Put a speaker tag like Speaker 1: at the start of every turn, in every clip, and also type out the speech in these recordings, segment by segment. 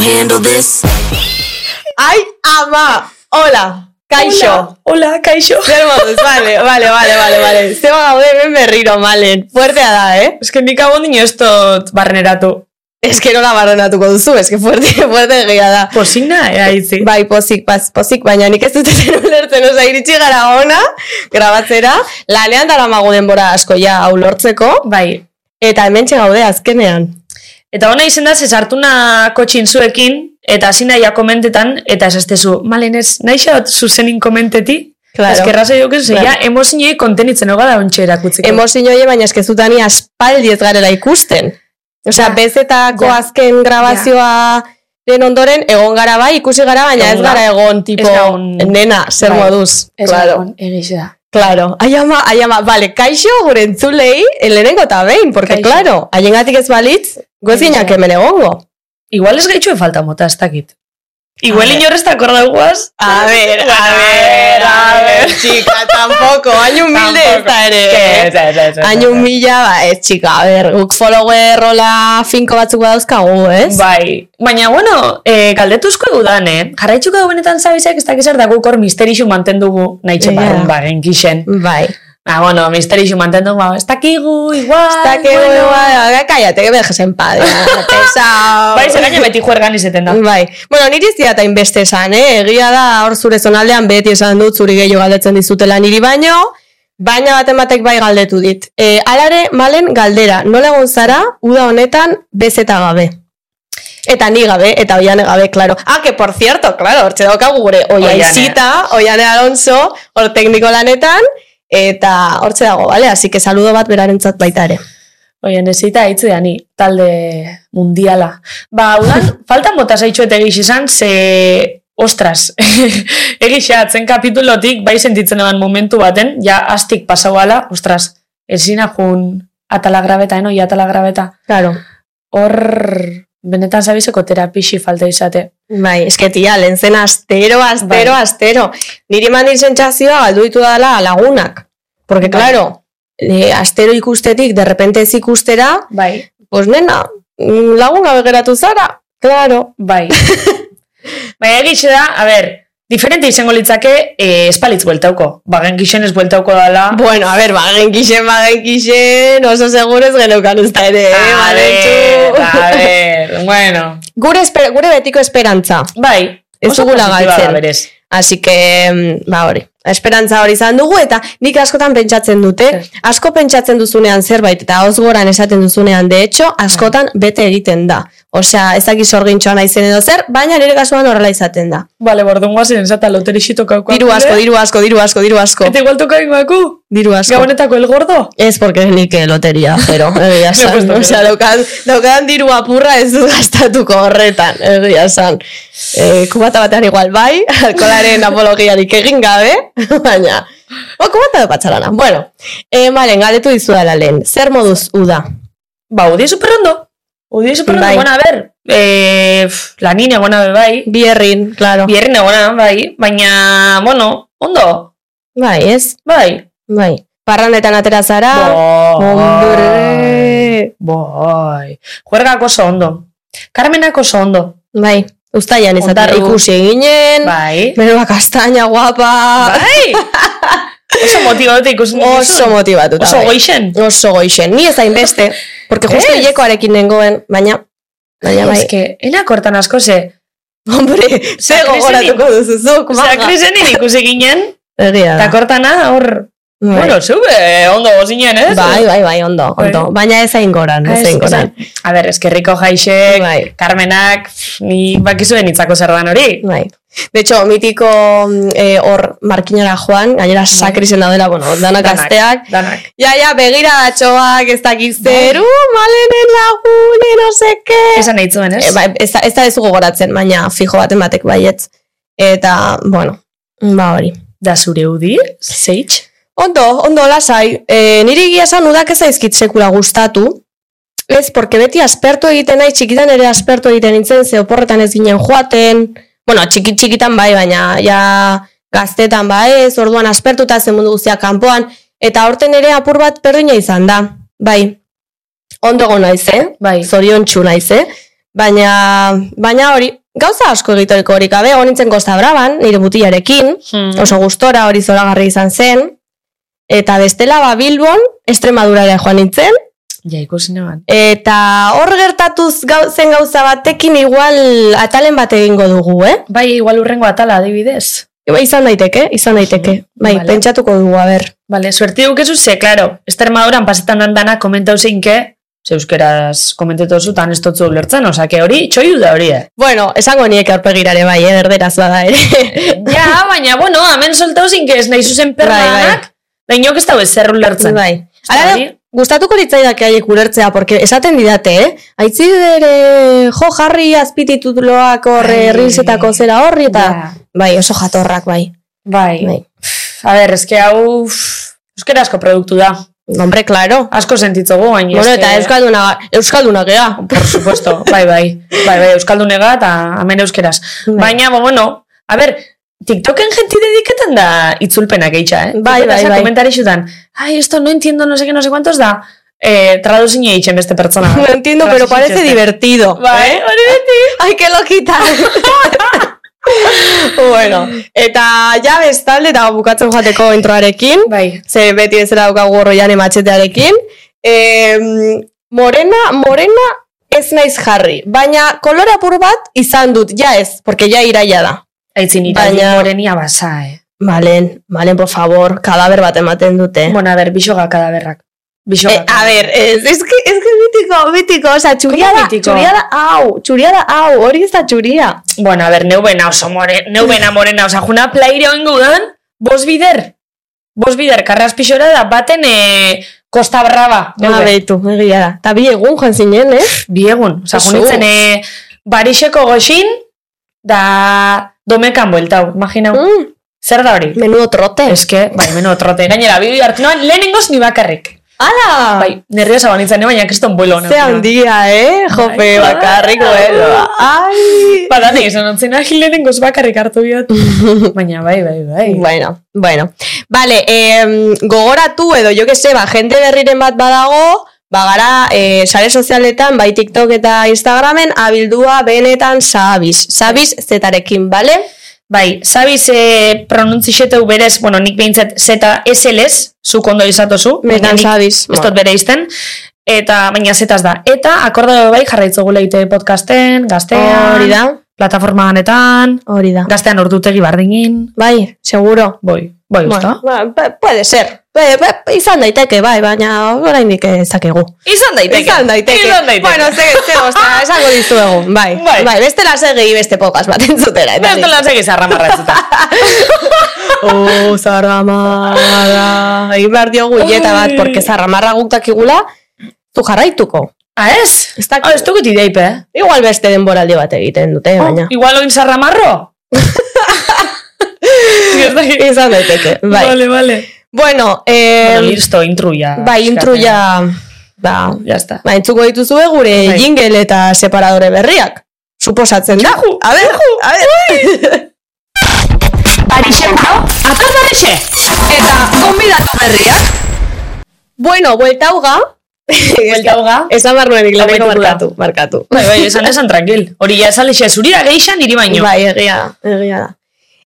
Speaker 1: handle this?
Speaker 2: Ai, ama! Hola! Kaixo!
Speaker 3: Hola, kaixo.
Speaker 2: Zer moduz, vale, vale, vale, vale, vale. Zeba gaude hemen berriro, malen. Fuertea da, eh?
Speaker 3: Eske nik abon dino ez dut barreneratu.
Speaker 2: Ez que nola barrenatuko duzu, ez que fuerte, fuerte egia da.
Speaker 3: Posigna, ea itzi.
Speaker 2: Bai, pozik, paz, pozik, baina nik ez dut eten ulertzen, oza, iritsi gara ona, grabatzera, lanean dara denbora asko ja hau lortzeko,
Speaker 3: Bai.
Speaker 2: eta hemen gaude azkenean.
Speaker 3: Eta hona izen da, zesartuna kotxin zuekin, eta hasi nahia komentetan, eta esastezu, malen ez, nahi xat zuzenin komenteti?
Speaker 2: Claro.
Speaker 3: Eskerra zei duken, zeia,
Speaker 2: Claro.
Speaker 3: claro. emozinei kontenitzen hau gara ontxe erakutzeko.
Speaker 2: Emozio hori, baina eskezutani aspaldi ez garela ikusten. Osea,
Speaker 3: Ja.
Speaker 2: bezetako
Speaker 3: Ja.
Speaker 2: azken grabazioa den ondoren, egon gara bai, ikusi gara, baina ez
Speaker 3: Egon gara.
Speaker 2: gara egon, tipo,
Speaker 3: gaun-
Speaker 2: nena, zer
Speaker 3: Bai.
Speaker 2: moduz. Claro,
Speaker 3: Egixe da.
Speaker 2: claro. Ai ama, ai ama, vale, kaixo gure entzulei, lehenengo eta behin, porque,
Speaker 3: Kaixo.
Speaker 2: claro, haiengatik ez balitz, goz
Speaker 3: Egia.
Speaker 2: gineak hemen egongo.
Speaker 3: Igual ez gaitxuen falta mota, ez dakit. Igual
Speaker 2: ver.
Speaker 3: inorrez da korda guaz.
Speaker 2: A ver, a
Speaker 3: ver, a ver.
Speaker 2: chica, tampoco, hain humilde ez da ere. Hain
Speaker 3: Año
Speaker 2: humila, ba, ez, txika, a ber, guk follower rola finko batzuk badauzkagu, ez?
Speaker 3: Bai, baina, bueno, e, galdetuzko dudan, eh? Jarraitzuko dugu benetan zabizek, ez dakizar da guk hor misterixu mantendugu nahi txeparun
Speaker 2: Ea.
Speaker 3: yeah. bagen kixen.
Speaker 2: Bai.
Speaker 3: Ba, bueno, misterixu mantendugu, ba, ez dakigu, igual,
Speaker 2: Está que bueno, bai, cállate, que me dejes en paz. ya, pesao.
Speaker 3: Bai, zer gaina beti juergan izeten da.
Speaker 2: Bai. Bueno, niri ez diata inbeste esan, eh? Egia da, hor zure zonaldean beti esan dut, zuri gehiago galdetzen dizutela niri baino, baina baten batek bai galdetu dit. E, alare, malen, galdera, nola egon zara, uda honetan, bezeta gabe. Eta ni gabe, eta oiane gabe, claro. Ah, que por cierto, claro, hortxe daukagu gure oiaizita, oiane Alonso, hor tekniko lanetan, eta hortxe dago, bale? Así que saludo bat berarentzat baita ere.
Speaker 3: Oien, ezita hitz dani, talde mundiala. Ba, udan, falta mota zaitxuet egiz izan, ze... Ostras, egisa, zen kapitulotik, bai sentitzen eban momentu baten, ja astik pasauala, ostras, ezina jun atala grabeta, eno, ja atala grabeta.
Speaker 2: Claro.
Speaker 3: hor benetan zabizeko terapixi falta izate.
Speaker 2: Bai, eske tia, lehen zen astero, astero,
Speaker 3: Bai.
Speaker 2: astero. Niri eman dit sentsazioa galdu ditu dala lagunak. Porque,
Speaker 3: Bai.
Speaker 2: claro, e, astero ikustetik, de repente ez ikustera,
Speaker 3: Bai,
Speaker 2: pues nena, mm, lagun gabe geratu zara. Claro.
Speaker 3: bai. Baina egitxe da, a ber, diferente izango litzake eh, espalitz bueltauko. Bagen gixen ez bueltauko dala.
Speaker 2: Bueno, a ver, bagen kixen, bagen kixen, oso segurez geneukan usta ere, eh,
Speaker 3: a
Speaker 2: Valentzu?
Speaker 3: ber, a ber, bueno.
Speaker 2: Gure, esper, gure betiko esperantza.
Speaker 3: Bai,
Speaker 2: Ez
Speaker 3: oso
Speaker 2: dugula
Speaker 3: positiboa
Speaker 2: galtzen.
Speaker 3: da berez.
Speaker 2: Así que, mm, ba hori, esperantza hori izan dugu eta nik askotan pentsatzen dute,
Speaker 3: Zer.
Speaker 2: asko pentsatzen duzunean zerbait eta hoz goran esaten duzunean, de hecho, askotan bete egiten da. Osea, ez dakiz sorgintxoa naizen edo zer, baina nire kasuan horrela izaten da.
Speaker 3: Bale, bordun guazen zata loterixi tokauko.
Speaker 2: Diru asko, diru asko, diru asko, diru asko.
Speaker 3: eh? Eta igual tokain baku.
Speaker 2: Diru asko.
Speaker 3: Gabonetako el gordo.
Speaker 2: Ez porque nik eh, loteria, pero egia
Speaker 3: Me he
Speaker 2: san.
Speaker 3: puesto
Speaker 2: Osea,
Speaker 3: pedo.
Speaker 2: daukan, daukan diru apurra ez dut gastatuko horretan, egia san. Eh, kubata batean igual bai, alkolaren apologiarik egin gabe, baina... O, kubata de patxarana. Bueno, eh, malen, galdetu dizudala lehen. Zer moduz uda?
Speaker 3: Ba, odi superrondo. Odi superrondo,
Speaker 2: Bai.
Speaker 3: bai. bueno, a ber, eh, pf, lanin egona be bai.
Speaker 2: Bierrin, claro.
Speaker 3: Bierren egona, bai, baina, bueno, ondo,
Speaker 2: Bai, ez?
Speaker 3: bai.
Speaker 2: Bai. Parrandetan atera zara. Ah, Hombre.
Speaker 3: Bai. Juergak oso ondo. Carmenak oso ondo.
Speaker 2: Bai. Uztaian izatera
Speaker 3: Ondarru.
Speaker 2: ikusi ginen. Bai.
Speaker 3: Bai.
Speaker 2: Menuda kastaña guapa.
Speaker 3: Bai. Oso motibadote ikusten
Speaker 2: Oso
Speaker 3: dituzun.
Speaker 2: motibatuta.
Speaker 3: Bai. Oso
Speaker 2: bai.
Speaker 3: goixen.
Speaker 2: Oso goixen, ni ez hainbeste, porque justo
Speaker 3: Ez.
Speaker 2: hilekoarekin nengoen, baina, baina bai,
Speaker 3: Ez que, enak hortan asko ze.
Speaker 2: hombre, ze
Speaker 3: Sakrizenin.
Speaker 2: gogoratuko duzuzuk,
Speaker 3: Osea,
Speaker 2: baga.
Speaker 3: krisenin ikusi ginen,
Speaker 2: Egia
Speaker 3: eta
Speaker 2: da.
Speaker 3: kortana hor,
Speaker 2: Ah. Bai.
Speaker 3: bueno, zube, ondo gozinen, ez?
Speaker 2: Bai, bai, bai, ondo,
Speaker 3: Bai.
Speaker 2: ondo. Baina ez hain goran, ez hain goran.
Speaker 3: A ber, eskerriko jaixek,
Speaker 2: Bai.
Speaker 3: Carmenak, pf, ni bakizuen hitzako zer dan hori.
Speaker 2: Bai. De hecho, mitiko mm, eh, hor markinara joan, gainera sakrizen daudela, bueno, danak gazteak.
Speaker 3: Danak.
Speaker 2: Ja, ja, begira atxoak, ez dakik zer, uh, malenen lagune, no seke.
Speaker 3: Esan nahi zuen, ez?
Speaker 2: E, ba, ez, da- ez da ez dugu goratzen, baina fijo baten batek baietz. Eta, bueno, ba hori.
Speaker 3: Da zure udi, zeitz.
Speaker 2: Ondo, ondo, lasai. E, niri egia esan udak ez aizkit sekula gustatu. Ez, porque beti aspertu egiten nahi, txikitan ere aspertu egiten nintzen, ze oporretan ez ginen joaten. Bueno, txiki txikitan bai, baina ja gaztetan bai ez, orduan aspertuta zen mundu guztia kanpoan. Eta horten ere apur bat perdina izan da. Bai, ondo go naiz, eh?
Speaker 3: Bai.
Speaker 2: Zorion txu naiz, eh? Baina, baina hori, gauza asko egitoriko hori gabe, egon nintzen Costa Braban, nire butiarekin,
Speaker 3: Hmm.
Speaker 2: oso gustora hori zoragarri izan zen, eta bestela ba Bilbon, Estremadurara joan nintzen,
Speaker 3: Ja, ikusi neban.
Speaker 2: eta hor gertatuz gau, zen gauza batekin igual atalen bat egingo dugu, eh?
Speaker 3: Bai, igual urrengo atala adibidez.
Speaker 2: Ba, Izan daiteke, izan daiteke. Bai,
Speaker 3: Vale.
Speaker 2: pentsatuko dugu, a ber.
Speaker 3: Vale, suerte dukezu, ze, claro, Extremaduran pasetan andana komentau zeinke, ze euskeraz komentetu zutan ez totzu ulertzen, osea, que hori, txoiu da hori, eh?
Speaker 2: Bueno, esango nieke aurpegirare bai, eh, erderaz bada eh. ere.
Speaker 3: ja, baina, bueno, hemen soltau zeinke ez nahi zuzen
Speaker 2: Bai, bai.
Speaker 3: perranak, da inok ez da bezer ulertzen.
Speaker 2: bai.
Speaker 3: da
Speaker 2: Hala
Speaker 3: hori?
Speaker 2: ere, gustatuko litzaidake haiek ulertzea, porque esaten didate, eh? Aitzi ere, jo, jarri azpitituloak horre,
Speaker 3: Ai.
Speaker 2: rilsetako zera horri, eta...
Speaker 3: Ja,
Speaker 2: Bai, oso jatorrak, bai.
Speaker 3: bai.
Speaker 2: bai.
Speaker 3: A ber, eske hau, uf, euskarazko produktu da.
Speaker 2: Hombre, claro.
Speaker 3: Asko sentitzogu, baina...
Speaker 2: bueno, eta
Speaker 3: eske-
Speaker 2: euskalduna, euskalduna gea.
Speaker 3: Por supuesto, bai, bai. Bai, bai, euskaldunega eta hemen euskeraz.
Speaker 2: Bai.
Speaker 3: Baina, bo, bueno, a ber, TikToken jenti dediketan da itzulpenak eitxa, eh?
Speaker 2: Bai, bai, bai.
Speaker 3: Komentari xutan, ai, esto no entiendo, no sé qué, no sé cuántos da, eh, traduzin eitzen beste pertsona.
Speaker 2: no entiendo, pero parece divertido.
Speaker 3: Bai, hori beti.
Speaker 2: Ai, que lokita! bueno, eta ja bestalde, eta bukatzen joateko introarekin,
Speaker 3: Bai,
Speaker 2: ze beti bezala daukagu horroian ematxetearekin. Em, morena, morena ez naiz jarri, baina kolore apur bat izan dut, ja ez, porque ja iraia da.
Speaker 3: aitzin ira,
Speaker 2: Baina-
Speaker 3: morenia basa, eh?
Speaker 2: Malen, malen, por favor, kadaber bat ematen dute.
Speaker 3: Bueno, a ber, bisoga kadaberrak. Bisoga.
Speaker 2: Eh, a ver, es, es que, es que mítico, mítico, o sea, txuria
Speaker 3: ¿Cómo
Speaker 2: da,
Speaker 3: mítico?
Speaker 2: txuria da, hau, txuria da, hau, hori ez da txuria.
Speaker 3: Bueno, a ber, neubena oso more, neubena morena, oza, juna plaire oingo dan, bos bider, bos bider, karras pixora da, baten e, Costa Brava,
Speaker 2: Ba,
Speaker 3: neube,
Speaker 2: beitu, egia da. Ta bi egun joan zinen, eh?
Speaker 3: biegun, oza,
Speaker 2: Oso.
Speaker 3: junitzen e, barixeko goxin, da domekan bueltau, imaginau,
Speaker 2: Mm,
Speaker 3: zer da hori?
Speaker 2: menudo trote.
Speaker 3: Eske, bai, meno trote, gainera, bi hartinoan, lehenengoz ni bakarritzen,
Speaker 2: Ala!
Speaker 3: bai, nerviosa banitzen, eh, baina kriston buelo.
Speaker 2: Ah. Ze handia, eh? Jope,
Speaker 3: Bai.
Speaker 2: bakarrik, bueno. Ai!
Speaker 3: Badane, izan ontzen, ah, lehenengoz bakarrik hartu biot. baina, bai, bai, bai.
Speaker 2: Bueno, bueno. Vale, em, gogoratu edo, jo que se, ba, jende berriren bat badago, ba, gara, eh, sare sozialetan, bai TikTok eta Instagramen, abildua benetan zabiz. Zabiz zetarekin, bale?
Speaker 3: Bai, zabiz e, pronuntziseteu berez, bueno, nik behintzat zeta SLS, zuk ondo izatozu. baina
Speaker 2: Benetan
Speaker 3: nik
Speaker 2: zabiz.
Speaker 3: Ez dut bere izten. Eta, baina zetaz da. Eta, akorda bai jarraitzogu leite podcasten, gaztean,
Speaker 2: Hori da,
Speaker 3: plataforma ganetan,
Speaker 2: hori da.
Speaker 3: gaztean ordutegi bardinin.
Speaker 2: Bai, seguro.
Speaker 3: Boi, boi,
Speaker 2: Bueno,
Speaker 3: usta.
Speaker 2: ba, ba- puede ser. Ba- ba- izan daiteke, bai, baina oraindik ez dakegu.
Speaker 3: Izan
Speaker 2: Izan daiteke.
Speaker 3: Izan daiteke.
Speaker 2: Bueno, ze, ze, ostra, esango dizuegu. Bai,
Speaker 3: Bai.
Speaker 2: bai. bai bestela segi beste podcast bat entzutera. eta
Speaker 3: Beste lan segiz arramarratzuta.
Speaker 2: Oh, zarramarra. Egin behar diogu hileta bat,
Speaker 3: Ai.
Speaker 2: porque zarramarra guk dakigula, zu jarraituko.
Speaker 3: ah, ez?
Speaker 2: Ez
Speaker 3: Ah,
Speaker 2: dakit.
Speaker 3: ez dukit ideipe, eh?
Speaker 2: Igual beste denboraldi bat egiten dute, baina.
Speaker 3: Oh, Igual oin zarramarro? Ez dakit.
Speaker 2: Izan daiteke, bai.
Speaker 3: Vale, vale.
Speaker 2: Bueno, eh,
Speaker 3: Bueno, listo, intruya.
Speaker 2: bai, intruia, ba,
Speaker 3: Ya está.
Speaker 2: ba, entzuko dituzue gure
Speaker 3: Bai.
Speaker 2: jingle eta separadore berriak. Suposatzen da.
Speaker 3: Juhu,
Speaker 2: A ber, a ber.
Speaker 3: Atar barexe!
Speaker 2: eta konbidatu berriak. Bueno, buelta uga.
Speaker 3: Buelta hoga.
Speaker 2: Esan barru nuen inglateko
Speaker 3: Amaituko da.
Speaker 2: markatu, markatu.
Speaker 3: Bai, bai, esan esan tranquil. Hori ja esan lexe, zuri da geixan niri baino.
Speaker 2: Bai, egia da, egia da.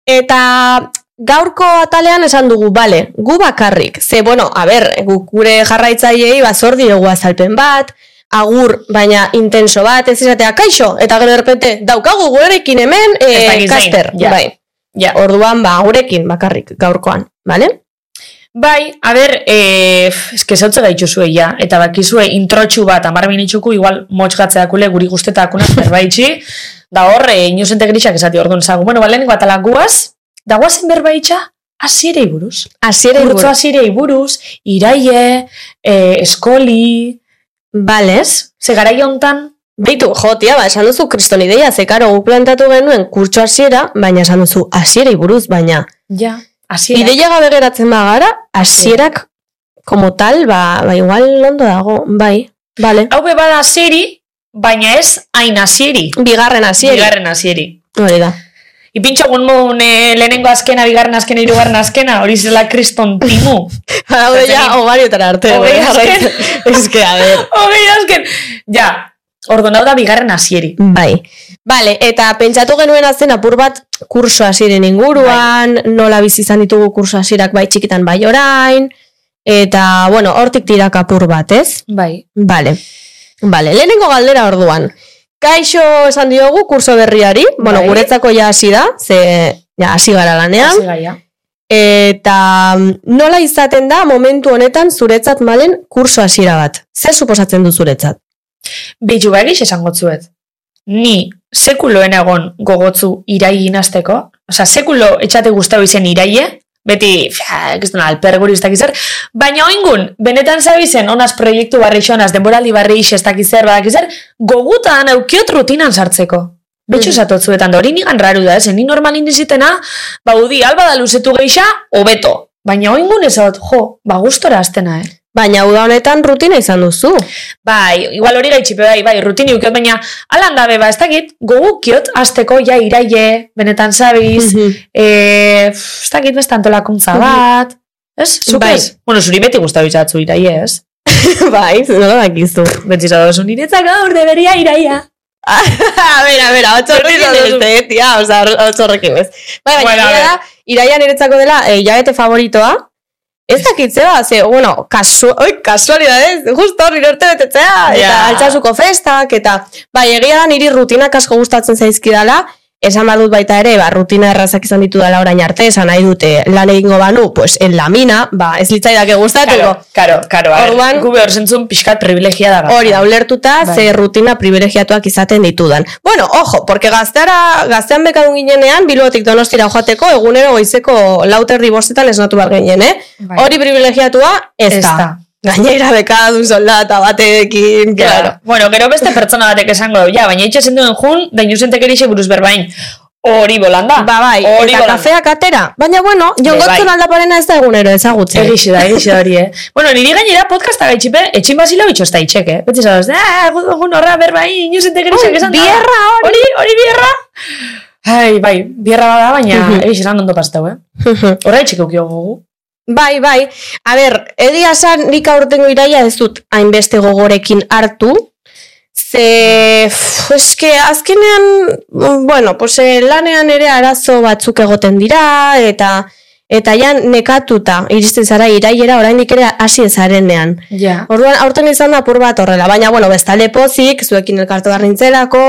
Speaker 2: Eta gaurko atalean esan dugu, bale, gu bakarrik. Ze, bueno, a ber, gu, gure jarraitzaileei bazor diogu azalpen bat, agur, baina intenso bat, ez izatea, kaixo, eta gero erpente, daukagu gurekin hemen,
Speaker 3: Ez
Speaker 2: e,
Speaker 3: dakit zein,
Speaker 2: kaster,
Speaker 3: ja.
Speaker 2: bai.
Speaker 3: Ja.
Speaker 2: Orduan, ba, gurekin bakarrik gaurkoan, bale?
Speaker 3: Bai, a ber, e, f- eske zautze gaituzue ja, eta bakizue introtxu bat, amar minitxuku, igual motxgatzeakule, guri guztetakuna, berbaitxi, da hor, e, inusentek grisak esati orduan zagu. Bueno, ba, balenengo atala guaz, da guazen berbaitxa, azirei buruz.
Speaker 2: Asiera
Speaker 3: Urtzo
Speaker 2: iburu.
Speaker 3: azirei buruz, iraie, e, eskoli,
Speaker 2: Bale, ez?
Speaker 3: ze garai hontan,
Speaker 2: Beitu, jo, tia, ba, esan duzu kriston ideia, ze karo, guk plantatu genuen kurtso hasiera, baina esan duzu hasierei buruz, baina
Speaker 3: ja, azirei.
Speaker 2: Ideia gabe geratzen bagara, hasierak como tal, ba, ba igual ondo dago, bai, bale.
Speaker 3: Hau be bada aziri, baina ez hain aziri.
Speaker 2: Bigarren hasieri.
Speaker 3: Bigarren azieri.
Speaker 2: Hori da.
Speaker 3: Ipintxo gun mun eh, lehenengo azkena, bigarren azkena, hirugarren azkena, hori zela kriston timu.
Speaker 2: Haude Ba, ja, hogariotara arte.
Speaker 3: Hogei
Speaker 2: bai,
Speaker 3: azken.
Speaker 2: jarraitzen. Ez que, a ver.
Speaker 3: Hogei azken! Ja, Orduan hau da bigarren hasieri.
Speaker 2: Bai. Bale, eta pentsatu genuen zen apur bat kurso hasiren inguruan, nola bizi izan ditugu kurso hasirak bai txikitan bai orain, eta, bueno, hortik tirak apur bat, ez?
Speaker 3: Bai.
Speaker 2: Bale. Bale, lehenengo galdera orduan. Kaixo esan diogu kurso berriari, bueno,
Speaker 3: Bai.
Speaker 2: guretzako ja hasi da, ze ja hasi gara lanean,
Speaker 3: Hasi gaia.
Speaker 2: eta mm, nola izaten da momentu honetan zuretzat malen kurso hasiera bat? Zer suposatzen du zuretzat?
Speaker 3: Beitu ba egiz esango zuet. Ni sekuloen egon gogotzu irai inazteko. Osa, sekulo etxate guztau izen iraie, beti, fia, ez duna, alperguri ez dakizar, baina oingun, benetan zabizen, onaz proiektu barri xonaz, denboraldi barri ez dakizar, badakizar, gogutan eukiot rutinan sartzeko. Betxo
Speaker 2: Mhm.
Speaker 3: zatotzuetan da, hori nigan raru da, ez, ni normalin dizitena, ba, udi, alba da luzetu geixa, hobeto. Baina oingun ezot, jo, ba, gustora aztena, eh.
Speaker 2: Baina uda honetan rutina izan duzu.
Speaker 3: Bai, igual hori gaitxipe, bai, bai, rutini ukiot, baina alan dabe, ba, ez dakit, gogukiot, azteko, ja, iraie, benetan
Speaker 2: Bai,
Speaker 3: zabiz, e, pf, ez dakit, beste antolakuntza
Speaker 2: Mhm.
Speaker 3: bat, ez? Zuk
Speaker 2: Bai.
Speaker 3: ez? Bueno, zuri beti guztago izatzu iraie, ez?
Speaker 2: bai, nola dakizu.
Speaker 3: Beti zadozu, niretzak gaur deberia iraia.
Speaker 2: a ver, a ver, hau txorri
Speaker 3: Berdin
Speaker 2: izan
Speaker 3: duzu.
Speaker 2: dute, eh, tia, oza, hau txorrekin bez. Bai, baina,
Speaker 3: Bueno, a
Speaker 2: bueno,
Speaker 3: ver.
Speaker 2: da, iraian eretzako dela, eh, jabete favoritoa, ez dakitze ba, ze, bueno, kasu, oi, kasualidadez, justo hori norte betetzea, eta
Speaker 3: Ja.
Speaker 2: altxasuko festak, eta, bai, egia da niri rutinak asko gustatzen zaizkidala, esan badut baita ere, ba, rutina errazak izan ditu dela orain arte, esan nahi dute, lan egingo banu, pues, en la mina, ba, ez litzaidake gustatuko.
Speaker 3: Karo, karo, karo, a
Speaker 2: Orduan-
Speaker 3: ber, gube hor zentzun pixkat privilegia da.
Speaker 2: Hori da, ulertuta,
Speaker 3: Bai.
Speaker 2: ze rutina privilegiatuak izaten ditudan. Bueno, ojo, porque gazteara, gaztean bekadun ginenean, bilotik donostira joateko, egunero goizeko lauter dibostetan esnatu behar ginen, eh?
Speaker 3: Bai.
Speaker 2: Hori privilegiatua, ez,
Speaker 3: Ez
Speaker 2: da.
Speaker 3: da.
Speaker 2: Gainera bekadun soldata batekin, claro.
Speaker 3: Claro. Bueno, gero beste pertsona batek esango du, ja, baina itxasen duen jun, da inusentek erixe buruz berbain. Hori bolanda.
Speaker 2: Ba bai,
Speaker 3: hori
Speaker 2: eta
Speaker 3: bolanda.
Speaker 2: kafeak atera. Baina bueno, jongotzen
Speaker 3: bai.
Speaker 2: aldaparena ez da egunero ezagutzen.
Speaker 3: Egixe da, egixe da hori, eh? Bueno, niri gainera podcasta gaitxipe, etxin bazila bitxo ez da itxek, eh? Betzi zadoz, ah, egun egun horra berba hi, inusente gerixek esan da.
Speaker 2: bierra hori.
Speaker 3: Hori, hori bierra! Ai, bai, bierra bada, baina
Speaker 2: Mhm.
Speaker 3: egixe esan ondo pastau, eh? Horra itxek eukio gogu.
Speaker 2: Bai, bai. A ber, egia esan nik aurtengo iraia ez dut hainbeste gogorekin hartu. Ze, pff, eske, azkenean, mm, bueno, pues, eh, lanean ere arazo batzuk egoten dira, eta eta ja nekatuta iristen zara iraiera oraindik ere hasi ez zarenean.
Speaker 3: Ja.
Speaker 2: Orduan aurten izan da apur bat horrela, baina bueno, bestalde pozik, zuekin elkartu behar nintzelako,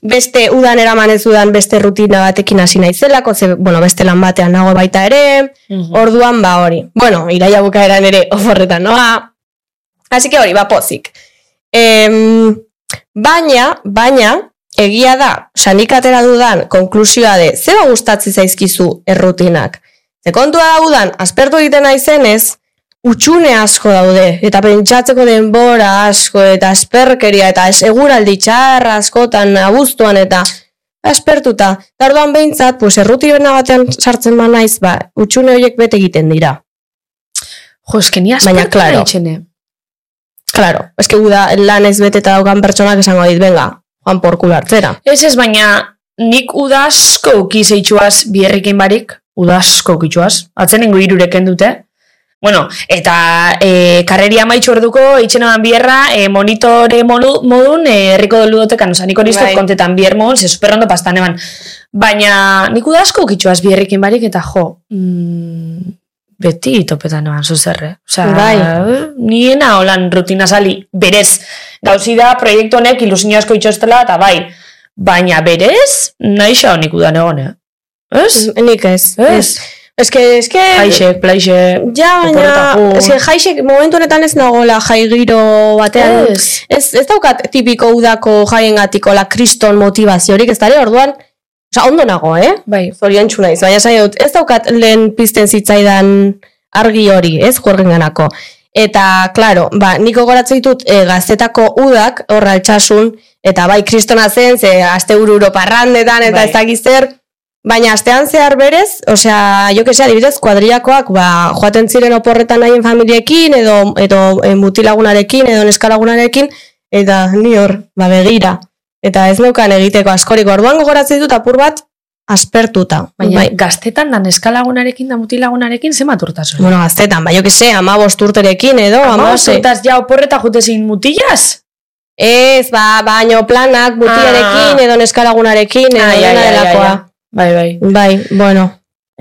Speaker 2: beste udan eraman ez udan beste rutina batekin hasi naizelako, ze bueno, beste lan batean nago baita ere.
Speaker 3: Mhm.
Speaker 2: Orduan ba hori. Bueno, iraia bukaeran ere oforretan noa. Así que hori, ba pozik. Em, baina, baina, egia da, sanik atera dudan konklusioa de, zeba gustatzi zaizkizu errutinak. Ze kontua daudan, aspertu egiten naizenez, utxune asko daude, eta pentsatzeko denbora asko, eta asperkeria, eta seguraldi txarra askotan, abuztuan, eta aspertuta. Eta orduan Ba, behintzat, pues, errutirena batean sartzen ba naiz, ba, utxune horiek bete egiten dira.
Speaker 3: Jo, eske ni
Speaker 2: Baina,
Speaker 3: aspertu
Speaker 2: claro.
Speaker 3: naitxene.
Speaker 2: Claro, eske guda lan ez bete eta daukan pertsonak esango dit, venga, joan porkula hartzera.
Speaker 3: Ez ez, baina nik udasko ukizeitxuaz bierrekin barik, udasko ukitxuaz, atzenengo irureken dute. Bueno, eta e, karreria maitxu orduko, itxenoan bierra, e, monitore monu- modun, e, herriko dolu dotekan, oza, nik hori ez dut
Speaker 2: Bai.
Speaker 3: kontetan bier modun, ze superrondo pastan eban. Baina nik udasko ukitxuaz bierrekin barik, eta jo, mm, beti topetan eban zuzerre. eh? Osa,
Speaker 2: Bai.
Speaker 3: niena holan rutina sali, berez, gauzi da proiektu honek ilusio asko itxostela, eta bai, baina berez, nahi xa honik udan egon, eh? Ez?
Speaker 2: Nik ez.
Speaker 3: Ez?
Speaker 2: Eske, eske...
Speaker 3: Aixek, plaixek,
Speaker 2: Ja, baina,
Speaker 3: Oporretako.
Speaker 2: eske jaixek momentu honetan ez nagola jai giro batean.
Speaker 3: ez?
Speaker 2: Ez, ez daukat tipiko udako jaiengatiko la kriston motivaziorik, ez dara orduan, oza, ondo nago, eh?
Speaker 3: Bai,
Speaker 2: Zorion naiz, baina esan dut, ez daukat lehen pizten zitzaidan argi hori, ez, juergen ganako. Eta, claro, ba, niko goratzen ditut e, gaztetako udak, horra altxasun, eta bai, kristona zen, ze aste uru europarrandetan, eta
Speaker 3: Bai.
Speaker 2: ez dakiz zer, baina astean zehar berez, osea, jo que sea, adibidez, kuadriakoak, ba, joaten ziren oporretan haien familiekin, edo, edo e, mutilagunarekin, edo neskalagunarekin, eta ni hor, ba, begira. Eta ez neukan egiteko askorik, orduan gogoratzen ditut apur bat, aspertuta.
Speaker 3: baina
Speaker 2: bai,
Speaker 3: gaztetan dan eskalagunarekin da mutilagunarekin zemat urtasun.
Speaker 2: bueno, bai, gaztetan, bai, jo que se, ama urterekin edo, ama
Speaker 3: Ama, zutaz, ja, oporreta jutezin mutilaz?
Speaker 2: Ez, ba, baino planak, butiarekin,
Speaker 3: Ah.
Speaker 2: edo neskaragunarekin, edo
Speaker 3: Ai, ai,
Speaker 2: dena
Speaker 3: ai, ai,
Speaker 2: delakoa.
Speaker 3: ai. Bai, bai.
Speaker 2: Bai, bueno.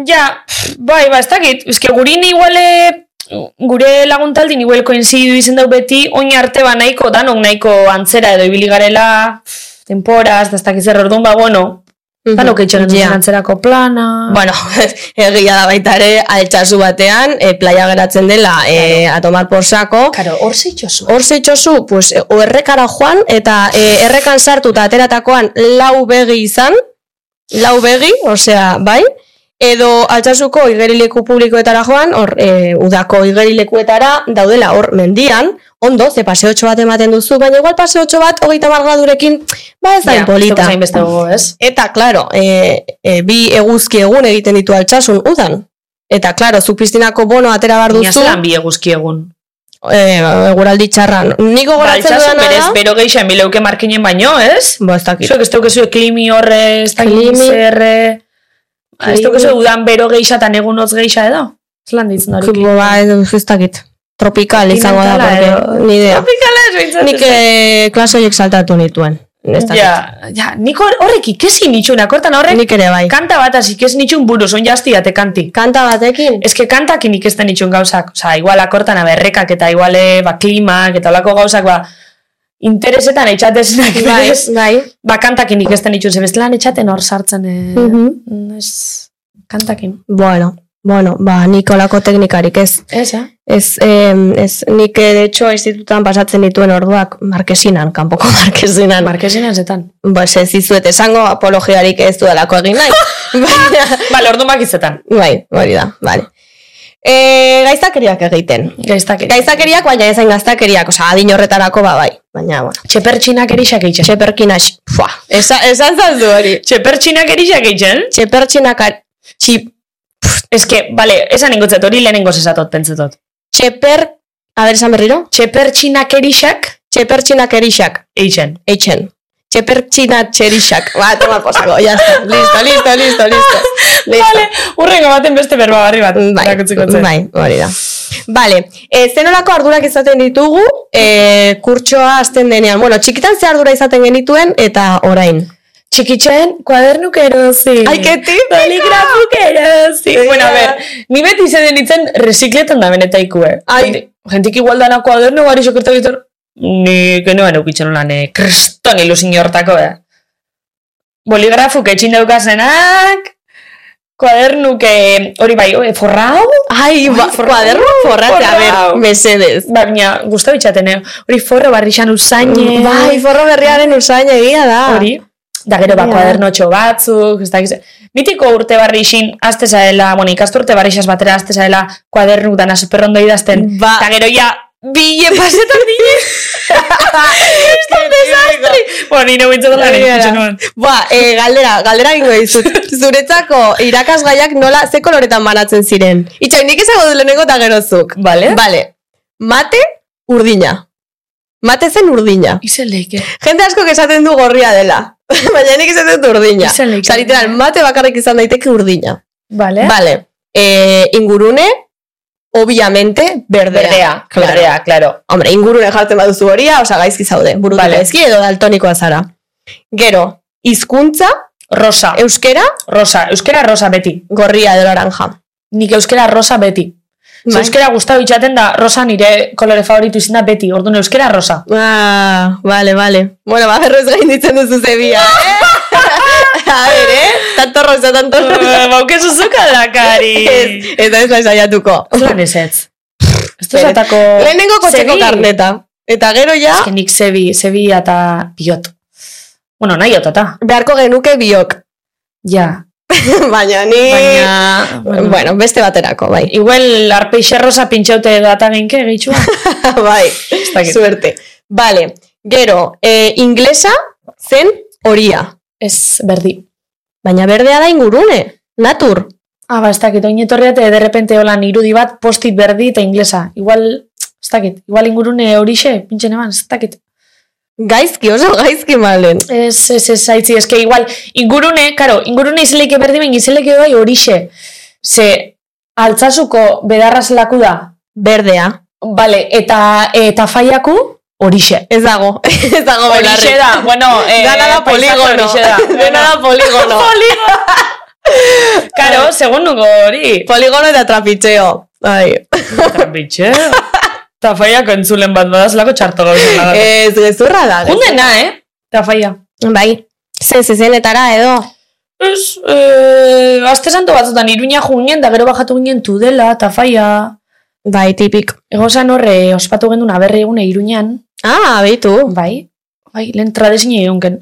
Speaker 3: Ja, pff, bai, ba, ez dakit, eske guri ni iguale, eh, gure laguntaldin igual koinzidu izen dau beti, oin arte ba nahiko, danok nahiko antzera edo ibili garela, pff, temporaz, da ez dakit zer orduan, ba, bueno, danok etxen
Speaker 2: Mhm. Ja.
Speaker 3: yeah. antzerako plana.
Speaker 2: Bueno, egia da baita ere, altxasu batean, e, playa geratzen dela, e, a tomar por saco.
Speaker 3: Karo, hor zeitxosu.
Speaker 2: Hor zeitzozu, pues, e, o errekara joan, eta e, errekan sartu eta ateratakoan lau begi izan, lau begi, osea, bai, edo altxasuko igerileku publikoetara joan, hor, e, udako igerilekuetara daudela hor mendian, ondo, ze paseotxo bat ematen duzu, baina igual paseotxo bat hogeita margadurekin, ba ez da polita.
Speaker 3: Zain beste gogo, ez?
Speaker 2: Eta, claro, e, e, bi eguzki egun egiten ditu altxasun udan. Eta, claro, zu piztinako bono atera bar
Speaker 3: Baina
Speaker 2: duzu,
Speaker 3: zelan bi eguzki egun.
Speaker 2: e, eguraldi txarran. Niko
Speaker 3: Ba,
Speaker 2: goratzen
Speaker 3: itxasun
Speaker 2: dudana
Speaker 3: berez,
Speaker 2: da,
Speaker 3: bero geisha emileuke markinen baino, ez?
Speaker 2: Ba, ez dakit.
Speaker 3: Zuek ez daukezu klimi horre, ez dakit
Speaker 2: Klimi.
Speaker 3: zer... eh, Ez
Speaker 2: Klimi.
Speaker 3: daukezu udan bero geisha eta negun hotz geisha edo? Zelan ditzen hori?
Speaker 2: Kubo, ba, ez- ez dakit. Tropical izango da,
Speaker 3: Kontinentala
Speaker 2: porque, ni idea.
Speaker 3: Tropikala ez behintzat.
Speaker 2: Nik e, klase horiek saltatu nituen. Ez dakit.
Speaker 3: Ja, ja, nik hor- horrek ikesi nitxun, akortan horrek
Speaker 2: Nik ere bai.
Speaker 3: kanta bat hasi ikes nitxun buruz, on jazti date kanti.
Speaker 2: Kanta batekin?
Speaker 3: Ez que kantakin ikesten nitxun gauzak, oza, igual akortan aberrekak eta iguale, ba, klimak eta olako gauzak, ba, interesetan etxatezinak,
Speaker 2: Bai,
Speaker 3: berez,
Speaker 2: bai.
Speaker 3: ba, kantakin ikesten nitxun, zebestelan etxaten hor sartzen, eh,
Speaker 2: Mhm.
Speaker 3: ez, kantakin.
Speaker 2: Bueno, bueno, ba, nik olako teknikarik ez.
Speaker 3: Ez, eh?
Speaker 2: Ez, em, ez nik, eh, de hecho, institutan pasatzen dituen orduak markesinan, kanpoko markesinan.
Speaker 3: Markezinan zetan.
Speaker 2: Ba, ez dizuet esango apologiarik ez dudalako egin nahi. Baina,
Speaker 3: Bale, ordu makitzetan.
Speaker 2: bai, hori da, bale. E, gaizakeriak egiten.
Speaker 3: Gaiztak.
Speaker 2: Gaizakeriak, baina ezain gaztakeriak, osea, adin horretarako ba, bai. Baina, bueno,
Speaker 3: Txepertxinak erixak eitzen.
Speaker 2: txeperkinak, fua, esa, esan zaldu hori.
Speaker 3: Txepertxinak erixak eitzen?
Speaker 2: Txepertxinak, txip,
Speaker 3: Ez que, bale, esan ingotzet hori lehenengo zesatot, pentsetot.
Speaker 2: txeper, a ber, esan berriro?
Speaker 3: Txepertxinak erixak
Speaker 2: Txepertxinak erixak,
Speaker 3: eitzen.
Speaker 2: etxen. Txepertxinak txerixak. Ba, toma posako, ya está. Listo, listo, listo, listo. listo.
Speaker 3: Bale, urrengo baten beste berba barri bat. erakutsiko zen.
Speaker 2: bai, hori da. Bale, e, zenolako ardurak izaten ditugu, e, kurtsoa azten denean. Bueno, txikitan ze ardura izaten genituen, eta orain.
Speaker 3: Txikitzen, kuadernuk erosi.
Speaker 2: Ai, que típico!
Speaker 3: Poligrafuk erosi.
Speaker 2: Ea.
Speaker 3: Bueno, a ver, ni beti zeden ditzen resikletan da benetaikue.
Speaker 2: Ai.
Speaker 3: Jenti- Jentik igual dana kuadernu gari sokerta ditor. Ni genuen eukitzen lan, eh, kriston ilusin hortako da. Boligrafuk etxin daukazenak, kuadernuk eh, hori bai, eh, forrau,
Speaker 2: Ai, ba,
Speaker 3: forra-
Speaker 2: kuaderno forratzea, a
Speaker 3: forrau.
Speaker 2: ber, mesedez.
Speaker 3: Ba, baina guztu bitxaten, eh? hori forro barri xan usaine.
Speaker 2: Bai, forro berriaren usain egia da.
Speaker 3: hori. Da gero ba,
Speaker 2: Ja.
Speaker 3: kuadernotxo batzuk, ez dakiz. Mitiko urte barri isin, azte zaela, bueno, ikasturte urte barri isaz batera, azte zaela, kuadernuk dana superrondo idazten.
Speaker 2: Ba,
Speaker 3: Da gero ja, bile pasetan dine. Ez da desastre. Bueno, nire bintzat lan
Speaker 2: Hori
Speaker 3: egin
Speaker 2: da.
Speaker 3: zenuen.
Speaker 2: ba, e, galdera, galdera ingo dizut. Zuretzako irakasgaiak nola, ze koloretan banatzen ziren. Itxain, nik esango du lehenengo eta gerozuk.
Speaker 3: Bale?
Speaker 2: Bale, mate urdina. Mate zen urdina.
Speaker 3: Izen leike.
Speaker 2: Jende asko esaten du gorria dela. Baina nik esaten dut urdina.
Speaker 3: Izan leike.
Speaker 2: Osa, literal, Ba, mate bakarrik izan daiteke urdina.
Speaker 3: Bale?
Speaker 2: Vale. Eh, ingurune, obviamente, berdea.
Speaker 3: Berdea,
Speaker 2: claro.
Speaker 3: berdea, claro.
Speaker 2: Hombre, ingurune jartzen baduzu horia, osa gaizki zaude. Burutu
Speaker 3: Vale.
Speaker 2: gaizki edo daltonikoa zara. Gero, hizkuntza,
Speaker 3: Rosa,
Speaker 2: euskera,
Speaker 3: rosa, euskera rosa beti.
Speaker 2: gorria edo laranja.
Speaker 3: Nik euskera rosa beti. Ze
Speaker 2: Bai.
Speaker 3: euskera gustatu itxaten da rosa nire kolore favoritu izan da beti. Orduan euskera rosa.
Speaker 2: Ah, vale, vale. Bueno, ba, berroz gainditzen duzu zebia, eh? A ver, eh? Tanto rosa, tanto rosa.
Speaker 3: Bauke zuzuka dakari.
Speaker 2: Ez, eta ez naiz saiatuko.
Speaker 3: Zuan ez ez. Ez
Speaker 2: Bere.
Speaker 3: duzatako...
Speaker 2: Lehenengo kotxeko karneta. Eta gero ja,
Speaker 3: Ez que nik zebi, zebi eta biot. Bueno, nahi otata.
Speaker 2: beharko genuke biok.
Speaker 3: Ja.
Speaker 2: Baina ni...
Speaker 3: Baina... Bueno.
Speaker 2: Bueno, beste baterako, bai.
Speaker 3: Igual arpeixe rosa pintxaute data genke gehitxua. Ba,
Speaker 2: bai,
Speaker 3: Ez dakit.
Speaker 2: suerte. Vale, gero, eh, inglesa zen horia.
Speaker 3: Ez berdi.
Speaker 2: Baina berdea da ingurune, natur.
Speaker 3: Ah, ba, ez dakit, oin etorri eta derrepente holan irudi bat postit berdi eta inglesa. Igual, ez dakit, igual ingurune horixe, pintxen eman, ez dakit.
Speaker 2: Gaizki, oso gaizki malen.
Speaker 3: Ez, ez, ez, haitzi, eske igual, ingurune, karo, ingurune izeleke berdi ben izeleke bai horixe. Ze, altzasuko bedarra zelaku da,
Speaker 2: Berdea.
Speaker 3: bale, eta, eta faiaku, Horixe.
Speaker 2: Ez dago, ez dago belarri.
Speaker 3: Horixe da, bueno, eh,
Speaker 2: Dana da
Speaker 3: paisaje
Speaker 2: poligono.
Speaker 3: horixe da.
Speaker 2: Dana da poligono.
Speaker 3: Karo, segun nuko hori.
Speaker 2: Poligono eta Bai, trapitxeo. Ai.
Speaker 3: Bitxe. Tafaiak eh. entzulen bat badaz lako txarto gauzela. Eh,
Speaker 2: Ez, gezurra da.
Speaker 3: Jundena, eh? Tafaia.
Speaker 2: Bai, ze zezenetara edo.
Speaker 3: Ez, eh, aste santo batzutan iruña junien, da gero bajatu ginen tudela, tafaia.
Speaker 2: Bai, tipik.
Speaker 3: Egozan horre, ospatu gendun aberri egune iruñan.
Speaker 2: Ah, beitu.
Speaker 3: Bai, bai, lehen tradezine egonken.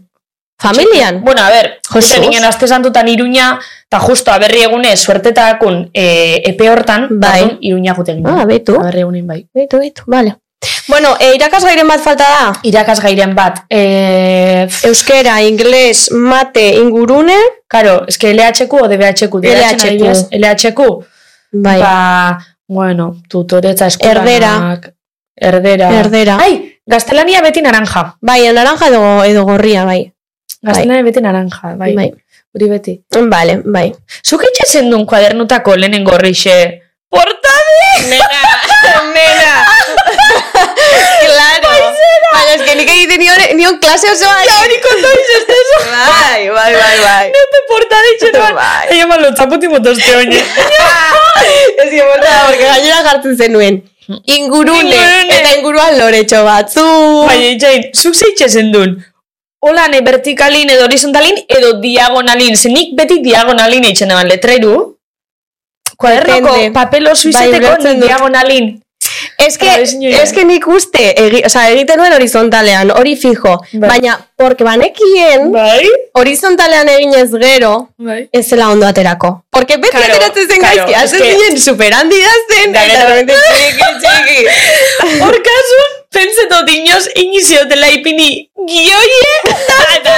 Speaker 2: Familian.
Speaker 3: Bueno, a ber,
Speaker 2: Jesus.
Speaker 3: justo ginen aste santutan iruña, eta justo aberri egune suertetakun e, epe hortan,
Speaker 2: Bai.
Speaker 3: orduan iruña jute ginen.
Speaker 2: Ah, beitu.
Speaker 3: aberri egunen bai.
Speaker 2: Beitu, beitu, vale. Bueno, e, irakasgairen bat falta da.
Speaker 3: Irakasgairen bat, e,
Speaker 2: Euskera, ingles, mate, ingurune.
Speaker 3: karo, eske LHQ o DBHQ,
Speaker 2: LHQ.
Speaker 3: LHQ, LHQ,
Speaker 2: Bai,
Speaker 3: ba, bueno, tutoretza eskolanak.
Speaker 2: Erdera.
Speaker 3: Erdera.
Speaker 2: erdera.
Speaker 3: Ai, gaztelania beti naranja.
Speaker 2: Bai, naranja edo, edo gorria, bai.
Speaker 3: Gaztelania beti naranja, bai.
Speaker 2: Bai.
Speaker 3: Hori beti.
Speaker 2: Vale, bai.
Speaker 3: Zuk etxezen duen kuadernutako lehenengo horrixe. Portade!
Speaker 2: Nena! claro! Baina, eske nik egiten nion, nion klase osoa. Ja, hori konta izestu. Bai, bai, bai, bai.
Speaker 3: Epe portade itxeroan.
Speaker 2: Bai.
Speaker 3: Eia malo, txaputi motoste oine.
Speaker 2: Ez que borta, porque gainera jartzen zenuen. Ingurune,
Speaker 3: Ingurune.
Speaker 2: eta inguruan loretxo batzu.
Speaker 3: Baina itxain, zuk ze itxezen duen? Olane vertikalin edo horizontalin edo diagonalin. Ze nik beti diagonalin itxen eban letreru. Kuadernoko
Speaker 2: Depende. Bai,
Speaker 3: papelo suizeteko
Speaker 2: ulertzen
Speaker 3: nik
Speaker 2: dut.
Speaker 3: diagonalin.
Speaker 2: Ez que,
Speaker 3: Abes nioen.
Speaker 2: ez que nik uste, egi, o sea, egiten nuen horizontalean, hori fijo.
Speaker 3: Bai.
Speaker 2: Baina, porque banekien,
Speaker 3: Bai?
Speaker 2: horizontalean eginez gero,
Speaker 3: Bai.
Speaker 2: ez zela ondo aterako. Porque beti
Speaker 3: Claro,
Speaker 2: ateratzen zen
Speaker 3: claro,
Speaker 2: gaizki,
Speaker 3: es
Speaker 2: hazen
Speaker 3: que-
Speaker 2: zinen superandi da zen,
Speaker 3: Da,
Speaker 2: eta
Speaker 3: gero-
Speaker 2: realmente txiki, txiki.
Speaker 3: Hor kasun, pentsetot inoz iniziotela ipini gioie
Speaker 2: Bai,
Speaker 3: da,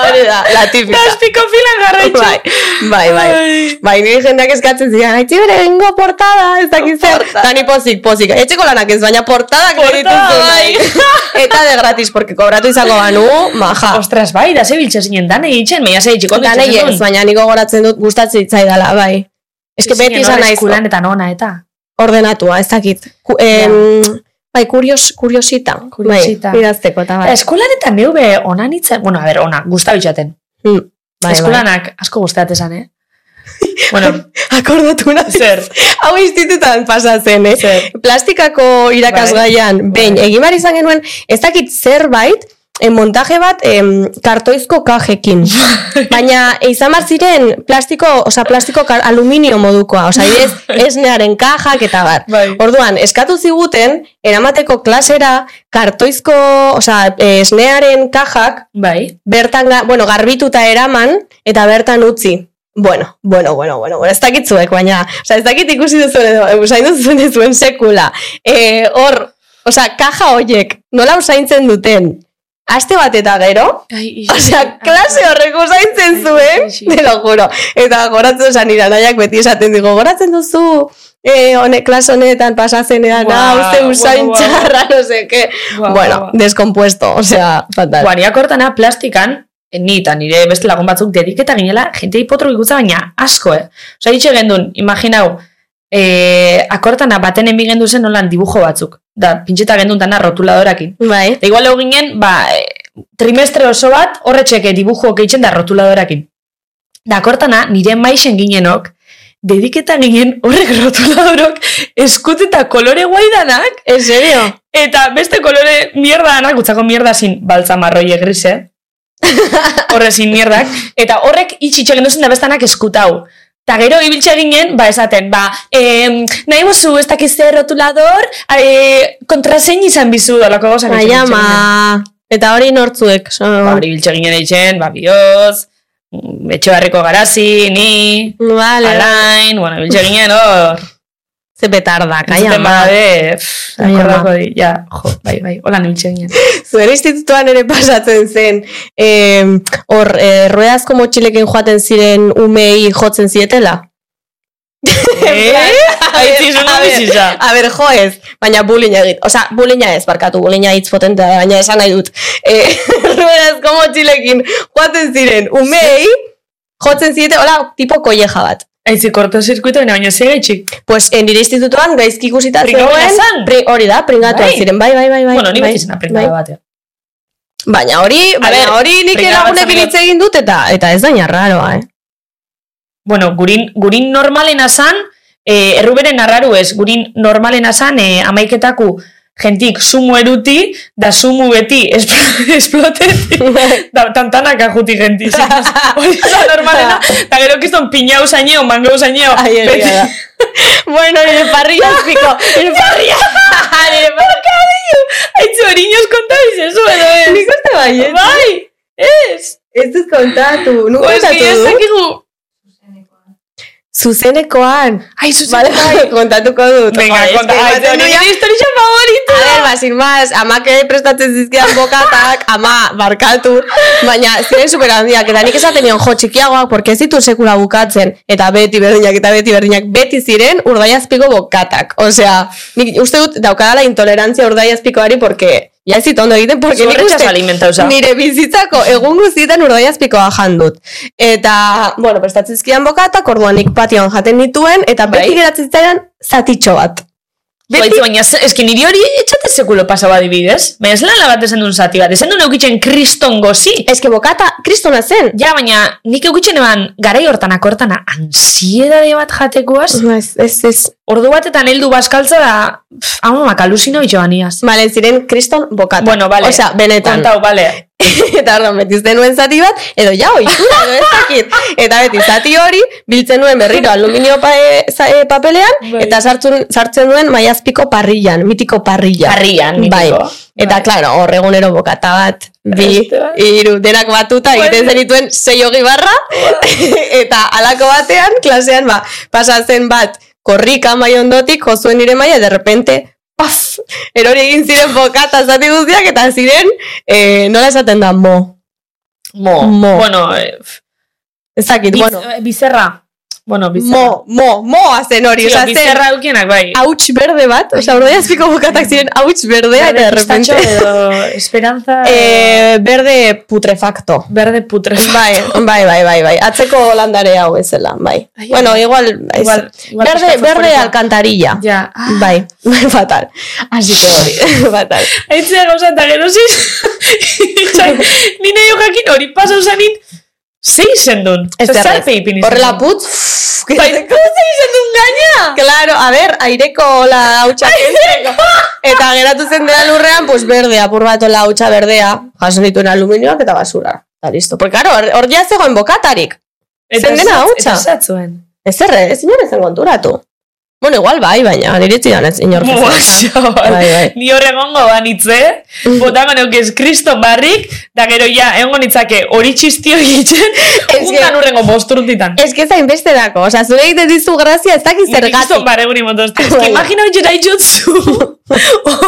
Speaker 2: Hori da, la
Speaker 3: da,
Speaker 2: típica.
Speaker 3: azpiko filan garraitxu.
Speaker 2: Bai, bai, bai.
Speaker 3: Ai.
Speaker 2: Bai, niri jendeak eskatzen zidan, aitzi bere bengo portada, ez dakit zer.
Speaker 3: Portada.
Speaker 2: Tani pozik, pozik. Etxeko lanak ez, baina portadak niri
Speaker 3: Portada,
Speaker 2: dituzun
Speaker 3: bai.
Speaker 2: nahi. Eta de gratis, porque kobratu izango banu, maja.
Speaker 3: Ostras, bai, da zebiltze zinen, danei itxen, meia zei txiko
Speaker 2: Danei ez, baina niko goratzen dut gustatzen itzaidala, bai. Ez que beti izan naiz
Speaker 3: Eskulan eta nona, eta.
Speaker 2: ordenatua, ez dakit. Ku, em, Bai, kurios, kuriosita.
Speaker 3: Kuriosita.
Speaker 2: Bai, idazteko, eta bai.
Speaker 3: Eskulan eta neube ona nintzen, bueno, a ber, ona, guzta bitxaten.
Speaker 2: Mm, Bai, bai.
Speaker 3: Eskulanak asko guztat esan, eh? bueno,
Speaker 2: Akordatu nahi.
Speaker 3: zer,
Speaker 2: Hau institutan pasatzen, eh?
Speaker 3: zer.
Speaker 2: plastikako irakasgaian
Speaker 3: Bai.
Speaker 2: behin egin behar izan genuen ez dakit zerbait eh, montaje bat em, kartoizko kajekin.
Speaker 3: Bai.
Speaker 2: Baina eh, izan behar ziren plastiko, osea, plastiko kar, aluminio modukoa, osea, ez esnearen kajak eta bar.
Speaker 3: Bai.
Speaker 2: Orduan, eskatu ziguten eramateko klasera kartoizko, osea, eh, esnearen kajak
Speaker 3: Bai,
Speaker 2: bertan, ga- bueno, garbituta eraman eta bertan utzi. Bueno, bueno, bueno, bueno, bueno, ez dakit zuek, baina, osea, ez dakit ikusi duzuen edo, eh, usain duzuen duzuen sekula. Eh, hor, osea, kaja hoiek, nola usaintzen duten? Aste bat eta gero,
Speaker 3: Ai,
Speaker 2: osea, klase horrek usaintzen zuen, te lo juro. Eta goratzen, osea, nira nahiak beti esaten digo, goratzen duzu, eh, honek, klase honetan pasatzen edan,
Speaker 3: Guau,
Speaker 2: wow, uste usain
Speaker 3: guau, guau.
Speaker 2: txarra, no sé qué. bueno, descompuesto, osea, fatal.
Speaker 3: Guariak hortana plastikan, eh, ni eta nire beste lagun batzuk dediketa ginela, jente hipotro ikutza baina asko, eh? Osa, hitxe gendun, imaginau, eh, akortana baten enbi gendu zen nolan dibujo batzuk. Da, pintxeta gendun dana rotuladorakin.
Speaker 2: Bai.
Speaker 3: Eta igual hau ginen, ba, eh, trimestre oso bat, horretxeke dibujoak eitzen da rotuladorakin. Da, akortana, nire maixen ginenok, dediketa ginen horrek rotuladorok eskut eta kolore guaidanak,
Speaker 2: En serio?
Speaker 3: Eta beste kolore mierda danak, gutzako mierda zin baltzamarroi egrise. Horre zin mierdak. Eta horrek itxitxe gendu zen da bestanak eskutau. Eta gero ibiltxe ginen, ba esaten, ba, em, nahi buzu ez dakiz zer rotulador, e, kontrasein izan bizu dolako gozak.
Speaker 2: Ai, ama. Eta hori nortzuek. so-
Speaker 3: Ba, hori ibiltxe ginen eitzen, ba, bioz, mm, etxebarriko garazi, ni,
Speaker 2: Vale.
Speaker 3: alain, bueno, ibiltxe ginen hor.
Speaker 2: Ze petardak, ai,
Speaker 3: Entzuten
Speaker 2: ama.
Speaker 3: bade, pff,
Speaker 2: Ai, ama.
Speaker 3: akordako di, ja, jo, bai, bai, hola ibiltxe ginen.
Speaker 2: Zuen institutuan ere pasatzen zen. em, Hor, eh, ruedazko motxilekin joaten ziren umei jotzen zietela.
Speaker 3: Eh? Aitzizu
Speaker 2: Bai. A
Speaker 3: no
Speaker 2: ber,
Speaker 3: bizitza.
Speaker 2: A ber, jo ez, baina bullying egit. Osa, bullyinga ez, barkatu, bullyinga hitz potentea, da, baina esan nahi dut. E, ruedazko motxilekin joaten ziren umei jotzen ziete, hola, tipo kolleja bat.
Speaker 3: Aizi, korto zirkuito, baina baina zega itxik.
Speaker 2: Pues eh, nire institutuan gaizki ikusita
Speaker 3: Pringatu zan?
Speaker 2: pri, hori da, pringatuak
Speaker 3: Bai.
Speaker 2: ziren, bai, bai, bai, bai.
Speaker 3: Bueno, ni
Speaker 2: bai,
Speaker 3: beti zena pringada batean.
Speaker 2: Baina hori,
Speaker 3: ber,
Speaker 2: baina hori nik
Speaker 3: pringada bat
Speaker 2: lagunekin
Speaker 3: zabilot.
Speaker 2: hitz egin dut eta eta ez daina raroa, eh.
Speaker 3: Bueno, gurin, gurin normalen azan, e, erruberen arraru ez, gurin normalen azan, e, amaiketaku jentik sumu eruti, da sumu beti espl- esplotetik,
Speaker 2: eh.
Speaker 3: da tantanak ajuti jenti. Hori da normalena, eta gero kiston pinau zaineo, mango zaineo,
Speaker 2: Ai, egia da. bueno, nire parrilla azpiko. Nire parrilla. nire parrilla.
Speaker 3: Aitzu, hori inoz konta bizezu, edo ez?
Speaker 2: Nik uste baiet.
Speaker 3: Bai, ez.
Speaker 2: Ez dut kontatu. Nuk
Speaker 3: Pues,
Speaker 2: kontatu
Speaker 3: ez
Speaker 2: du.
Speaker 3: dakigu.
Speaker 2: Zuzenekoan.
Speaker 3: Ai, zuzen.
Speaker 2: Vale, bai, kontatuko dut.
Speaker 3: Venga,
Speaker 2: Joder,
Speaker 3: konta.
Speaker 2: eske
Speaker 3: Ai,
Speaker 2: ematen
Speaker 3: hori
Speaker 2: duia-
Speaker 3: nire historia favorita.
Speaker 2: A ver, ba, sin más, amak ere prestatzen zizkidan bokatak, ama, barkatu, baina ziren super handiak, eta nik esaten nion jo txikiagoak, porque ez ditu sekula bukatzen, eta beti berdinak, eta beti berdinak, beti ziren urdaiazpiko bokatak. Osea, nik uste dut daukadala intolerantzia urdaiazpikoari, porque ya ez dit ondo egiten, porque nik
Speaker 3: Zorretxaz
Speaker 2: uste
Speaker 3: alimentauza.
Speaker 2: nire bizitzako egun guztietan urdaiazpikoa jan dut. Eta, bueno, prestatzen zizkidan bokatak, orduan nik patioan jaten nituen, eta beti
Speaker 3: Bai.
Speaker 2: geratzen zitzaidan zatitxo bat.
Speaker 3: Beti... Baitzu, baina ze- eski niri hori etxate sekulo pasaba adibidez. Baina ez lan bat esan duen zati bat. Esan duen eukitzen kriston gozi.
Speaker 2: Ez que bokata, kristona zen.
Speaker 3: Ja, baina nik eukitzen eban garai hortan akortana ansiedade bat jatekoaz.
Speaker 2: Ez, ez, ez.
Speaker 3: Ordu batetan heldu baskaltza da, pff, hau mamak alusino joan iaz.
Speaker 2: Vale, ziren kriston bokata.
Speaker 3: Bueno, vale.
Speaker 2: Osea, benetan.
Speaker 3: Kontau, bale.
Speaker 2: eta orduan beti zen nuen zati bat, edo ja, oitura, edo ez dakit. Eta beti zati hori, biltzen nuen berriro aluminio pa, e, za- e, papelean,
Speaker 3: Bai.
Speaker 2: eta sartzen, sartzen nuen maiazpiko parrillan, mitiko parrilla.
Speaker 3: Parrillan, mitiko.
Speaker 2: Bai. Eta,
Speaker 3: Bai.
Speaker 2: claro, hor egunero bokata bat, bi,
Speaker 3: Beste bat.
Speaker 2: hiru, denak batuta, egiten
Speaker 3: Bueno.
Speaker 2: zenituen sei hogi barra, eta halako batean, klasean, ba, pasatzen bat, korrika mai ondotik, jozuen nire maia, de repente, paf, erori egin ziren bokata zati guztiak, eta ziren, eh, nola esaten da, mo.
Speaker 3: Mo.
Speaker 2: Mo.
Speaker 3: Bueno, eh, pff,
Speaker 2: Ez dakit,
Speaker 3: biz,
Speaker 2: bueno,
Speaker 3: eh, bizerra. Bueno, bizerra.
Speaker 2: mo, mo, mo hazen hori,
Speaker 3: Tio,
Speaker 2: oza, zen,
Speaker 3: bizerra eukienak, bai.
Speaker 2: hauts berde bat, oza, urdaiazpiko bokatak ziren hauts berdea, eta de
Speaker 3: pistacho
Speaker 2: repente,
Speaker 3: edo esperanza...
Speaker 2: eh, berde putrefacto.
Speaker 3: Verde putre.
Speaker 2: Bai, bai, bai, bai, bai. Atzeko holandare hau bezala, bai.
Speaker 3: Ai,
Speaker 2: bueno,
Speaker 3: ai.
Speaker 2: igual, ez.
Speaker 3: Igual- igual
Speaker 2: berde,
Speaker 3: pixka
Speaker 2: berde
Speaker 3: fosforikoa.
Speaker 2: alcantarilla.
Speaker 3: Ja.
Speaker 2: Bai, fatal. Así que hori, fatal.
Speaker 3: Aitzea gauza eta gero ziz. Ni nahi jakin hori pasa usanin. Zei zendun.
Speaker 2: Ez
Speaker 3: Zer
Speaker 2: derrez.
Speaker 3: zarpe ipin
Speaker 2: Horrela putz.
Speaker 3: Bai,
Speaker 2: ze izendun gaina? Claro, a ver, aireko hola hautsak entzeko. Eta geratu zen dela lurrean, pues berdea, apur bat hola hautsa berdea. Jasen dituen aluminioak eta basura. Eta listo. Porque, claro, hor- hor ja zegoen bokatarik. zen dena hautsa.
Speaker 3: Eta zatzuen.
Speaker 2: Ez erre, ez inor ezen konturatu. Bueno, igual bai, baina niretzidan ez inor.
Speaker 3: Mua,
Speaker 2: Bai,
Speaker 3: xabal.
Speaker 2: bai. Mm.
Speaker 3: Ni horre gongo banitze. Botako neukez kriston barrik. Da gero ja, egon nitzake hori txistio egiten.
Speaker 2: Ez
Speaker 3: Untan
Speaker 2: que-
Speaker 3: urrengo bosturtitan.
Speaker 2: Ez que zain besterako, oza, zure egiten dizu grazia ez dakit
Speaker 3: Kriston
Speaker 2: zergatik.
Speaker 3: barreguri motostu. Ez que
Speaker 2: Bai.
Speaker 3: imagina hori jera itxotzu.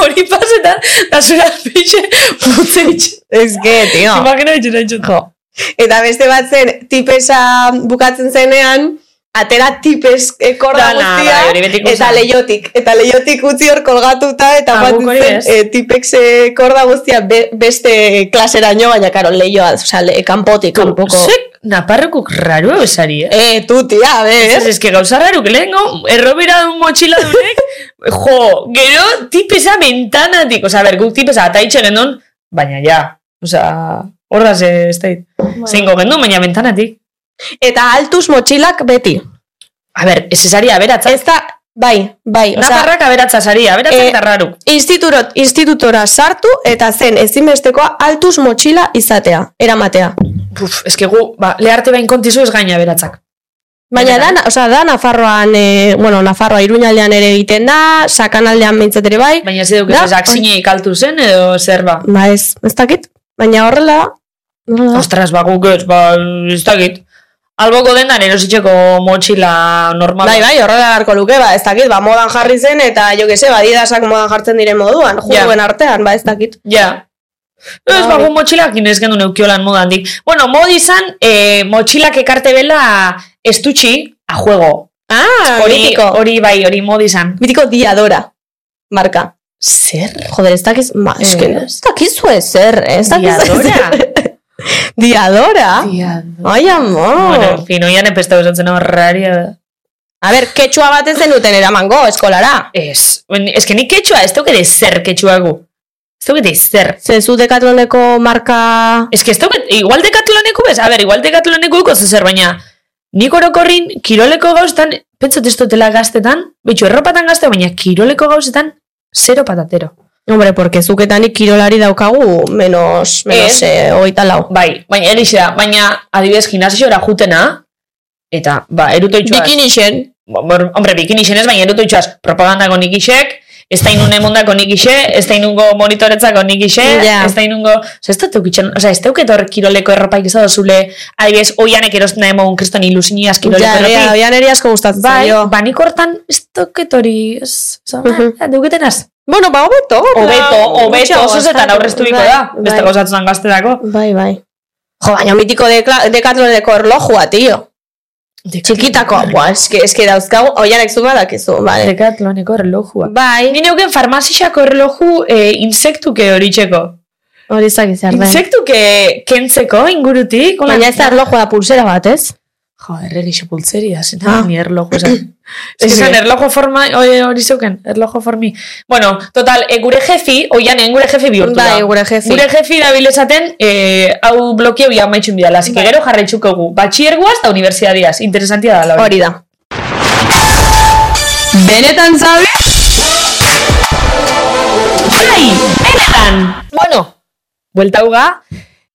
Speaker 3: Hori pasetan, da zura pixe putze itxe.
Speaker 2: Ez que, tío.
Speaker 3: Imagina hori jera itxotzu.
Speaker 2: Jo. Eta beste bat zen, tipesa bukatzen zenean, atera tipes eh, korda
Speaker 3: Dana,
Speaker 2: guztia,
Speaker 3: bai, hori betiko
Speaker 2: eta
Speaker 3: zen.
Speaker 2: leiotik, eta leiotik utzi hor kolgatuta, eta
Speaker 3: Ah,
Speaker 2: bat
Speaker 3: guk hori
Speaker 2: zen
Speaker 3: ez.
Speaker 2: eh, tipex eh, korda guztia be, beste klaseraino, baina karo leioa, oza, le, kanpotik, kanpoko.
Speaker 3: Zek, naparrokuk rarua besari, eh?
Speaker 2: Eh, tu, tia,
Speaker 3: Ez,
Speaker 2: ber.
Speaker 3: ez, que gauza raruk lehenko, errobera dun motxila dunek, jo, gero, tipesa mentanatik, osea, ber, guk tipesa ataitxe gendon, baina ja, osea, horra ze, ez dait, zeingo gendun, baina mentanatik.
Speaker 2: Eta altuz motxilak beti.
Speaker 3: A ber, ez esari aberatza,
Speaker 2: Ez da, bai, bai, oza,
Speaker 3: naparrak aberatza sari, aberatza
Speaker 2: Eh,
Speaker 3: eta raruk.
Speaker 2: Institurot, institutora sartu eta zen ezinbestekoa altuz motxila izatea, eramatea.
Speaker 3: Uf, ez que gu, ba, leharte bain kontizu ez gaina aberatzak.
Speaker 2: Baina da,
Speaker 3: Benetan.
Speaker 2: oza, da Nafarroan, e, bueno, Nafarroa iruñaldean ere egiten da, sakanaldean mintzat ere bai,
Speaker 3: Baina ez duk,
Speaker 2: Da,
Speaker 3: ez akzine ikaltu zen, edo zer ba.
Speaker 2: ba ez, ez dakit, baina horrela, horrela.
Speaker 3: Ostras, ba, guk ez, ba, ez dakit. Alboko dendan erositxeko motxila normal.
Speaker 2: Bai, bai, horrela garko luke, ba, ez dakit, ba, modan jarri zen, eta jo que se, ba, didasak modan jartzen diren moduan, juruen artean, ba, ez dakit.
Speaker 3: Ja. No, ez
Speaker 2: Bai.
Speaker 3: bago motxilak inez gendu neukiolan modan dik. Bueno, modi izan, eh, motxilak ekarte bela estutxi a juego.
Speaker 2: Ah,
Speaker 3: Hori,
Speaker 2: mitiko,
Speaker 3: hori bai, hori modi izan.
Speaker 2: mitiko diadora, marka.
Speaker 3: Zer?
Speaker 2: Joder, ez dakiz, ma,
Speaker 3: Ez.
Speaker 2: eske, ez dakizue zer, ez dakizue
Speaker 3: Diadora?
Speaker 2: zer. Diadora?
Speaker 3: Diadora.
Speaker 2: Ai, amor.
Speaker 3: Oh. Bueno, en fin, oian empestau esatzen hau raria.
Speaker 2: A ber, ketxua bat ez zenuten eramango eskolara.
Speaker 3: Ez, ben, ez que nik ketxua, ez daukete zer ketxua gu. Ez daukete zer.
Speaker 2: Ze zu dekatloneko marka...
Speaker 3: Ez que ez dauket, igual dekatuloneko bez, a ber, igual dekatuloneko uko zer, baina nik orokorrin, kiroleko gauztan, pentsat ez dutela gaztetan, betxo erropatan gazte, baina kiroleko gauzetan, zero patatero.
Speaker 2: Hombre, porque zuketanik kirolari daukagu menos, menos
Speaker 3: Ez.
Speaker 2: eh, hogeita lau.
Speaker 3: Bai, baina erixe da, baina adibidez gimnasiora jutena, eta, ba, erutoitxuaz.
Speaker 2: Bikinixen.
Speaker 3: Bor- hombre, bikini zen ez, baina erutu itxuaz, propagandako nik isek, ez da inune mundako nik ise, ez da inungo monitoretzako nik ise,
Speaker 2: Ja.
Speaker 3: ez da inungo... Osa, ez da teukitzen, osa, ez teuket hor kiroleko erropaik ez da dozule, adibidez, oianek erosten da emogun kriston ilusiniaz kiroleko
Speaker 2: Ja,
Speaker 3: erropaik.
Speaker 2: ja, oian eri asko gustatzen
Speaker 3: bai,
Speaker 2: zaio.
Speaker 3: ba, nik hortan ez teuket hori, ez, osa,
Speaker 2: Mhm.
Speaker 3: ja, deuketenaz.
Speaker 2: Bueno, ba, hobeto.
Speaker 3: Hobeto,
Speaker 2: ba,
Speaker 3: hobeto,
Speaker 2: gutxiago
Speaker 3: osazetan
Speaker 2: gastatu.
Speaker 3: aurreztu biko
Speaker 2: Bai,
Speaker 3: da, beste
Speaker 2: bai.
Speaker 3: gauzatzen gazterako.
Speaker 2: Bai, bai. Jo, baina mitiko dekla- dekatloneko erlojua, tío. Txikitako, buah, eske, eske dauzkagu, oianek zu badakizu, bale.
Speaker 3: Dekatloneko erlojua.
Speaker 2: Bai,
Speaker 3: Ni neuken farmazixako erloju e, insektuke horitxeko.
Speaker 2: hori zaki zer den.
Speaker 3: Insektu ke, kentzeko ingurutik. hola.
Speaker 2: Baina ez da erlojua da pulsera bat, ez?
Speaker 3: Jo, erregixo pultzeria, zena
Speaker 2: Ah.
Speaker 3: ni erlojo esan.
Speaker 2: Ez
Speaker 3: Ez esan
Speaker 2: ere.
Speaker 3: erlojo forma, oi, hori zeuken, erlojo formi. Bueno, total, e, gure jefi, oianen gure jefi bihurtu da.
Speaker 2: Bai, gure jefi.
Speaker 3: Gure jefi da bilezaten, e, hau blokeo bia maitxun bidala, así que
Speaker 2: Bai.
Speaker 3: gero jarraitzuko gu. Batxierguaz da universidadiaz, interesantia da, lauri.
Speaker 2: Hori da. Benetan zabe?
Speaker 3: Bai, benetan! Bueno, buelta huga,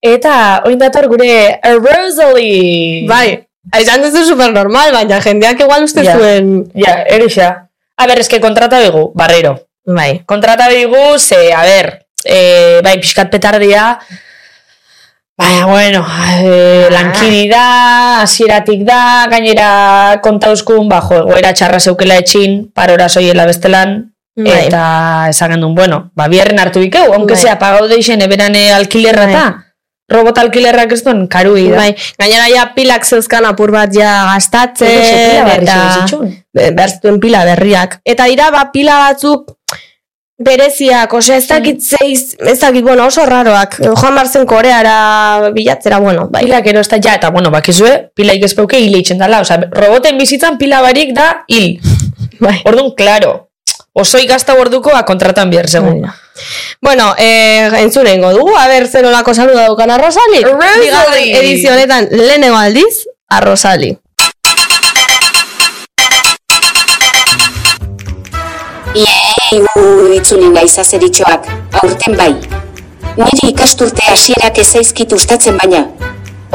Speaker 3: eta oin dator gure Rosalie.
Speaker 2: Bai, aizan duzu supernormal, baina jendeak igual uste
Speaker 3: Ja.
Speaker 2: zuen...
Speaker 3: Ja, erixa. A ber, eske kontrata dugu, barrero.
Speaker 2: Bai.
Speaker 3: kontrata digu, ze, a ber, e, bai, pixkat petardia, baina, bueno, e, lankidi da, hasieratik da, gainera kontauzkun, ba, jo, egoera txarra zeukela etxin, parora soiela bestelan,
Speaker 2: Bai.
Speaker 3: eta esan gendun, bueno, ba, biherren hartu bikeu, aunque
Speaker 2: Bai.
Speaker 3: sea pagau deixen eberane alkilerra eta, robot alkilerrak ez duen, karu da.
Speaker 2: Bai, gainera ja pilak zeuzkan apur bat ja gastatzen, eta be- behar zituen pila berriak. Eta dira, ba, pila batzuk bereziak, ose, ez dakit zeiz, ez dakit, bueno, oso raroak. Joan barzen koreara bilatzera, bueno, bai.
Speaker 3: Pila gero ez da, ja, eta bueno, bakizue, pila ikespeuke hile itxen dala, oza, roboten bizitzan pila barik da hil.
Speaker 2: bai.
Speaker 3: Orduan, claro, oso ikasta ordukoa kontratan bihar segun.
Speaker 2: Bueno, eh, entzune ingo dugu, a ber, zer olako saluda daukan arrozali.
Speaker 3: Arrozali!
Speaker 2: edizionetan lehenengo aldiz, arrozali.
Speaker 1: Iei, gu itzulen gaiza zeritxoak, aurten bai. Niri ikasturte hasierak ez zaizkit ustatzen baina,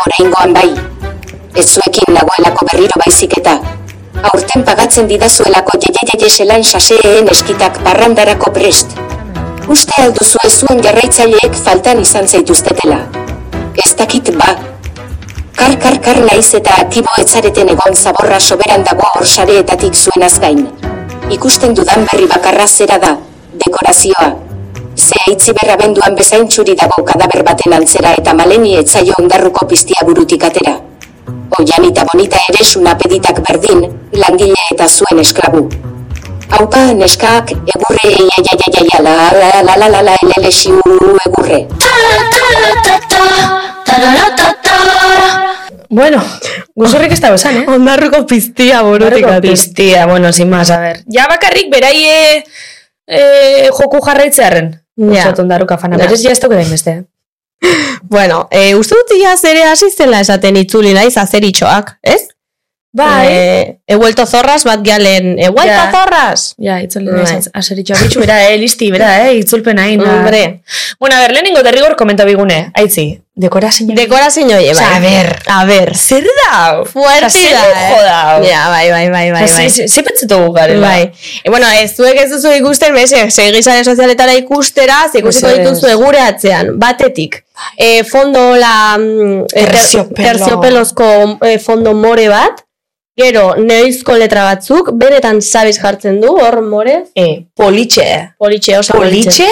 Speaker 1: oraingoan bai. Ez zuekin nagoelako berriro baizik eta, aurten pagatzen didazuelako jejejeje selan saseen eskitak barrandarako prest. Uste alduzu ez zuen jarraitzaileek faltan izan zaituztetela. Ez dakit ba. Kar, kar, kar naiz eta aktibo etzareten egon zaborra soberan dago hor sareetatik zuen azgain. Ikusten dudan berri bakarra zera da, dekorazioa. Ze aitzi berra benduan bezain txuri dago kadaber baten antzera eta maleni etzaio ondarruko piztia burutik atera. Oian eta bonita ere sunapeditak berdin, langile eta zuen esklabu. Haupa neskaak egurre eiaiaiaiaia la la la la la la elele siu egurre.
Speaker 3: Bai. Bueno, guzorrik ez da bezan, eh?
Speaker 2: Ondarruko piztia burutik
Speaker 3: Horreko
Speaker 2: atez.
Speaker 3: piztia, bueno, sin más, a ver. Ja bakarrik beraie eh, joku jarraitzearen.
Speaker 2: Ja.
Speaker 3: Ja. Oso tondaruka fana.
Speaker 2: Ja.
Speaker 3: Berez ja ez duk den beste.
Speaker 2: Bueno, e, uste dut iaz ere hasi zela esaten itzuli naiz azeritxoak, ez?
Speaker 3: Eh,
Speaker 2: E, e vuelto zorras bat galen, e vuelto
Speaker 3: Ja.
Speaker 2: zorras!
Speaker 3: Ja, itzulpen
Speaker 2: Bai.
Speaker 3: naiz, aseritxoa bitxu, bera, eh, listi, bera, eh, itzulpen hain. ah.
Speaker 2: Hombre,
Speaker 3: Bueno, a ver, lehenengo derrigor komenta bigune, aitzi, dekora zein.
Speaker 2: dekora zein oie, bai.
Speaker 3: Osea, a ber.
Speaker 2: A ber.
Speaker 3: Zer dau?
Speaker 2: Fuerte
Speaker 3: Zer
Speaker 2: da,
Speaker 3: lujo dau?
Speaker 2: eh? Ja, bai, bai, bai, bai, bai.
Speaker 3: Zer pentsatugu garela?
Speaker 2: Bai. E, bueno, ez zuek ez duzu ikusten, mese, segi sare sozialetara ikustera, ze ikusiko
Speaker 3: Mesedez.
Speaker 2: dituzue gure atzean, batetik. E, fondo la mm, e, ter-
Speaker 3: Terziopelo.
Speaker 2: terziopelozko e, fondo more bat, gero neoizko letra batzuk, benetan sabiz jartzen du, hor more,
Speaker 3: Eh, politxe.
Speaker 2: politxe, oso
Speaker 3: politxe,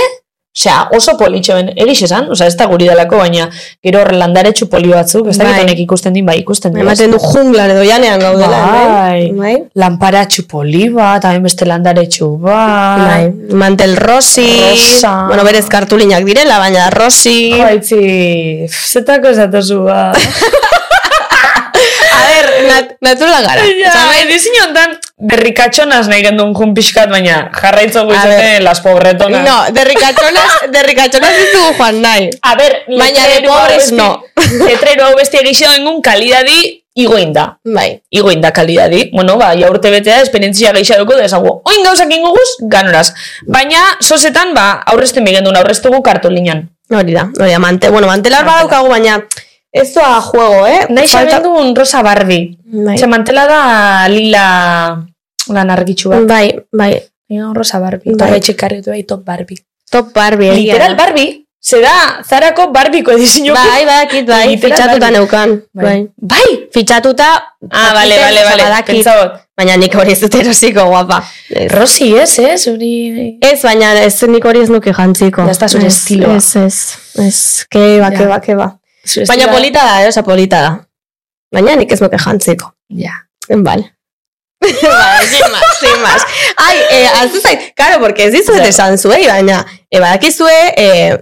Speaker 3: osea, oso politxe ben, egiz esan, osea, ez da guri delako, baina gero horre landaretxu poli batzuk, ez da
Speaker 2: Bai.
Speaker 3: honek ikusten din, bai, ikusten din.
Speaker 2: Ematen du junglan edo janean gaudela,
Speaker 3: Bai.
Speaker 2: bai?
Speaker 3: Lamparatxu poli bat, hain beste landaretxu
Speaker 2: Bai.
Speaker 3: bat.
Speaker 2: Mantel Rosi,
Speaker 3: Rosa.
Speaker 2: bueno, berez kartulinak direla, baina Rosi.
Speaker 3: Baitzi, zetako esatozu ba.
Speaker 2: A ver, nat naturala gara.
Speaker 3: Ja, edizin honetan, berrikatxonaz nahi gendun jun pixkat, baina jarraitzo
Speaker 2: A
Speaker 3: guizete
Speaker 2: ber.
Speaker 3: las pobretonas.
Speaker 2: No, derrikatxonaz, derrikatxonaz ditugu joan nahi.
Speaker 3: A ber,
Speaker 2: Baina de
Speaker 3: letrero hau
Speaker 2: pobres
Speaker 3: beste-
Speaker 2: no.
Speaker 3: Letrero hau beste egizio engun kalidadi igoinda.
Speaker 2: Bai.
Speaker 3: Igoinda kalidadi. Bueno, ba, ja urte betea esperientzia gehiago duko desago. Oin gauzak ingoguz, ganoraz. Baina, sosetan, ba, aurrezten bigendun, aurreztugu kartolinan.
Speaker 2: Hori da, hori da, mante, bueno, mantelar badaukagu, baina ez doa juego, eh?
Speaker 3: Nahi xabendun Rosa Barbie.
Speaker 2: Bai.
Speaker 3: Ze mantela da lila lan argitxu bat.
Speaker 2: Bai, bai,
Speaker 3: Mm. Rosa Barbie.
Speaker 2: Bai.
Speaker 3: Bai. Torre txekarri dut top Barbie. eh,
Speaker 2: top Barbie. egia da.
Speaker 3: Literal Barbie. Ze da, zarako Barbieko edizinoki.
Speaker 2: Bai, badakit, bai,
Speaker 3: Literal
Speaker 2: fitxatuta
Speaker 3: Barbie.
Speaker 2: neukan. Bai.
Speaker 3: Bai.
Speaker 2: Fitxatuta,
Speaker 3: Ah, bale,
Speaker 2: dakiten,
Speaker 3: bale,
Speaker 2: osa,
Speaker 3: bale.
Speaker 2: badakit.
Speaker 3: Pentsaot.
Speaker 2: Baina nik hori ez dut erosiko, guapa. Ez,
Speaker 3: Rosi, ez, ez? Hori...
Speaker 2: ez, baina ez nik hori ez nuke jantziko.
Speaker 3: Ja, ez da zure
Speaker 2: Ez,
Speaker 3: estiloa.
Speaker 2: Ez, ez, ba, ez, keba,
Speaker 3: Ja.
Speaker 2: keba, keba.
Speaker 3: Zure
Speaker 2: Baina
Speaker 3: estila-
Speaker 2: polita da, eh? Osa polita da. Baina nik ez nuke jantziko.
Speaker 3: Ja.
Speaker 2: Vale. vale, sin más, sin más. Ai, eh, aztu zait, claro, porque ez dizuet
Speaker 3: Claro.
Speaker 2: esan zuei, baina, eh, badakizue, eh,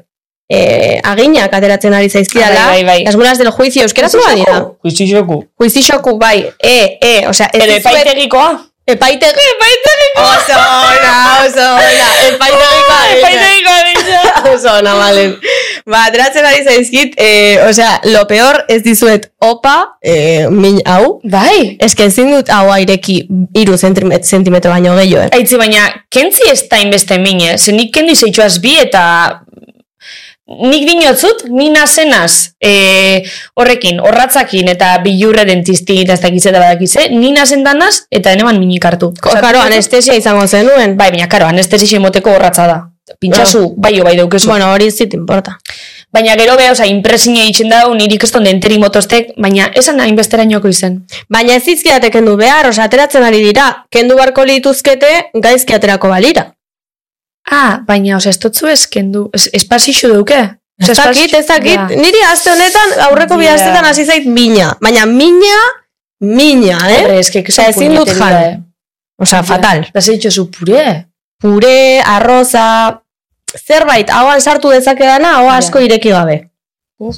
Speaker 2: eh, aginak ateratzen ari zaizkidala,
Speaker 3: Ah, bai, bai, bai.
Speaker 2: las buenas del juicio, euskera
Speaker 3: ba
Speaker 2: zua dira.
Speaker 3: Kuitxixoku.
Speaker 2: Juizixoku, bai, e, e, osea, ez
Speaker 3: Edo
Speaker 2: dizuet,
Speaker 3: epaitegikoa.
Speaker 2: epaitegiko,
Speaker 3: Epaitegikoa.
Speaker 2: oso ona, oso ona, epaitegikoa, dira.
Speaker 3: Epaitegikoa dira.
Speaker 2: oso ona, valen. Ba, ateratzen ari zaizkit, eh, osea, lo peor ez dizuet opa, eh, min hau,
Speaker 3: Bai.
Speaker 2: Ez que ezin dut hau aireki iru zentimetro baino gehiago, eh?
Speaker 3: Aitzi, baina, kentzi ez da inbeste mine. Ze nik kendu izaitxoaz bi eta... Nik dinotzut, ni nazenaz e, horrekin, horratzakin eta bilurre dentistin eta ez dakize eta badakize, ni nazen danaz eta eneman minik hartu.
Speaker 2: Ko- Karo, anestesia izango zenuen. Ba,
Speaker 3: Bai, baina, karo, anestesio emoteko horratza da. Pintxazu, bai, jo, bai daukezu.
Speaker 2: Bueno, hori zit importa.
Speaker 3: Baina gero beha, oza, impresine egiten dau, nirik ez tonden enteri motostek, baina esan hainbesterainoko izen.
Speaker 2: Baina ez izkiatek kendu behar, osa, ateratzen ari dira. Kendu barko lituzkete, gaizki aterako balira.
Speaker 3: Ah, baina, oza, ez totzu eskendu, ez, espazixu duke?
Speaker 2: Ez dakit, ez dakit.
Speaker 3: Ja.
Speaker 2: Niri aste honetan, aurreko bi
Speaker 3: Ja.
Speaker 2: astetan hasi zait mina. Baina mina, mina, eh?
Speaker 3: Horre, eskek
Speaker 2: Osea, ezin dut jan.
Speaker 3: eh. Ah,
Speaker 2: Osa, fatal.
Speaker 3: Da zeitxo zu pure.
Speaker 2: Pure, arroza, zerbait, hauan sartu dezakedana, hau
Speaker 3: Ja.
Speaker 2: asko ireki gabe.
Speaker 3: Uf.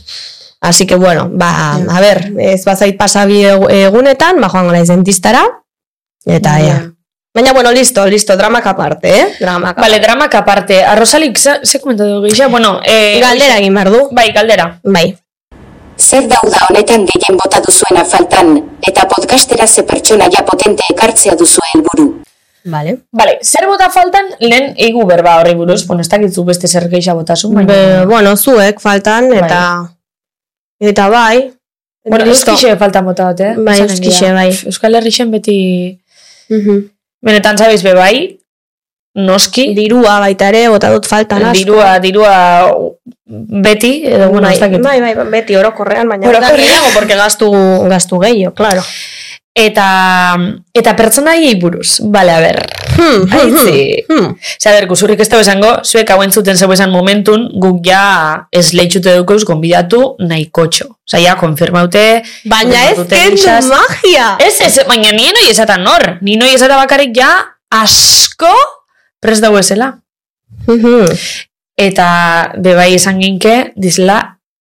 Speaker 2: Así que bueno, ba,
Speaker 3: Ja.
Speaker 2: a ber, ez bazait pasabi egunetan, ba joango naiz dentistara, eta ea.
Speaker 3: Ja.
Speaker 2: Baina bueno, listo, listo, dramak aparte, eh? Dramak aparte.
Speaker 3: Bale, dramak aparte. Arrosalik, ze, ze komentatu gehiago? Bueno, eh,
Speaker 2: Galdera egin behar du.
Speaker 3: Bai, galdera.
Speaker 2: Bai.
Speaker 1: Zer dauda honetan gehien bota duzuena faltan, eta podcastera ze pertsonaia potente ekartzea duzu helburu.
Speaker 2: Vale.
Speaker 3: Vale, zer bota faltan, lehen egu berba horri buruz, bueno, ez dakitzu beste zer gehiago botasun, baina...
Speaker 2: Be, bueno, zuek faltan, eta... Eta bai.
Speaker 3: Bai. Bueno,
Speaker 2: Listo.
Speaker 3: euskixe faltan bota dut, eh?
Speaker 2: Bai,
Speaker 3: Esanen
Speaker 2: euskixe,
Speaker 3: dira.
Speaker 2: bai.
Speaker 3: Euskal Herrixen beti...
Speaker 2: Mhm.
Speaker 3: Benetan zabiz be bai, noski,
Speaker 2: Dirua baita ere, bota dut faltan asko.
Speaker 3: Bai. dirua, dirua beti, edo bueno, ez
Speaker 2: bai,
Speaker 3: dakit.
Speaker 2: bai, bai, beti orokorrean, baina
Speaker 3: Orokorrean.
Speaker 2: da gehiago, porque gastu, gastu gehiago, claro.
Speaker 3: Eta, eta pertsonaiei buruz, bale, a ber,
Speaker 2: Hmm,
Speaker 3: aitzi. Osea, a ber, guzurrik ez da esango, zuek hauen zuten zeu esan momentun, guk ja ez lehitxute dukeuz gonbidatu nahikotxo. Osea, ja, konfirmaute...
Speaker 2: Baina ez
Speaker 3: konfirmaute
Speaker 2: kendu
Speaker 3: gixaz.
Speaker 2: magia.
Speaker 3: Ez, ez, baina nien hori esatan hor. Nien hori esatan bakarrik ja asko prest dago esela.
Speaker 2: Mhm.
Speaker 3: Eta bebai esan ginke, dizela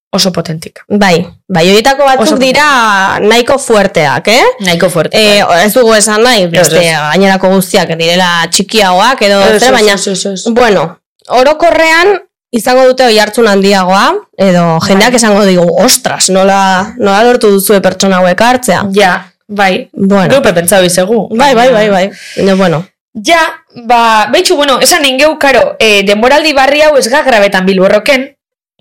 Speaker 3: oso potentik.
Speaker 2: Bai, bai, horietako batzuk
Speaker 3: Oso potente.
Speaker 2: dira nahiko fuerteak, eh?
Speaker 3: Nahiko fuerte. bai.
Speaker 2: E, ez dugu esan nahi, beste
Speaker 3: Ez, ez.
Speaker 2: gainerako guztiak direla txikiagoak edo
Speaker 3: Ez,
Speaker 2: zer,
Speaker 3: ez,
Speaker 2: baina,
Speaker 3: ez, ez, ez.
Speaker 2: bueno, orokorrean izango dute oi hartzun handiagoa, edo jendeak esango digu, ostras, nola, nola lortu duzue pertsona hauek hartzea.
Speaker 3: Ja, bai. Bueno.
Speaker 2: Bueno,
Speaker 3: Geupe pentsau izegu.
Speaker 2: bai, bai, bai, bai, baina, bueno,
Speaker 3: Ja, ba, behitxu, bueno, esan ingeu, karo, e, denboraldi barri hau ez gagrabetan bilborroken,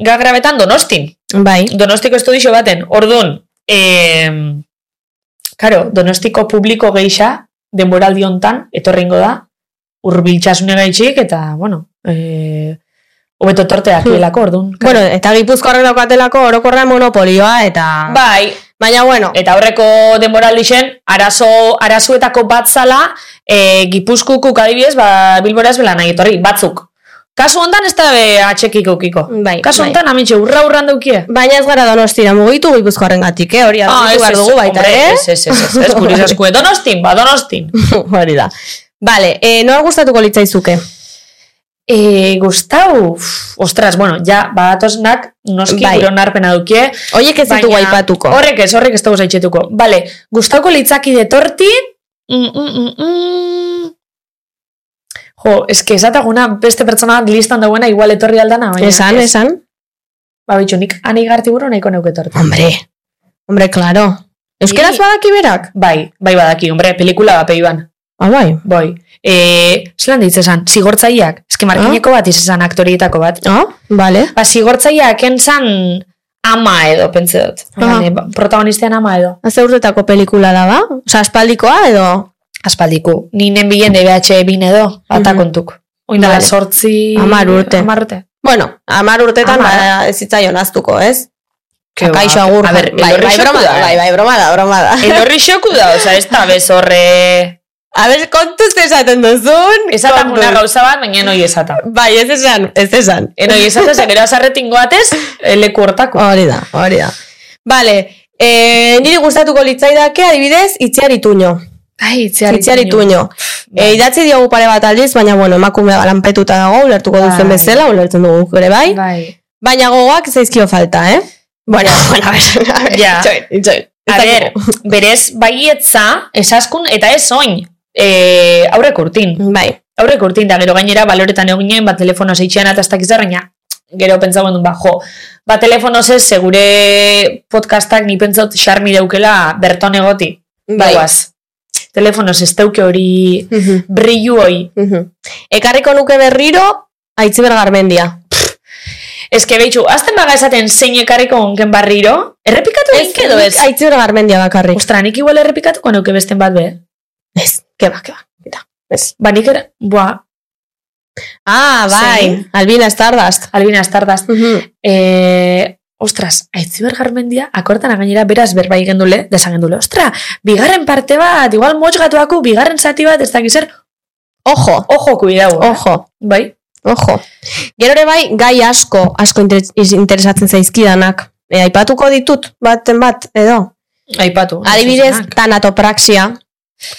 Speaker 3: gagrabetan donostin.
Speaker 2: bai,
Speaker 3: Donostiko estudixo baten, orduan, e, karo, donostiko publiko geixa, denboraldi hontan, etorringo da, urbiltxasune gaitxik, eta, bueno, e, hobeto tortea akielako, orduan. karo.
Speaker 2: Hmm. bueno, eta gipuzko horrek daukatelako orokorrean monopolioa, eta...
Speaker 3: bai,
Speaker 2: Baina, bueno,
Speaker 3: Eta horreko denboraldixen, arazo, arazuetako bat zala, e, gipuzkukuk adibidez, ba, bilbora ez bela nahi etorri, batzuk. Kasu hontan ez da be atxekiko ukiko.
Speaker 2: Bai,
Speaker 3: Kasu
Speaker 2: bai.
Speaker 3: hontan amitxe, urra urran daukie.
Speaker 2: Baina ez gara donostira mugitu gipuzkoaren gatik, eh? hori argitu behar dugu baita,
Speaker 3: hombre,
Speaker 2: eh?
Speaker 3: Ah, ez, ez, ez, ez, ez, guri zasku, eh, donostin, ba, donostin.
Speaker 2: eh, hori da. Bale, e, noa gustatuko litzaizuke?
Speaker 3: E, gustau, uf, ostras, bueno, ja, badatoznak, noski
Speaker 2: Bai.
Speaker 3: bai. onarpena dukie.
Speaker 2: Hoiek ez ditugu aipatuko.
Speaker 3: Horrek ez, horrek ez dugu zaitxetuko. Bale, gustauko litzaki de torti, mm, mm, mm, mm. Jo, eske esataguna beste pertsona bat listan dauena igual etorri aldana, baina.
Speaker 2: Esan,
Speaker 3: ez.
Speaker 2: esan.
Speaker 3: Ba, bitxu, nik ani garti buru nahiko neuke torti.
Speaker 2: Hombre, hombre, claro. ba- Euskeraz
Speaker 3: Ni-
Speaker 2: badaki berak?
Speaker 3: Bai, bai badaki, hombre, pelikula bat peiban.
Speaker 2: Ah, bai.
Speaker 3: Boi. E, zelan deitz esan, zigortzaileak. Eske markineko bat izan aktorietako bat.
Speaker 2: Ah, vale.
Speaker 3: Ba, zigortzaileak entzan ama edo, pentsa dut.
Speaker 2: Aha.
Speaker 3: Hane, ba, protagonistean ama edo.
Speaker 2: Haze urtetako pelikula da, ba? Osa, aspaldikoa edo?
Speaker 3: Aspaldiku. Ninen bilen E DBH bin edo, bata
Speaker 2: Mhm.
Speaker 3: kontuk. Oindala
Speaker 2: Vale.
Speaker 3: sortzi...
Speaker 2: Hamar urte.
Speaker 3: Hamar urte.
Speaker 2: Bueno, amar urtetan
Speaker 3: Hamar.
Speaker 2: ba, ez zitzaion aztuko, ez?
Speaker 3: Ke ba,
Speaker 2: Akaixo agur.
Speaker 3: a ber,
Speaker 2: bai,
Speaker 3: elorri
Speaker 2: bai,
Speaker 3: xoku
Speaker 2: broma da,
Speaker 3: da, eh?
Speaker 2: bai, bai, broma da, broma da.
Speaker 3: Elorri xoku da, oza, ez da bez horre...
Speaker 2: A ber, kontuz esaten duzun.
Speaker 3: Esatan
Speaker 2: kontuz.
Speaker 3: una gauza bat, baina noi esatan.
Speaker 2: Bai, ez esan, ez esan.
Speaker 3: Enoi esatan, zegero azarretin goatez, eh, leku hortako.
Speaker 2: Hori da, hori da. Vale, eh, niri gustatuko litzaidake adibidez, itziar ituño.
Speaker 3: Ai, itziar
Speaker 2: Itziar ituño. E, idatzi diogu pare bat aldiz, baina bueno, emakume lanpetuta dago, ulertuko duzuen
Speaker 3: Bai.
Speaker 2: bezala, ulertzen dugu guk ere bai.
Speaker 3: Bai.
Speaker 2: Baina gogoak zaizkio falta, eh? Bueno, bueno, a ver, a ver,
Speaker 3: Ja.
Speaker 2: itxoin, itxoin. Ez
Speaker 3: A
Speaker 2: dakigu.
Speaker 3: ber, berez baietza, esaskun eta ez oin. E, aurrek urtin.
Speaker 2: Bai,
Speaker 3: Aurrek urtin, da gero gainera baloretan egon ginen, bat telefono zeitxean ataztak izarreina. Gero pentsatzen dut, ba, jo, ba telefono ez segure podcastak ni pentsat xarmi deukela berton egoti.
Speaker 2: bai.
Speaker 3: Gauaz. Telefono ez deuke hori
Speaker 2: Mhm,
Speaker 3: brillu hoi.
Speaker 2: mhm. Ekarriko nuke berriro, aitziber garmendia.
Speaker 3: Ez que behitxu, azten baga esaten zein ekarriko onken barriro, errepikatu ez, edo ez?
Speaker 2: nik Aitziber garmendia bakarrik.
Speaker 3: Ostra, nik igual errepikatuko neuke besten bat be.
Speaker 2: Ez, keba, keba. Eta, ez.
Speaker 3: Ba, nik era... Boa,
Speaker 2: Ah, bai,
Speaker 3: Zein?
Speaker 2: Albina Stardust.
Speaker 3: Albina Stardust.
Speaker 2: Mhm.
Speaker 3: E, ostras, aitziber garmendia, akortan gainera beraz berba igendule, desagendule. Ostra, bigarren parte bat, igual motxgatuako, bigarren zati bat, ez dakizer,
Speaker 2: Ojo,
Speaker 3: ojo kuidau.
Speaker 2: ojo.
Speaker 3: Bai?
Speaker 2: Ojo. Gero ere bai, gai asko, asko interes- iz- interesatzen zaizkidanak. E, aipatuko ditut, baten bat, edo.
Speaker 3: Aipatu.
Speaker 2: Adibidez, tanatopraxia.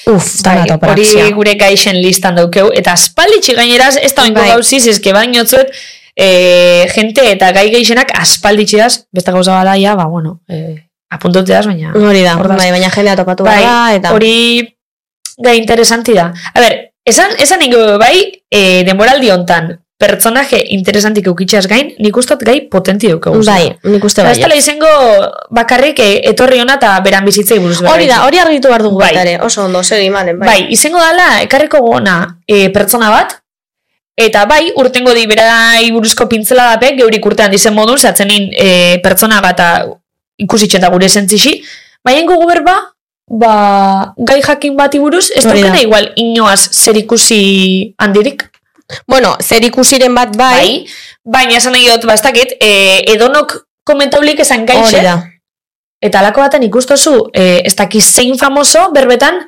Speaker 2: Uf,
Speaker 3: Bai,
Speaker 2: tanatopraxia.
Speaker 3: hori gure gaixen listan daukeu, eta aspalditxi gaineraz, ez da oingo
Speaker 2: Bai.
Speaker 3: gauziz, eske baino zuet, e, jente eta gai geixenak aspalditxi daz, beste gauza bada, ja, ba, bueno, e, apuntote daz, baina...
Speaker 2: Hori da,
Speaker 3: Hor da.
Speaker 2: bai, baina jendea topatu bai, eta...
Speaker 3: hori gai interesanti da. A ber, esan, esan ingo bai, e, denboraldi hontan, pertsonaje interesantik eukitxeaz gain, nik ustot gai potenti dukagu.
Speaker 2: Bai, nik uste
Speaker 3: Eta
Speaker 2: bai.
Speaker 3: ez dela izango bakarrik e, etorri hona eta beran bizitzei buruz.
Speaker 2: Hori da, hori argitu behar dugu
Speaker 3: Bai.
Speaker 2: baita ere, oso ondo, zer imalen,
Speaker 3: Bai, bai izango dala, ekarriko gona e, pertsona bat, eta bai, urtengo di berai buruzko pintzela dapek, geurik urtean dizen modun, satzenin e, pertsona bat ikusitxe eta gure zentzixi, baina ingo berba, ba, gai jakin bati buruz, ez
Speaker 2: Hori da.
Speaker 3: daukena igual inoaz zer ikusi handirik,
Speaker 2: Bueno, zer ikusiren bat bai,
Speaker 3: bai, baina esan nahi dut, bastakit, e, edonok komentaulik esan
Speaker 2: hori
Speaker 3: gaixe,
Speaker 2: da.
Speaker 3: eta alako baten ikustozu, e, ez dakiz zein famoso, berbetan,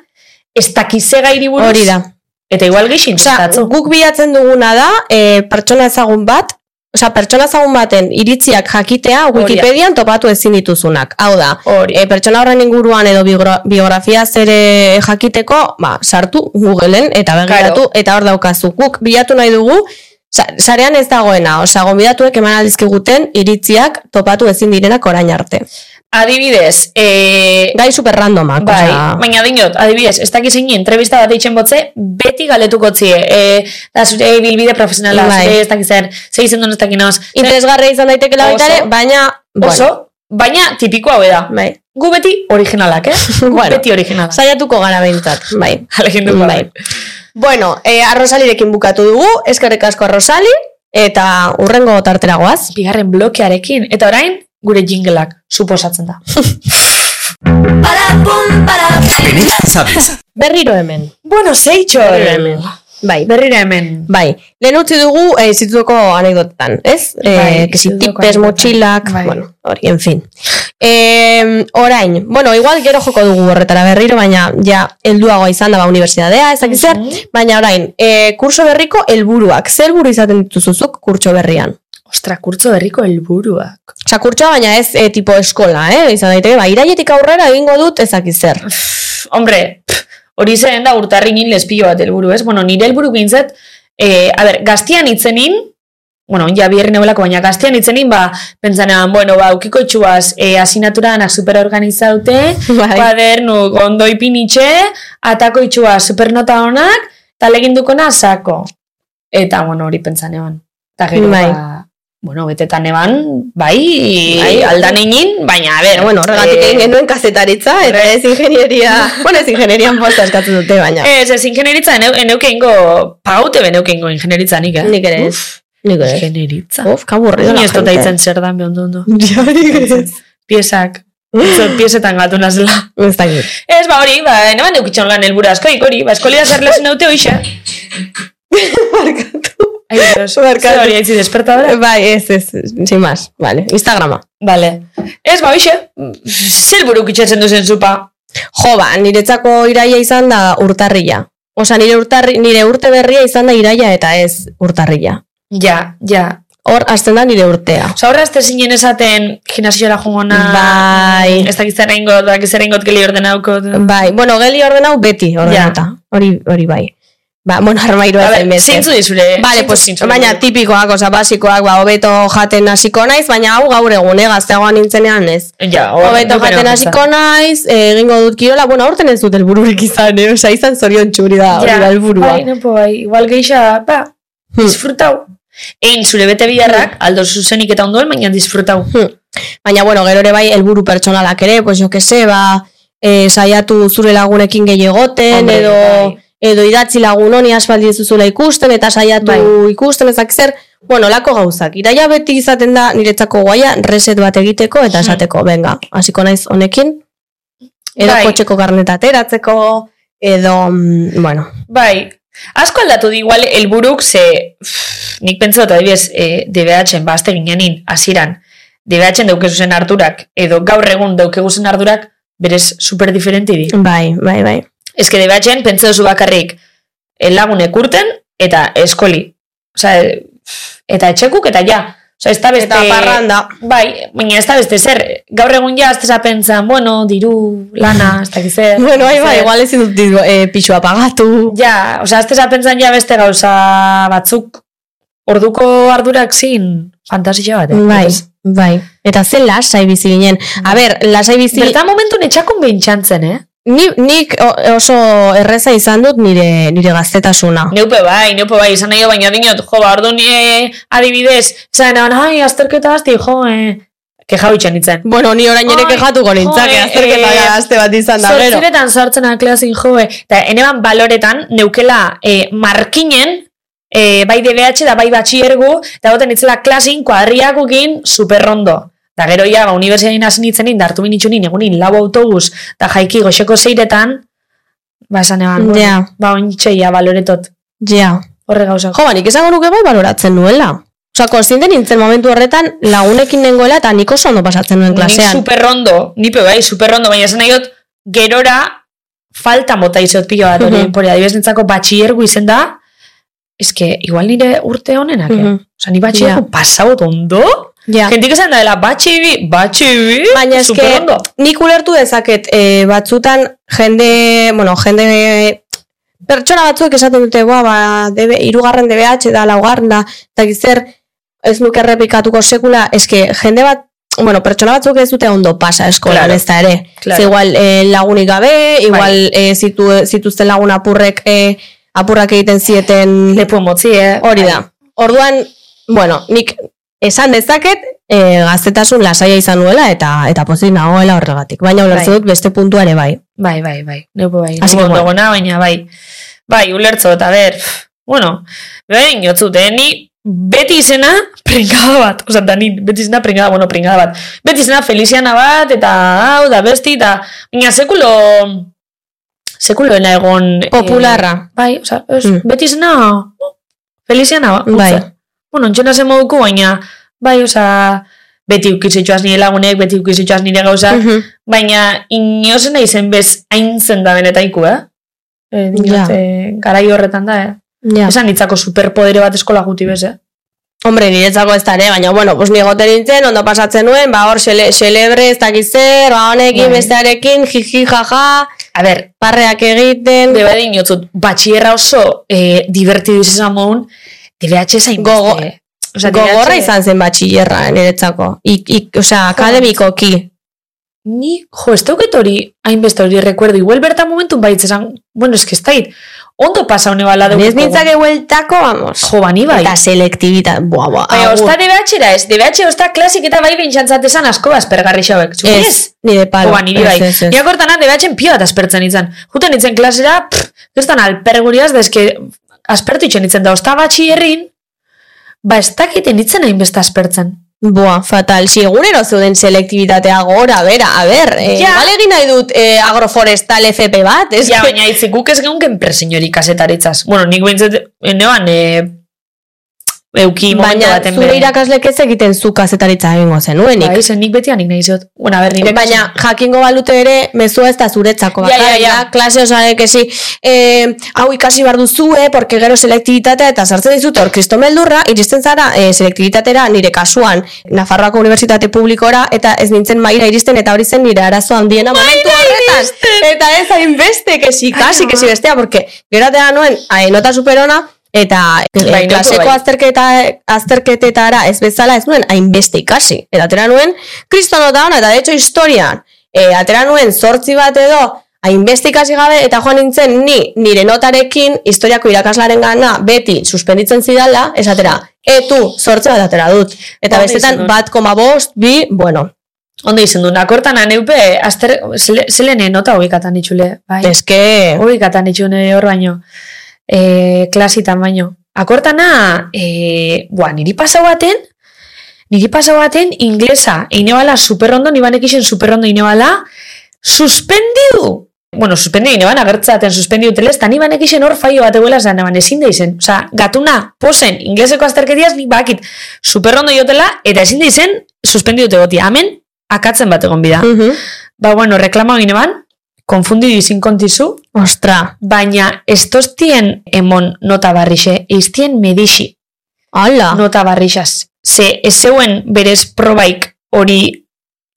Speaker 3: ez dakiz ze gairi buruz,
Speaker 2: Hori da.
Speaker 3: Eta igual gixin,
Speaker 2: Osea, guk bilatzen duguna da, e, pertsona ezagun bat, osea, pertsona ezagun baten iritziak jakitea
Speaker 3: da.
Speaker 2: Wikipedian topatu ezin dituzunak. Hau da,
Speaker 3: Hori. eh,
Speaker 2: e, pertsona horren inguruan edo biogra biografia zere jakiteko, ba, sartu Googleen eta begiratu eta hor daukazu. Guk bilatu nahi dugu, sa- sarean ez dagoena, osea, gonbidatuek eman aldizkiguten iritziak topatu ezin direnak orain arte.
Speaker 3: Adibidez, e,
Speaker 2: Gai super randomak,
Speaker 3: bai,
Speaker 2: osea,
Speaker 3: baina dinot, adibidez, ez dakiz ini, entrevista bat eitzen botze, beti galetuko tzie, e, da zure bilbide profesionala,
Speaker 2: Bai.
Speaker 3: zure ez dakizen, ze izen duen ez dakinoz,
Speaker 2: interesgarria izan daitekeela baita ere,
Speaker 3: Oso.
Speaker 2: baina,
Speaker 3: oso, baina tipikoa hau da.
Speaker 2: bai.
Speaker 3: Gu beti originalak, eh? Gu
Speaker 2: Bueno.
Speaker 3: beti originalak.
Speaker 2: Saiatuko gara behintzat, bai.
Speaker 3: Alegin du
Speaker 2: Bai. Bueno, eh, arrosalirekin bukatu dugu, eskerrik asko arrosali, eta urrengo tarteragoaz.
Speaker 3: Bigarren blokearekin, eta orain, gure jingleak, suposatzen da.
Speaker 4: Benetan sabes.
Speaker 2: Berriro hemen.
Speaker 3: Bueno, zeitxo.
Speaker 2: Berriro hemen. Bai,
Speaker 3: Berrira hemen.
Speaker 2: bai. Lehen utzi dugu eh, institutuko anekdotan, ez?
Speaker 3: Bai,
Speaker 2: eh, que si
Speaker 3: institutuko
Speaker 2: tipes,
Speaker 3: anekdotan.
Speaker 2: motxilak,
Speaker 3: Bai.
Speaker 2: bueno, hori, en fin. Eh, orain, bueno, igual gero joko dugu horretara berriro, baina ja helduagoa izan da ba unibertsitatea, ez dakit zer, baina orain, eh, kurso berriko helburuak, zer helburu izaten dituzuzuk kurtso berrian?
Speaker 3: Ostra, kurtzo herriko helburuak.
Speaker 2: Osa, kurtsoa baina ez eh, tipo eskola, eh? Izan daiteke, ba, irailetik aurrera egingo dut ezakiz zer.
Speaker 3: Hombre, pff, hori zen da urtarri nien lespio bat helburu, ez? Bueno, nire helburu gintzet, e, a ber, gaztian itzenin, bueno, ja biherri nebelako, baina gaztian itzenin, ba, pentsanean, bueno, ba, ukiko itxuaz, e, asinaturanak superorganizaute,
Speaker 2: Bai.
Speaker 3: kuadernu ondo ipinitxe, atako itxua supernota honak, eta legindukona sako. Eta, bueno, hori pentsanean. Eta gero,
Speaker 2: Bai.
Speaker 3: ba, bueno, betetan eban, bai, bai
Speaker 2: Bai.
Speaker 3: aldan egin, baina, a ber,
Speaker 2: Bueno, horregatik
Speaker 3: eh,
Speaker 2: egin genuen kazetaritza, eta ez Eh, ingenieria, bueno, ez ingenierian posta eskatu dute, baina.
Speaker 3: Ez, ez ingenieritza, eneu, eneuke ingo, pagaute beneuke ingo ingenieritza nik, eh?
Speaker 2: Nik ere ez.
Speaker 3: Uf,
Speaker 2: Nik ere ez.
Speaker 3: Ingenieritza.
Speaker 2: Uf, kaburrido la
Speaker 3: Ni ez dut
Speaker 2: gente.
Speaker 3: aitzen zer dan behondo ondo.
Speaker 2: Ja, nik ere Bai, ez.
Speaker 3: Piesak. Zot, piesetan gatu nazela.
Speaker 2: Ez dakit.
Speaker 3: Ez, ba hori, ba, eneman neukitxon lan helbura askoik hori, ba, eskolida zer lezen naute hoixa. Ai, Dios,
Speaker 2: Barkatu.
Speaker 3: zer hori aitzi despertadora.
Speaker 2: Bai, ez, ez, sin más, vale, Instagrama.
Speaker 3: Vale. Ez, ba, hoixa, zer buruk itxatzen duzen zupa.
Speaker 2: Jo, ba, niretzako iraia izan da urtarrila. Osa, nire, urtarri, nire urte berria izan da iraia eta ez urtarrila.
Speaker 3: Ja, ja.
Speaker 2: Hor, hasten da nire urtea.
Speaker 3: Osa, horra azte zinen esaten gimnasiora jungona.
Speaker 2: Bai.
Speaker 3: Ez dakizera ingot, dakizera ingot geli ordenaukot.
Speaker 2: Bai, bueno, geli orden hau beti, ordenata. Hori, hori bai. Ba, bueno, armairoa
Speaker 3: A
Speaker 2: zain
Speaker 3: ber,
Speaker 2: beste.
Speaker 3: zeintzu dizure.
Speaker 2: Vale,
Speaker 3: zeintzu-
Speaker 2: pues,
Speaker 3: zeintzu
Speaker 2: baina
Speaker 3: dizure?
Speaker 2: tipikoak, oza, basikoak, ba, hobeto jaten hasiko naiz, baina hau gaur egun, eh, gazteagoan nintzenean ez.
Speaker 3: Ja, hor-
Speaker 2: Hobeto
Speaker 3: hor-
Speaker 2: jaten
Speaker 3: hor-
Speaker 2: hasiko naiz, eh, egingo dut kirola, bueno, aurten ez dut helbururek izan, eh, oza, izan zorion txuri da, hori da helburua.
Speaker 3: Bai, nepo, bai, igual geixa, ba,
Speaker 2: Hmm.
Speaker 3: disfrutau. Egin zure bete biharrak, aldo zuzenik eta ondoen, baina disfrutau.
Speaker 2: Hmm. Baina, bueno, gero ere bai, helburu pertsonalak ere, pues jo que se, ba, eh, saiatu zure lagunekin gehiegoten,
Speaker 3: Hombre,
Speaker 2: edo,
Speaker 3: bai.
Speaker 2: edo idatzi lagun honi aspaldi ez duzula ikusten, eta saiatu
Speaker 3: Bai.
Speaker 2: ikusten ezak zer, bueno, lako gauzak. Iraia beti izaten da niretzako guaia, reset bat egiteko eta
Speaker 3: Hmm.
Speaker 2: esateko, venga, hasiko naiz honekin, edo
Speaker 3: Bai.
Speaker 2: kotxeko garneta ateratzeko, edo, mm, bueno,
Speaker 3: Bai, asko aldatu di igual helburuk ze, pff, nik pentsatu eta adibidez, e, DBH-en, ba, azte ginenin, aziran, DBH-en daukezuzen ardurak, edo gaur egun daukeguzen ardurak, berez super diferenti di.
Speaker 2: bai, bai, bai.
Speaker 3: Ez que DBH-en pentsa duzu bakarrik eh, lagunek urten eta eskoli. Osa, eh, eta etxekuk eta ja. Osa, ez da beste...
Speaker 2: Eta parranda.
Speaker 3: Bai, baina ez da beste zer. Gaur egun ja, ez da pentsan, bueno, diru, lana, ez da zer.
Speaker 2: Bueno, bai, bai,
Speaker 3: zer.
Speaker 2: igual ezin dut digo, eh, pixua pagatu.
Speaker 3: Ja, oza, azte pentsan ja beste gauza batzuk. Orduko ardurak zin fantasia bat. Eh?
Speaker 2: Bai, bai. Eta zen lasai bizi ginen. A ber, lasai bizi...
Speaker 3: Berta momentu netxakun behintxantzen, eh?
Speaker 2: Ni, nik o- oso erreza izan dut nire, nire gaztetasuna.
Speaker 3: Neupe bai, neupe bai, izan nahi baina dinot, jo, ba, ordu ni eh, adibidez, zan, ai, azterketa hasti, jo, eh, kejau itxan itzen.
Speaker 2: Bueno, ni orain ere
Speaker 3: Ai,
Speaker 2: kejatuko nintzake,
Speaker 3: joe,
Speaker 2: azterketa
Speaker 3: eh,
Speaker 2: aste bat izan da gero.
Speaker 3: Zortziretan sartzen aklasin jo, eh, eta eneban baloretan, neukela eh, markinen, eh, bai DBH da bai batxiergu, eta goten itzela klasin, kuadriakukin, superrondo. Da gero ja, ba, universitatein hasi nintzenin, dartu minitxunin, egunin, lau autobus, eta jaiki goxeko zeiretan, ba, esan eban,
Speaker 2: Ja,
Speaker 3: bueno, ba, ontseia baloretot,
Speaker 2: ja.
Speaker 3: horre gauzak.
Speaker 2: Jo, ba, nik esango nuke bai baloratzen nuela. Osa, konstiente nintzen momentu horretan lagunekin nengoela eta nik oso ondo pasatzen nuen
Speaker 3: Nik
Speaker 2: klasean.
Speaker 3: superrondo, nipe bai, superrondo, baina esan nahi dut, gerora falta mota izot pilo bat hori.
Speaker 2: Mhm.
Speaker 3: Por adibidez nintzako batxiergu izen da, eske, igual nire urte honenak, eh?
Speaker 2: Mhm.
Speaker 3: Osa, ni
Speaker 2: Ja.
Speaker 3: batxiergu pasau ondo?
Speaker 2: Ja.
Speaker 3: Gentik esan da dela, batxibi, batxibi,
Speaker 2: Baina eske,
Speaker 3: superrondo.
Speaker 2: nik ulertu dezaket e, batzutan jende, bueno, jende pertsona batzuek esaten dute, ba, ba, debe, irugarren DBH da, laugarren da, eta gizer, ez nuke errepikatuko sekula, eske jende bat, bueno, pertsona batzuk ez dute ondo pasa eskolan
Speaker 3: Claro.
Speaker 2: ez da ere.
Speaker 3: Claro. Bai.
Speaker 2: Ze igual e, lagunik gabe, igual e, zitu, zituzten lagun apurrek, e, apurrak egiten zieten...
Speaker 3: Lepo motzi, eh?
Speaker 2: Hori da. Orduan, bueno, nik esan dezaket eh, gaztetasun lasaia izan nuela eta eta pozik nagoela horregatik. Baina ulertzen
Speaker 3: Bai.
Speaker 2: dut beste puntua ere bai.
Speaker 3: Bai, bai, bai. Neupo bai.
Speaker 2: Así
Speaker 3: Neupo
Speaker 2: que
Speaker 3: ondo gona, baina bai. Bai, ulertzo, eta ber, bueno, behin jotzut, eh, ni beti izena pringada bat. Osa, da ni beti izena pringada, bueno, pringada bat. Beti izena Feliziana bat, eta hau, da besti, eta baina sekulo, sekuloena egon... eh,
Speaker 2: Popularra.
Speaker 3: bai, osa, ez,
Speaker 2: Mm.
Speaker 3: beti izena oh, Feliziana bat.
Speaker 2: Bai.
Speaker 3: utza. Bueno, entxona zen moduko, baina, bai, osa, beti ukizitxoaz nire lagunek, beti ukizitxoaz nire gauzak,
Speaker 2: Mhm.
Speaker 3: Baina inozen da izen bez haintzen da benetaiku, eh? E, dinot,
Speaker 2: Ja.
Speaker 3: eh, garai horretan da, eh?
Speaker 2: Ja.
Speaker 3: Esan nitzako superpodere bat eskola guti bez, eh?
Speaker 2: Hombre, niretzako ez da, ere, baina, bueno, pues nigote nintzen, ondo pasatzen nuen, ba, hor, xele, xelebre, ez dakiz zer, ba, honekin,
Speaker 3: Bai.
Speaker 2: bestearekin, jiji, jaja,
Speaker 3: A ber,
Speaker 2: parreak egiten,
Speaker 3: Beba dinotzut, batxierra oso eh, divertidu izan mogun, DBH zain
Speaker 2: Gogo- gogorra
Speaker 3: DBH
Speaker 2: izan zen batxillerra niretzako. Ik, ik, osea, akademikoki.
Speaker 3: Ni, jo, ez dauket hori, hainbeste hori rekuerdo, igual bertan momentu baitz esan, bueno, eske ez dait, ondo pasa hone bala dugu.
Speaker 2: Ni Ez nintzake hueltako, vamos.
Speaker 3: Jo, bani bai.
Speaker 2: Eta selektibita, boa, boa,
Speaker 3: Baina,
Speaker 2: agur.
Speaker 3: osta DBH-era ez, DBH osta klasik eta bai bintxantzat esan asko aspergarri xauek. Zuk
Speaker 2: Ez, nire palo.
Speaker 3: Oba, niri bai.
Speaker 2: Ez, ez, ez.
Speaker 3: Ni akortan hande behatzen pio bat aspertzen nintzen. Juten nintzen klasera, pff, gertan alperguriaz, da eske aspertu itxen nintzen da, osta batxi herrin, ba ez dakiten nintzen hain beste aspertzen.
Speaker 2: Boa, fatal. Si egunero zeuden selektibitatea gora, bera, a ber, eh,
Speaker 3: Ja.
Speaker 2: igual egin nahi dut eh, agroforestal FP bat, ez?
Speaker 3: Ja,
Speaker 2: que-
Speaker 3: baina itzik guk ez geunken presinori kasetaritzaz. Bueno, nik behintzat, eh, neban, e, euki momentu
Speaker 2: Baina
Speaker 3: baten
Speaker 2: zure irakaslek ez egiten zu kazetaritza egingo zenuenik.
Speaker 3: Bai, zen nik beti anik nahi zot. Bueno, a ber, nire...
Speaker 2: Baina jakingo balute ere mezua ez da zuretzako
Speaker 3: Ja,
Speaker 2: bakarrik.
Speaker 3: ja, ja.
Speaker 2: da, Klase osarek esi, eh, hau ikasi behar duzu, eh, porque gero selektibitatea eta sartzen dizut hor kristo meldurra, iristen zara eh, selektibitatera nire kasuan, Nafarroako Unibertsitate Publikora, eta ez nintzen maira iristen, eta hori zen nire arazo handiena momentu horretan. Eta ez hainbeste, kesi, kasi, kesi bestea, porque gero atea nuen, eh, nota superona, Eta eh,
Speaker 3: Bai, nahiko
Speaker 2: klaseko
Speaker 3: bai.
Speaker 2: azterketa, azterketetara ez bezala ez nuen hainbeste ikasi. Eta atera nuen, kristo nota ona, eta de hecho historian, e, atera nuen zortzi bat edo, hainbeste ikasi gabe, eta joan nintzen ni nire notarekin historiako irakaslaren gana beti suspenditzen zidala, esatera, e tu, zortzi bat atera dut. Eta
Speaker 3: Ondo
Speaker 2: bestetan,
Speaker 3: izan dut.
Speaker 2: bat koma bost, bi, bueno,
Speaker 3: Ondo izen du, nakortan aneupe, azter, zele, zelene nota hoikatan itxule. Bai.
Speaker 2: eske...
Speaker 3: Oikatan itxune hor baino, e, klasitan baino. Akortana, e, bua, niri pasau baten, niri pasau baten inglesa, inebala superrondo, nibanek isen superrondo inebala, suspendidu! Bueno, suspendidu ineban, agertzaten suspendidu telez, eta nibanek isen hor faio bat eguela zan, eban ezin da izen. Osa, gatuna, posen, ingleseko azterketiaz nik bakit, superrondo jotela, eta ezin da izen suspendidu tegotia. Hemen, akatzen bat egon bida.
Speaker 2: Mhm.
Speaker 3: Ba, bueno, reklama egin eban, konfundidu izin kontizu,
Speaker 2: Ostra,
Speaker 3: baina ez tostien emon nota barrixe, iztien medixi
Speaker 2: ala,
Speaker 3: nota barrixaz. Ze ez zeuen berez probaik hori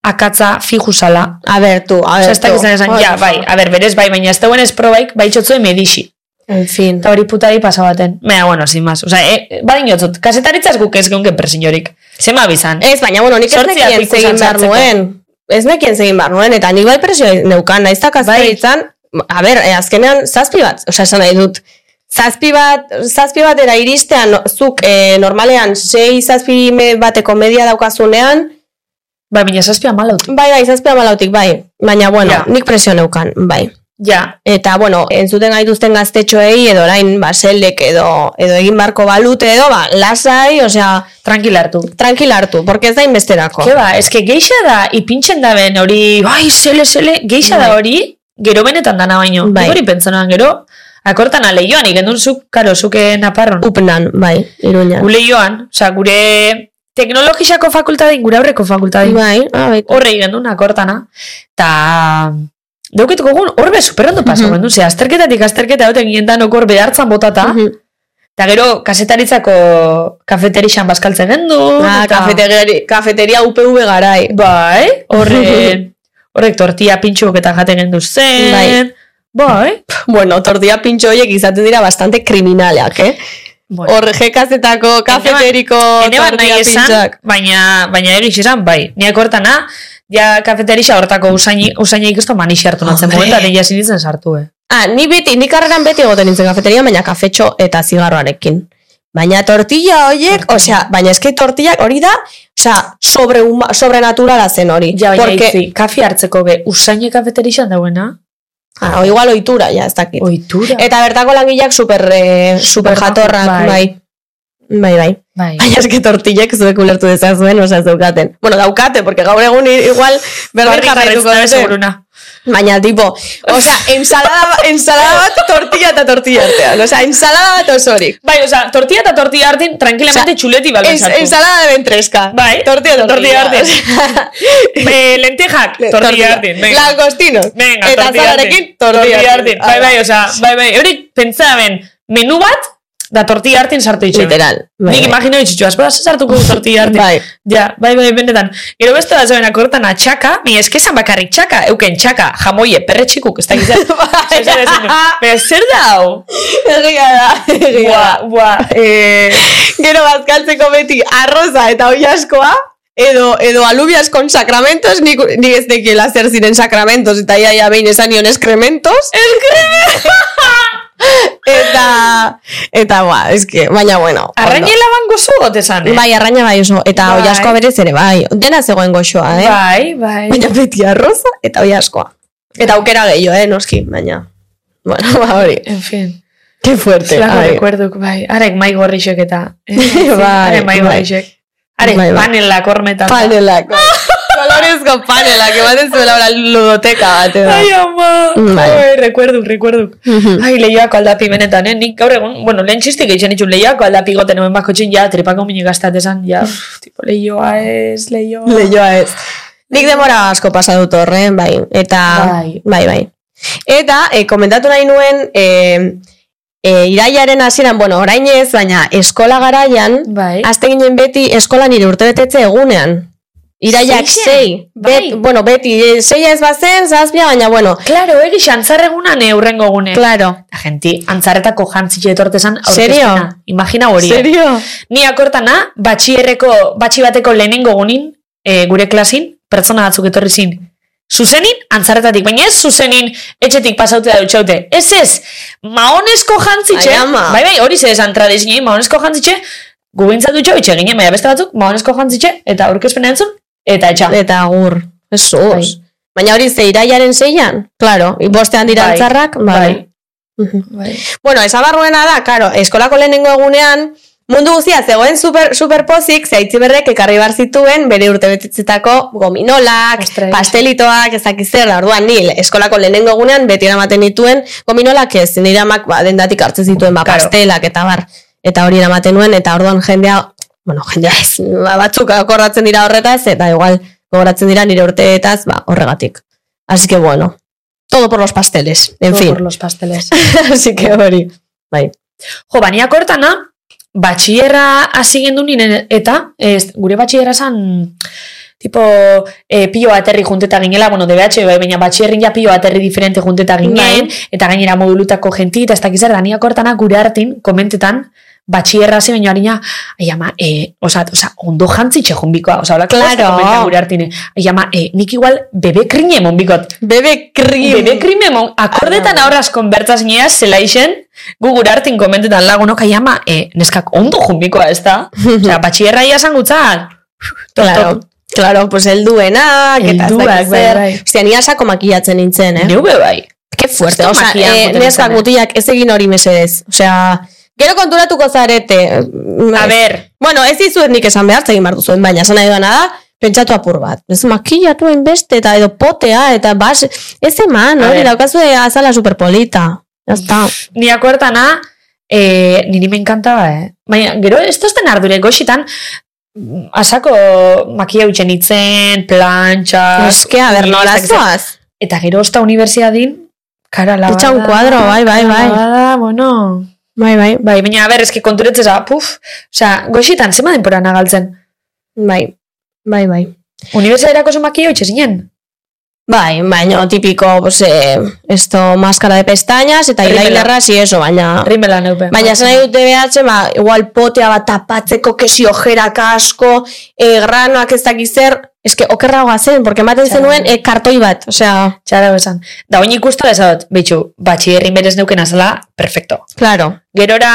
Speaker 3: akatza fijusala.
Speaker 2: a ber tu, a
Speaker 3: Osa,
Speaker 2: ber
Speaker 3: ez dakizan esan,
Speaker 2: Ai,
Speaker 3: ja, bai, a ber, berez bai, baina ez zeuen ez probaik, bai txotzue medixi.
Speaker 2: En fin.
Speaker 3: Eta hori putari pasa baten. Mea, bueno, sin más. Osa, e, badin jotzut, kasetaritzaz guk ez geunken presiniorik. Zema bizan.
Speaker 2: Ez, baina, bueno, nik ez
Speaker 3: Zortziak
Speaker 2: nekien
Speaker 3: ikusan
Speaker 2: zegin behar
Speaker 3: sartzeko.
Speaker 2: nuen. Ez nekien zegin behar nuen, eta nik bai presio neukan, nahiz eta kazkaritzan, a ber, eh, azkenean zazpi bat, osea, esan nahi dut, zazpi bat, zazpi batera iristean, no- zuk eh, normalean, sei zazpi me- bateko media daukazunean,
Speaker 3: Ba, baina zazpia malaut.
Speaker 2: bai, bai, zazpi amalautik, bai, baina, bueno,
Speaker 3: Ja.
Speaker 2: nik presio neukan, bai.
Speaker 3: Ja,
Speaker 2: Eta, bueno, entzuten gaituzten gaztetxoei, edo orain, ba, seldek, edo, edo egin barko balute, edo, ba, lasai, osea,
Speaker 3: tranquila hartu.
Speaker 2: tranquil hartu, porque ez da inbesterako.
Speaker 3: Ke ba, eske geixa da ipintzen da ben hori, bai, sele, sele, geixa da hori, gero benetan dana baino.
Speaker 2: Bai.
Speaker 3: Nik Hori pentsonan gero, akortan ale joan, ikendun zuk, eh, karo, zuke naparron.
Speaker 2: Upnan, bai, iruñan.
Speaker 3: Gule joan, oza, gure teknologisako fakultadin, gure aurreko fakultadin,
Speaker 2: Bai, ah, bai.
Speaker 3: horre ikendun akortana, eta... Dauketuko gun, horbe superondo paso mm
Speaker 2: Mhm.
Speaker 3: -hmm. gendun, ze azterketatik azterketa duten ginen danok hor behartzan botata,
Speaker 2: Mhm.
Speaker 3: eta gero kasetaritzako kafeterixan baskaltzen gendun.
Speaker 2: Ah,
Speaker 3: eta-
Speaker 2: kafetegeri- kafeteria UPV garai.
Speaker 3: Bai, horre, horrek tortilla pintxuok eta jaten gendu zen.
Speaker 2: Bai.
Speaker 3: Bai.
Speaker 2: Bueno, tortilla pintxo horiek izaten dira bastante kriminaleak, eh?
Speaker 3: Bueno,
Speaker 2: Hor jekazetako, kafeteriko
Speaker 3: ene bat nahi
Speaker 2: tortilla
Speaker 3: esan,
Speaker 2: pintxoak.
Speaker 3: baina, baina egiz esan, bai. Niak hortana, ja kafeterixa hortako usaini, usaini ikustu manixe hartu natzen
Speaker 2: Hombre.
Speaker 3: momentu, eta jasin ditzen sartu, eh.
Speaker 2: Ah, ni beti, ni karreran beti egoten nintzen kafeteria, baina kafetxo eta zigarroarekin. Baina tortilla horiek, osea, baina eski tortillak hori da, osea, sobre, sobrenaturala zen hori.
Speaker 3: Ja, baina
Speaker 2: Porque-
Speaker 3: itzi, kafi hartzeko be, usaini kafeterixan dauena,
Speaker 2: ah, o igual oitura, ja, ez dakit.
Speaker 3: oitura.
Speaker 2: Eta bertako langileak super, eh, super jatorrak,
Speaker 3: Bai.
Speaker 2: bai. Bai, bai.
Speaker 3: bai.
Speaker 2: Baina eske tortillek zuek ulertu dezazuen, osea ez daukaten. Bueno, daukate, porque gaur egun i- igual berber
Speaker 3: Horri
Speaker 2: jarraituko
Speaker 3: jarraitzen da,
Speaker 2: dute.
Speaker 3: seguruna.
Speaker 2: Baina, tipo, osea, ensalada, ba, ensalada bat tortilla eta tortilla artean. Osea, ensalada bat osorik.
Speaker 3: Bai, oza, tortilla eta tortilla hartin, tranquilamente txuleti balon
Speaker 2: En, ensalada de ventresca.
Speaker 3: Bai,
Speaker 2: tortilla eta tortilla
Speaker 3: tortilla
Speaker 2: artean.
Speaker 3: Eh, lentejak, tortilla hartin, venga.
Speaker 2: Langostino.
Speaker 3: Venga,
Speaker 2: eta
Speaker 3: tortilla
Speaker 2: zalarekin
Speaker 3: ardin. Tortilla ardin. Bai, bai,
Speaker 2: Hala.
Speaker 3: osea, bai, bai. Hori pentsaben, menu bat, Da tortilla hartin sartu itxe.
Speaker 2: literal. Bai,
Speaker 3: Nik
Speaker 2: bai.
Speaker 3: imagino itxitxu, asko sartuko du tortilla hartin.
Speaker 2: Bai.
Speaker 3: Ja, bai, bai, benetan. Gero beste bat zeuen akortan atxaka, mi eskezan bakarrik txaka, euken txaka, jamoie, perretxikuk, ez da gizat.
Speaker 2: Bai.
Speaker 3: Baina zer da hau?
Speaker 2: Egia da, egia
Speaker 3: Bua,
Speaker 2: da.
Speaker 3: bua, eh,
Speaker 2: Gero bazkaltzeko beti arroza eta oi askoa, edo, edo alubias kon sakramentos, nik, nik ez dekiela zer ziren sakramentos, eta iaia ia behin esan nion eskrementos. eta, eta, ba, eske, baina bueno. ondo.
Speaker 3: arrainela bango zu gotezan, eh?
Speaker 2: Bai, arraina bai oso, eta
Speaker 3: Bai.
Speaker 2: oi askoa berez ere, bai, dena zegoen goxoa, eh?
Speaker 3: bai, bai.
Speaker 2: Baina beti arroza eta oi askoa. Eta aukera gehiago, eh, noski, baina. Bueno, ba, hori.
Speaker 3: En fin,
Speaker 2: Qué fuerte.
Speaker 3: zelako
Speaker 2: ai.
Speaker 3: rekuerduk, bai. Arek mai gorrixek eta. eh,
Speaker 2: Bai,
Speaker 3: Arek mai
Speaker 2: bai.
Speaker 3: gorrixek. Arek
Speaker 2: Bai, bai.
Speaker 3: panela kormetan.
Speaker 2: Panelak. bai. Kolorezko panelak, ematen zuela ora ludoteka bat edo.
Speaker 3: Ai, ama.
Speaker 2: Bai. Mm.
Speaker 3: Ai, rekuerduk, rekuerduk. Ai, lehiako aldapi benetan, eh? Nik gaur egun, bueno, lehen txistik egiten itxun lehiako aldapi goten hemen bako txin, ja, tripako minik gaztat esan, ja,
Speaker 2: Mm.
Speaker 3: uf, tipo, lehioa ez, lehioa.
Speaker 2: Leioa ez. Nik demora asko pasa dut horren, bai. Eta,
Speaker 3: Bai.
Speaker 2: bai, bai. Eta, eh, komentatu nahi nuen, eh, eh, iraiaren hasieran, bueno, orain ez, baina eskola garaian,
Speaker 3: Bai.
Speaker 2: Azte ginen beti eskolan nire urtebetetze egunean. Iraiak
Speaker 3: Seien?
Speaker 2: sei. Bet,
Speaker 3: Bai.
Speaker 2: bueno, beti, eh, seia ez bazen, zazpia, baina, bueno,
Speaker 3: Claro, egiz, antzarregunan eurrengo gune.
Speaker 2: claro.
Speaker 3: Eta Genti, antzaretako jantzile etorte zan aurkezpena.
Speaker 2: Serio?
Speaker 3: Imagina hori. eh? Ni akortana, batxierreko, batxi bateko lehenengo gunin, eh, gure klasin, pertsona batzuk etorri zin. Zuzenin, antzaretatik, baina ez zuzenin etxetik pasaute da dutxaute. Ez ez, maonesko jantzitxe,
Speaker 2: Ai, ama.
Speaker 3: bai bai, hori ze esan tradizini, maonesko jantzitxe, gubintzat dutxo itxe ginen, baina beste batzuk, maonesko jantzitxe, eta aurkezpena entzun, eta etxa.
Speaker 2: Eta agur. Jesus.
Speaker 3: Bai.
Speaker 2: Baina hori ze iraiaren seian? Claro, bostean dira
Speaker 3: Bai,
Speaker 2: antzarrak, bai.
Speaker 3: bai.
Speaker 2: Bueno, esabarruena da, claro, eskolako lehenengo egunean, mundu guztia zegoen super, superpozik, zehaitzi berrek ekarri bar zituen bere urtebetetzetako gominolak,
Speaker 3: Ostras.
Speaker 2: pastelitoak, ez dakiz zer, da, orduan nil, eskolako lehenengo egunean beti eramaten dituen gominolak ez, nire amak ba, dendatik hartzen zituen ba,
Speaker 3: Claro.
Speaker 2: pastelak eta bar, eta hori eramaten nuen, eta orduan jendea, bueno, jendea ez, ba, batzuk akordatzen dira horretaz, eta igual gogoratzen dira nire urteetaz, ba, horregatik. Así que bueno, todo por los pasteles, en
Speaker 3: Todo
Speaker 2: fin.
Speaker 3: por los pasteles.
Speaker 2: Así que hori. Bai.
Speaker 3: Jo, bania kortana, batxierra hasi gendu ninen, eta ez, gure batxierra zan, tipo, e, pilo aterri junteta ginela, bueno, DBH, bai, baina batxierrin ja pilo aterri diferente junteta ginen, eta gainera modulutako jenti, eta ez dakiz zer, dania kortana gure hartin, komentetan, batxierra hasi baino harina, ai ama, e, oza, oza, ondo jantzitxe jonbikoa, oza, hola,
Speaker 2: Claro.
Speaker 3: gure hartin, ai ama, e, nik igual bebe krine monbikot,
Speaker 2: Bebe krim.
Speaker 3: Bebe krimemon,
Speaker 2: Bai.
Speaker 3: akordetan aurraz konbertaz nia zela isen, gu gure hartin komentetan lagunok aiama, e, neskak ondo jumbikoa ez da? Osea, batxierra ia esan gutzan.
Speaker 2: Claro. Claro, pues el duenak, eta ez
Speaker 3: Helduak,
Speaker 2: dakiz
Speaker 3: bai,
Speaker 2: zer.
Speaker 3: bai.
Speaker 2: Ostia, ni asako makillatzen nintzen, eh?
Speaker 3: Neube bai.
Speaker 2: Ke fuerte,
Speaker 3: Asko
Speaker 2: osea,
Speaker 3: makilan
Speaker 2: eh,
Speaker 3: boten
Speaker 2: neskak
Speaker 3: nintzen, eh.
Speaker 2: mutilak ez egin hori mesedez. Osea, gero konturatuko zarete.
Speaker 3: A ber,
Speaker 2: Bueno, ez dizuet nik esan behar, egin behar duzuen, baina esan nahi dudana da, pentsatu apur bat. Ez makillatu beste, eta edo potea, eta bas, ez eman,
Speaker 3: A
Speaker 2: hori
Speaker 3: ber.
Speaker 2: daukazu azala superpolita. Ya está.
Speaker 3: ni akortana, e, niri me encantaba, eh? Baina, gero, ez tozten ardure goxitan, asako makia utxen itzen, plantxas...
Speaker 2: Es que, a ber,
Speaker 3: ni
Speaker 2: nola
Speaker 3: ez dakit zer.
Speaker 2: zoaz?
Speaker 3: Eta gero, osta universidadin, cara lavada.
Speaker 2: Echa un cuadro, bai, bai, bai.
Speaker 3: Lavada, bueno...
Speaker 2: Bai, bai,
Speaker 3: Bai, baina, a ber, eski konturetzeza, puf, osea, goxitan, zema denpora nagaltzen.
Speaker 2: bai, bai, bai.
Speaker 3: Unibertsiaderako zomakio itxe zinen.
Speaker 2: Bai, baino tipiko, pues, eh, esto, máscara de pestañas eta
Speaker 3: Rimela.
Speaker 2: highlighters y eso, baina...
Speaker 3: Rimela neupe.
Speaker 2: Baina esan nahi dute behatzen, ba, igual potea bat tapatzeko, kesi ojerak asko, eh, granoak ez dakizer, eske okerragoa zen, porque ematen
Speaker 3: Txarra.
Speaker 2: zenuen eh, kartoi bat, osea,
Speaker 3: Txara esan. Da, oin ikustu bezadot, bitxu, batxierrin berez neuken azala, perfecto.
Speaker 2: claro.
Speaker 3: Gerora,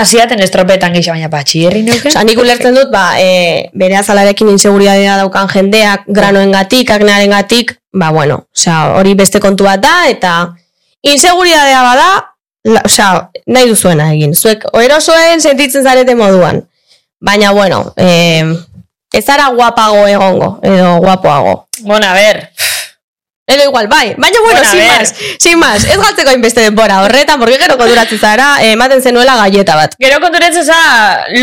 Speaker 3: hasiaten estropetan gisa, baina batxierrin neuken.
Speaker 2: Osea, nik ulertzen dut, ba, eh, bere azalarekin inseguridadea daukan jendeak, granoengatik, aknearengatik, ba, bueno, osea, hori beste kontu bat da, eta inseguridadea bada, la, osea, nahi duzuena egin. Zuek, erosoen sentitzen zarete moduan. Baina, bueno, eh, ez zara guapago egongo, edo guapoago.
Speaker 3: Bueno, a ber,
Speaker 2: Edo igual, bai. Baina, bueno,
Speaker 3: Bueno, a
Speaker 2: sin
Speaker 3: ver.
Speaker 2: más, sin más. Ez galtzeko inbeste denbora horretan, porque gero koduratzen zara, eh, ematen zenuela galleta bat.
Speaker 3: gero konturetzeza,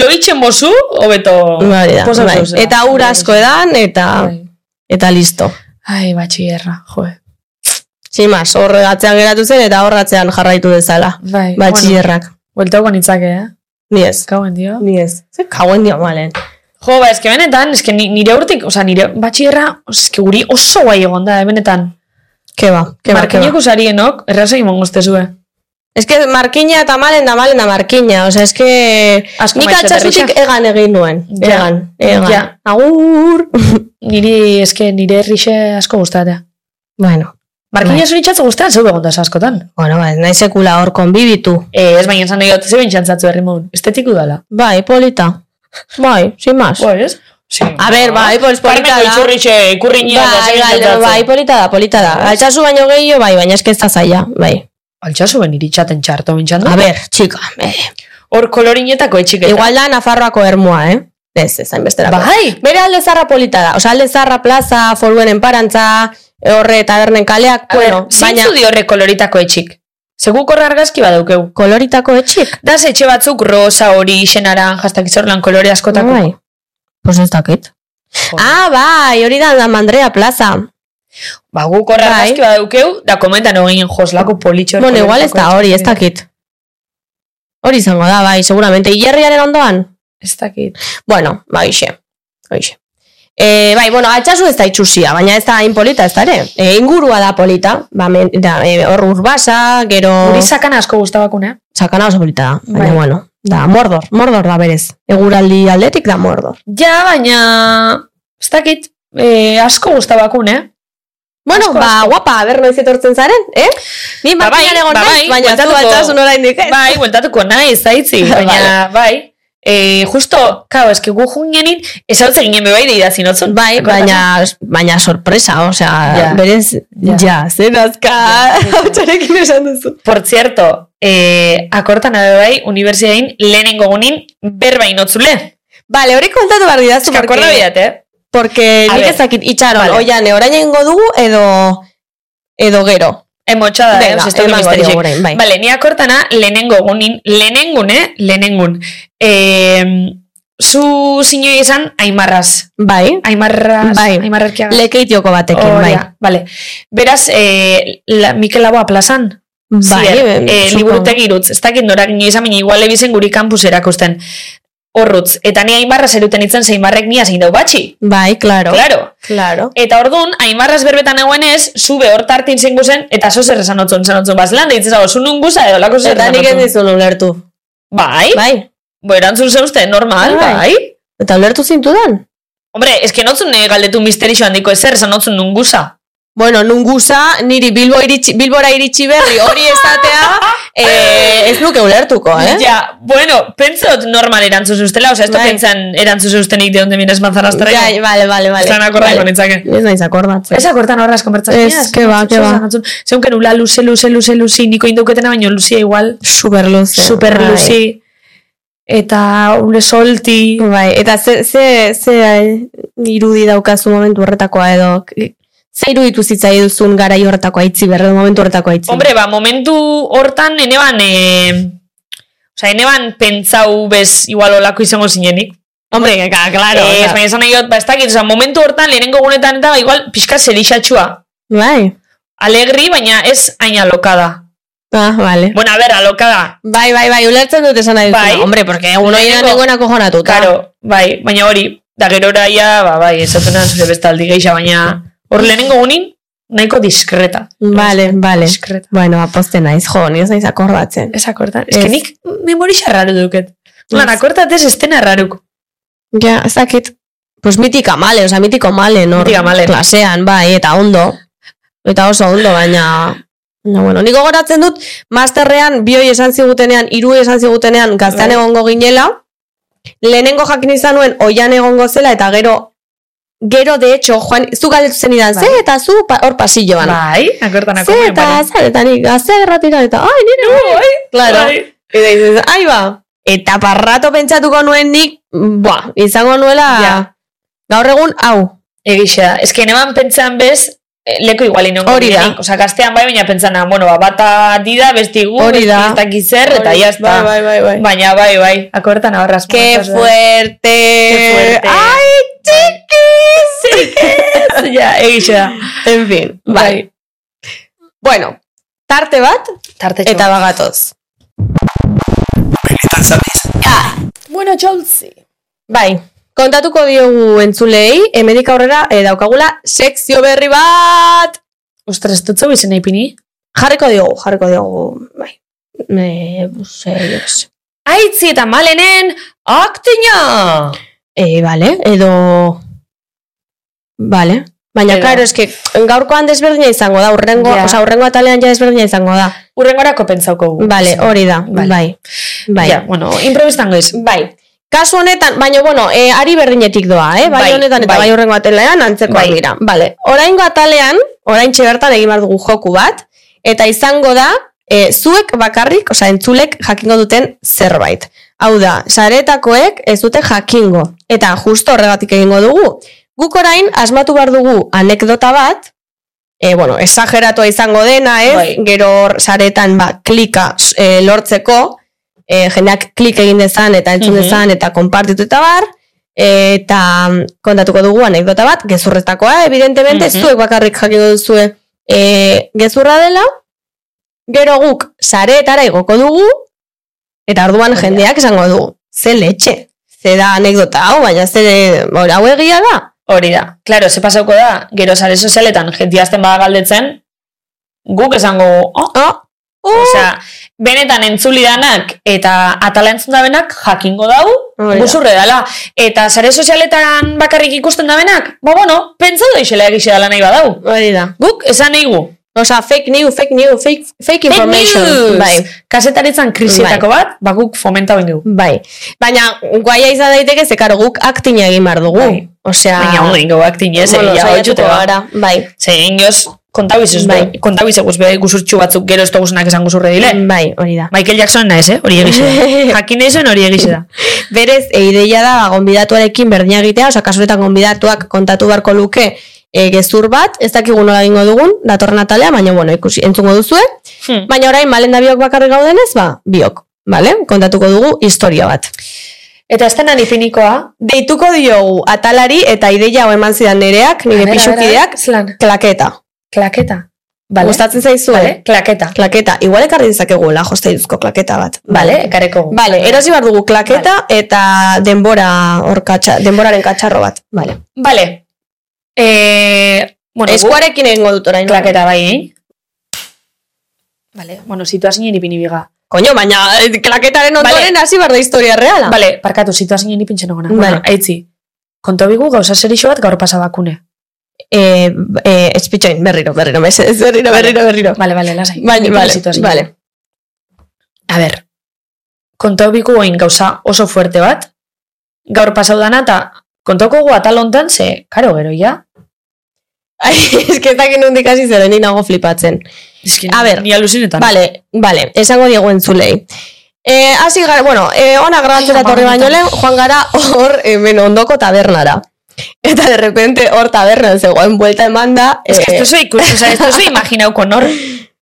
Speaker 3: loitzen bozu, hobeto.
Speaker 2: Hori da,
Speaker 3: posa
Speaker 2: bai.
Speaker 3: zuzela.
Speaker 2: Eta ur asko edan, eta,
Speaker 3: Bai.
Speaker 2: eta listo.
Speaker 3: Ai, batxierra, joe.
Speaker 2: Sin más, horre atzean geratu zen, eta horre atzean jarraitu dezala.
Speaker 3: Bai,
Speaker 2: Batxillerrak.
Speaker 3: Bueno, bueltauko nitzake, eh?
Speaker 2: Ni ez.
Speaker 3: Kauen dio.
Speaker 2: Ni ez. Ze kauen dio malen.
Speaker 3: Jo, ba, eske benetan, eske ni- nire urtik, oza, nire batxierra, eske guri oso guai egon da, eh, benetan.
Speaker 2: Keba, keba,
Speaker 3: Markinek
Speaker 2: keba.
Speaker 3: usarienok, errazai mongo estezue.
Speaker 2: ba, Ez que markina eta malen da malen da markina. Osa, ez que...
Speaker 3: Asko
Speaker 2: Nik
Speaker 3: maite
Speaker 2: altxasutik
Speaker 3: berrixa.
Speaker 2: egan egin nuen.
Speaker 3: Ja.
Speaker 2: Egan, egan.
Speaker 3: Ja.
Speaker 2: Agur.
Speaker 3: Niri, eske, nire errixe asko gustatea.
Speaker 2: bueno, Bai.
Speaker 3: Markinek zuritxatze gustatzen, zeu begon da askotan.
Speaker 2: bueno, ba, nahi sekula hor konbibitu.
Speaker 3: Eh, ez baina esan nahi dut, zeben txantzatzu herri modun. Estetiku dala.
Speaker 2: Bai, polita. Bai, sin más.
Speaker 3: Bo, ez? Sí.
Speaker 2: A ber, bai, pues polita
Speaker 3: Parmeko
Speaker 2: da.
Speaker 3: itzurritxe, ikurri nian,
Speaker 2: Bai, galde, bai, polita da, polita da. Altsasu baino gehiago, bai, baina eske ez da zaila, bai.
Speaker 3: Altxasu ben iritxaten txarto bintxan
Speaker 2: A
Speaker 3: da.
Speaker 2: ber, txika, eh.
Speaker 3: Hor kolorinetako etxiketa.
Speaker 2: Igual da Nafarroako ermua, eh? Ez, ez hainbesterako.
Speaker 3: Bai!
Speaker 2: Bere alde zarra polita da. Osa, alde zarra plaza, foruen enparantza, horre tabernen kaleak,
Speaker 3: A ber,
Speaker 2: bueno, baina
Speaker 3: Zintzu di horre koloritako etxik. Seguk horre argazki badaukeu.
Speaker 2: koloritako etxik.
Speaker 3: Da etxe batzuk rosa, hori, xenara, jastak izorlan kolore askotako.
Speaker 2: Bai. Pues ez dakit.
Speaker 3: Joder.
Speaker 2: Ah, bai, hori da Mandrea plaza.
Speaker 3: Ba, guk horre
Speaker 2: Bai.
Speaker 3: argazki badaukeu, da komentan hogin joslako politxo.
Speaker 2: Bueno, igual ez da hori, ez dakit. Hori izango da, bai, seguramente. Ilerriaren ondoan?
Speaker 3: Ez dakit.
Speaker 2: Bueno, ba, hoxe. Hoxe. E, bai, bueno, altxasu ez da itxusia, baina ez da hain polita, ez da ere. E, ingurua da polita, ba, men, da, e, hor urbasa, gero...
Speaker 3: Guri sakan asko guztabakun, eh?
Speaker 2: Sakana oso polita da, baina,
Speaker 3: Bai.
Speaker 2: bueno, da, mordor, mordor da berez. Eguraldi aldetik da mordor.
Speaker 3: Ja, baina... Ez dakit. Eh, asko guztabakun, eh?
Speaker 2: Bueno,
Speaker 3: Asko,
Speaker 2: ba,
Speaker 3: asko.
Speaker 2: guapa, a ber noiz etortzen zaren, eh? Ni
Speaker 3: Ba, bai,
Speaker 2: markinan egon
Speaker 3: ba,
Speaker 2: naiz,
Speaker 3: bai,
Speaker 2: baina zu
Speaker 3: bueltatuko-
Speaker 2: altxasun oraindik ez.
Speaker 3: Bai, bueltatuko naiz, zaitzi, baina, bai. E, justo, kao, eski gu jungenin, esautze ginen bebai da idatzi notzun.
Speaker 2: Bai, baina, baina sorpresa, osea,
Speaker 3: Ja.
Speaker 2: berez,
Speaker 3: Ja.
Speaker 2: ja, zen azka, hautsarekin esan duzu.
Speaker 3: Por cierto, e, akortan abe bai, unibertsitatein lehenengo gunin berbain otzule.
Speaker 2: Vale, hori kontatu behar didazu,
Speaker 3: Eske akorda bidat, eh?
Speaker 2: porque
Speaker 3: A
Speaker 2: nik
Speaker 3: ver.
Speaker 2: ez dakit itxaron,
Speaker 3: Vale.
Speaker 2: oian, eh, orain egingo dugu, edo, edo gero.
Speaker 3: Emotxada, eh? Osa, ez dakit
Speaker 2: emango diogu
Speaker 3: misteriosek.
Speaker 2: orain, bai.
Speaker 3: Bale, ni akortana lehenengo gunin, lehenengun, eh? Lehenengun. E, zu zinoi izan, aimarraz.
Speaker 2: Bai,
Speaker 3: Aimarraz,
Speaker 2: Bai.
Speaker 3: aimarrarkia.
Speaker 2: lekeitioko batekin, bai.
Speaker 3: Vale. Beraz, eh, la, Mikel Laboa plazan,
Speaker 2: Bai,
Speaker 3: Zier, e,
Speaker 2: supongo.
Speaker 3: liburutegi irutz, ez dakit norak nire izan, baina igual ebizen guri kampus erakusten. Horrutz, eta ni aimarra zeruten itzen zeinbarrek nia zein dau batxi.
Speaker 2: Bai, claro.
Speaker 3: Claro.
Speaker 2: Claro.
Speaker 3: Eta ordun aimarraz berbetan egoenez, zube hor tartin zen guzen, eta zo zer esan otzon, esan otzon, bazlan, deitzen zago, zu nun guza edo lako zer
Speaker 2: Eta
Speaker 3: esan
Speaker 2: nik ez
Speaker 3: otzon.
Speaker 2: dizun ulertu.
Speaker 3: Bai,
Speaker 2: Bai.
Speaker 3: bo erantzun zeuzte, normal,
Speaker 2: Bai.
Speaker 3: bai.
Speaker 2: Eta ulertu zintudan?
Speaker 3: Hombre, eske notzun eh, galdetu misterixo handiko ezer, esan otzun nun guza.
Speaker 2: Bueno, nun guza, niri Bilbo iritsi, Bilbora iritsi berri hori esatea, eh, ez nuke ulertuko, eh?
Speaker 3: bai. Ja, bueno, pentsot normal erantzun zeuztela, osea, esto
Speaker 2: Bai.
Speaker 3: pentsan erantzun zeuztenik de onde mires manzanas traigo.
Speaker 2: Ja, vale, vale, vale.
Speaker 3: Están acordando
Speaker 2: Vale.
Speaker 3: nitzake.
Speaker 2: Ez naiz akordatzen.
Speaker 3: Ez akortan horraz konbertsatzen.
Speaker 2: Ez, que ba, que ba.
Speaker 3: Zeunken ula luze, luze, luze, luzi, niko indauketena baino luzia igual.
Speaker 2: super luze.
Speaker 3: Super
Speaker 2: bai.
Speaker 3: luzi. Eta ule solti.
Speaker 2: Bai, eta ze, ze, ze eh, irudi daukazu momentu horretakoa edo k- ze iruditu zitzai duzun garai horretakoa itzi berre momentu horretakoa itzi.
Speaker 3: Hombre, ba, momentu hortan eneban... E... Osa, eneban pentsau bez igual olako izango zinenik.
Speaker 2: hombre, ka, claro.
Speaker 3: ez,
Speaker 2: oza.
Speaker 3: baina esan nahi dut, ba, ez dakit, osa, momentu hortan lehenengo gunetan eta ba, igual pixka zerixatxua.
Speaker 2: bai.
Speaker 3: Alegri, baina ez hain alokada.
Speaker 2: Ah, vale.
Speaker 3: Bueno, a ber, alokada.
Speaker 2: Bai, bai, bai, ulertzen dut esan nahi duzuna.
Speaker 3: Bai.
Speaker 2: Hombre, porque uno ira
Speaker 3: Lehenengo-
Speaker 2: nengoen akojonatuta.
Speaker 3: Karo, bai, baina hori, da gero oraia, ba, bai, esatuna zure bestaldi geixa, baina hor lehenengo gunin, nahiko diskreta.
Speaker 2: Vale, vale.
Speaker 3: Diskreta.
Speaker 2: Bueno, aposten naiz, jo, ni ez naiz akordatzen.
Speaker 3: Ez akortan, ez que
Speaker 2: Ez.
Speaker 3: nik memori xarraru duket. Lan, akortatez ez dena raruk.
Speaker 2: Ja, ez dakit. Pues mitika male, oza, mitiko male, nor.
Speaker 3: Mitika male.
Speaker 2: Klasean, bai, eta ondo. Eta oso ondo, baina... No, bueno, niko goratzen dut, masterrean, bioi esan zigutenean, hiru esan zigutenean, gaztean
Speaker 3: Bai.
Speaker 2: egongo ginela, lehenengo jakin izan nuen, oian egongo zela, eta gero, gero, de hecho, Juan, zu galdetu zen idan,
Speaker 3: Bai.
Speaker 2: ze, eta zu, pa- hor pasilloan.
Speaker 3: Bai, akortan
Speaker 2: ze, eta, zer, eta nik, gazte erratira, eta, ai, nire, bai, claro. Eta dices, ai ba, eta parrato pentsatuko nuen nik, buah, izango nuela,
Speaker 3: Ja.
Speaker 2: gaur egun, hau,
Speaker 3: Egixa, ez que neman pentsan bez, eh, leko igual inongo
Speaker 2: Hori da.
Speaker 3: girenik. Osa, gaztean bai, baina pentsan, ah, bueno, ba, bata dida, besti gu,
Speaker 2: Hori
Speaker 3: besti
Speaker 2: da.
Speaker 3: ez dakit zer, eta ya está.
Speaker 2: Bai, bai, bai, bai.
Speaker 3: Baina bai, bai, akortan ahorraz.
Speaker 2: ¡Qué fuerte!
Speaker 3: Qué fuerte.
Speaker 2: ¡Ay, chiquis!
Speaker 3: ja, egixa.
Speaker 2: en fin, bai.
Speaker 3: Bai.
Speaker 2: Bueno, tarte bat,
Speaker 3: Tarte
Speaker 2: eta bagatoz.
Speaker 4: Benetan sabes?
Speaker 2: Ja,
Speaker 5: bueno, Joltzi.
Speaker 2: Bai, kontatuko diogu entzulei, hemendik aurrera eh, daukagula sekzio berri bat!
Speaker 3: Ostras, dutzeu izen ipini?
Speaker 2: Jarriko diogu, jarriko diogu, bai. Eh, Me, buse, jo que sé.
Speaker 3: Aitzi eta malenen aktina!
Speaker 2: Eh, vale, edo... Vale. Baina,
Speaker 3: Edo-
Speaker 2: claro, eske gaurkoan desberdina izango da, urrengo,
Speaker 3: Ja.
Speaker 2: osea, urrengo atalean ja desberdina izango da.
Speaker 3: Urrengorako pentsauko gu.
Speaker 2: Vale, hori da,
Speaker 3: Vale.
Speaker 2: bai. Bai.
Speaker 3: Ja, bueno, improvistango iz.
Speaker 2: Bai. Kasu honetan, baina, bueno, e, ari berdinetik doa, eh? Bai,
Speaker 3: Bai,
Speaker 2: honetan eta
Speaker 3: bai.
Speaker 2: bai horrengo atalean antzeko
Speaker 3: Bai.
Speaker 2: dira. Vale. Oraingo atalean, orain bertan egin behar dugu joku bat, eta izango da, e, zuek bakarrik, osea, entzulek jakingo duten zerbait. Hau da, saretakoek ez dute jakingo. Eta justo horregatik egingo dugu. Guk orain, asmatu behar dugu anekdota bat, e, bueno, exageratua izango dena, ez?
Speaker 3: Bai.
Speaker 2: Gero hor saretan ba, klika e, lortzeko, e, jendeak klik egin dezan eta entzun
Speaker 3: Mhm.
Speaker 2: dezan eta konpartitu eta bar, eta mm, kontatuko dugu anekdota bat, gezurretakoa, eh, evidentemente,
Speaker 3: Mhm.
Speaker 2: zuek bakarrik jakingo duzue e, gezurra dela, gero guk sareetara igoko dugu, eta orduan jendeak esango dugu, ze letxe, ze da anekdota hau, baina ze, hor, hau egia da,
Speaker 3: Hori da. Claro, ze pasauko da, gero sare sozialetan jentiazten bada galdetzen, guk esango, oh,
Speaker 2: oh, oh,
Speaker 3: Osea, benetan entzuli danak eta atala entzun dabenak jakingo dau,
Speaker 2: Hori da.
Speaker 3: busurre dela. Eta sare sozialetan bakarrik ikusten dabenak, ba bueno, pentsa da isela egixe dela nahi badau.
Speaker 2: hori da.
Speaker 3: Guk esan nahi gu.
Speaker 2: Osa, fake news, fake news, fake, fake
Speaker 3: Fake
Speaker 2: information.
Speaker 3: news!
Speaker 2: Bai,
Speaker 3: Kasetaritzan krisietako bat, ba guk fomenta bain dugu.
Speaker 2: bai. Baina, guaia izan daiteke, ze karo guk aktina egin behar dugu.
Speaker 3: Bai.
Speaker 2: Osea,
Speaker 3: Baina ondo ingo aktinez,
Speaker 2: bueno,
Speaker 3: ja
Speaker 2: Ah. saiatuko
Speaker 3: hotxute gara.
Speaker 2: gara. Bai,
Speaker 3: Zein goz, kontabizuz,
Speaker 2: Bai.
Speaker 3: bai. kontabizeguz, bai, gusurtxu batzuk gero ez duguzunak esan guzurre dile.
Speaker 2: bai, hori da.
Speaker 3: Michael Jackson nahez, eh? Hori egixe da. Jakin nahi zuen hori egixe da.
Speaker 2: Berez, e, ideia da, ba, gonbidatuarekin berdina egitea, osea, kasuretan gonbidatuak kontatu beharko luke e, gezur bat, ez dakigu nola egingo dugun, datorren atalea, baina, bueno, ikusi, entzungo duzue.
Speaker 3: Hmm.
Speaker 2: Baina orain, malen da biok bakarrik gaudenez, ba, biok, bale? Kontatuko dugu historia bat.
Speaker 3: Eta ez denan ipinikoa,
Speaker 2: Deituko diogu atalari eta ideia hau eman zidan nereak, nire
Speaker 3: A ber, a ber, a ber,
Speaker 2: pixukideak,
Speaker 3: zelan?
Speaker 2: klaketa.
Speaker 3: Klaketa. Vale.
Speaker 2: Gustatzen zaizu,
Speaker 3: Vale,
Speaker 2: eh?
Speaker 3: klaketa.
Speaker 2: Klaketa. Igual ekarri dezakegula joste dizko klaketa bat.
Speaker 3: Vale, ekareko. gu.
Speaker 2: Vale, erosi behar dugu klaketa eta denbora hor katxa, denboraren katxarro bat. Vale.
Speaker 3: Vale. Eh, bueno, gu-
Speaker 2: Eskuarekin egingo dut orain.
Speaker 3: klaketa bai, eh? Vale, bueno, situazinen ipini biga.
Speaker 2: Koño, baina eh, klaketaren
Speaker 3: Vale.
Speaker 2: ondoren hasi behar da historia reala.
Speaker 3: Vale, parkatu, situazinen ipintzen egona. Ah. Vale. Bueno,
Speaker 2: Vale.
Speaker 3: aitzi. Konto bigu gauza zerixo bat gaur pasabakune.
Speaker 2: Eh, eh, espitxoin, berriro, berriro, mesedez, berriro,
Speaker 3: Vale.
Speaker 2: berriro, berriro.
Speaker 3: Vale, vale, lasai.
Speaker 2: Vale,
Speaker 3: Ipini
Speaker 2: vale,
Speaker 3: situazioa.
Speaker 2: vale.
Speaker 3: A ber, kontau biku oin gauza oso fuerte bat, gaur pasau dana eta kontauko gu atal hontan, ze, karo gero, ja?
Speaker 2: Ai, es que ez dakin nondik hasi zeren, ni nago flipatzen. A ber.
Speaker 3: ni alusinetan.
Speaker 2: Vale, vale, esango diegu entzulei. Eh, hasi gara, bueno, eh, ona grabatzera
Speaker 3: Ai,
Speaker 2: torri baino
Speaker 3: apagonetan.
Speaker 2: lehen, joan gara hor hemen ondoko tabernara. Eta de repente hor tabernan zegoen buelta eman da.
Speaker 3: Ez que
Speaker 2: eh,
Speaker 3: esto soy ikusi, o sea, esto soy imaginauko nor.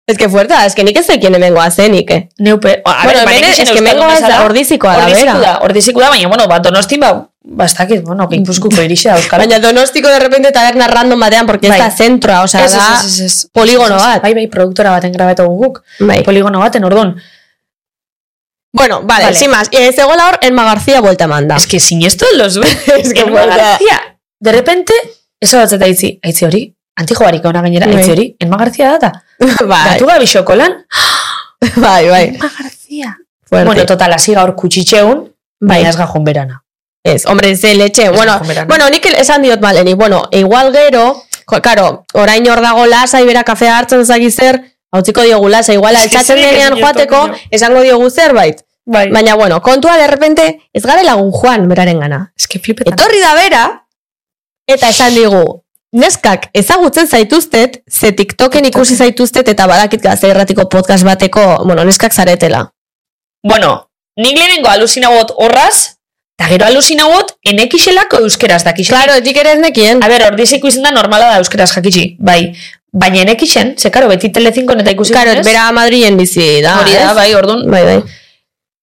Speaker 2: es que fuerta, es que nik ez zekien hemengo azenik, eh.
Speaker 3: Neupe, a
Speaker 2: Bueno, hemen, es que hemengo ez da ordizikoa da, bera.
Speaker 3: Ordiziku da, ordiziku da, baina, bueno, bat donostin, ba, ba, ez dakit, bueno, gipuzkuko irixe dauzkala.
Speaker 2: Baina donostiko de repente taberna random batean, porque ez
Speaker 3: Bai.
Speaker 2: da zentroa, osea
Speaker 3: Ez, ez,
Speaker 2: da...
Speaker 3: ez, ez, ez.
Speaker 2: poligono
Speaker 3: Ez, ez, ez.
Speaker 2: bat.
Speaker 3: Bai, bai, produktora baten grabatugu guk.
Speaker 2: Bai.
Speaker 3: Poligono baten, orduan.
Speaker 2: Bueno, vale,
Speaker 3: Vale.
Speaker 2: sin más. Eh, zegoela hor, Elma García buelta eman da.
Speaker 3: Ez que sinestu los Ez
Speaker 2: que fuera.
Speaker 3: García. De repente, eso bat eta aitzi, aitzi hori, antijoarik ona gainera,
Speaker 2: Bai.
Speaker 3: aitzi hori, Elma García da, eta,
Speaker 2: bai,
Speaker 3: datu gabi xokolan.
Speaker 2: bai, bai.
Speaker 3: Elma García.
Speaker 2: Fuerte.
Speaker 3: Bueno, total, hasi gaur kutsitxeun,
Speaker 2: Bai.
Speaker 3: baina ez gajun berana.
Speaker 2: Ez, hombre, ze leche. Bueno,
Speaker 3: joan berana.
Speaker 2: bueno, nik esan diot baleni. Bueno, e, igual gero, jo, karo, orain hor dago lasa, ibera kafea hartzen zaki zer, hautziko diogu lasa, igual
Speaker 3: Ez que
Speaker 2: altxatzen
Speaker 3: zer egin
Speaker 2: denean
Speaker 3: diotu,
Speaker 2: joateko,
Speaker 3: coño.
Speaker 2: esango diogu zerbait.
Speaker 3: Bai.
Speaker 2: Baina, bueno, kontua de repente, ez gara lagun joan beraren gana.
Speaker 3: Ez que flipetan.
Speaker 2: Etorri da bera, eta esan digu, neskak ezagutzen zaituztet, ze TikToken ikusi zaituztet eta badakit gazte erratiko podcast bateko, bueno, neskak zaretela.
Speaker 3: Bueno, nik lehenengo alusinagot horraz, eta gero alusinagot enekixelako euskeraz dakixen.
Speaker 2: Claro, nik ere ez nekien.
Speaker 3: A ber, ordiziko izan da normala da euskeraz jakitxi, bai. Baina enekixen, ze karo, beti telezinkon eta ikusi
Speaker 2: Claro,
Speaker 3: denez,
Speaker 2: bera Madrilen bizi da.
Speaker 3: Hori da,
Speaker 2: ez?
Speaker 3: bai, orduan.
Speaker 2: Bai, bai.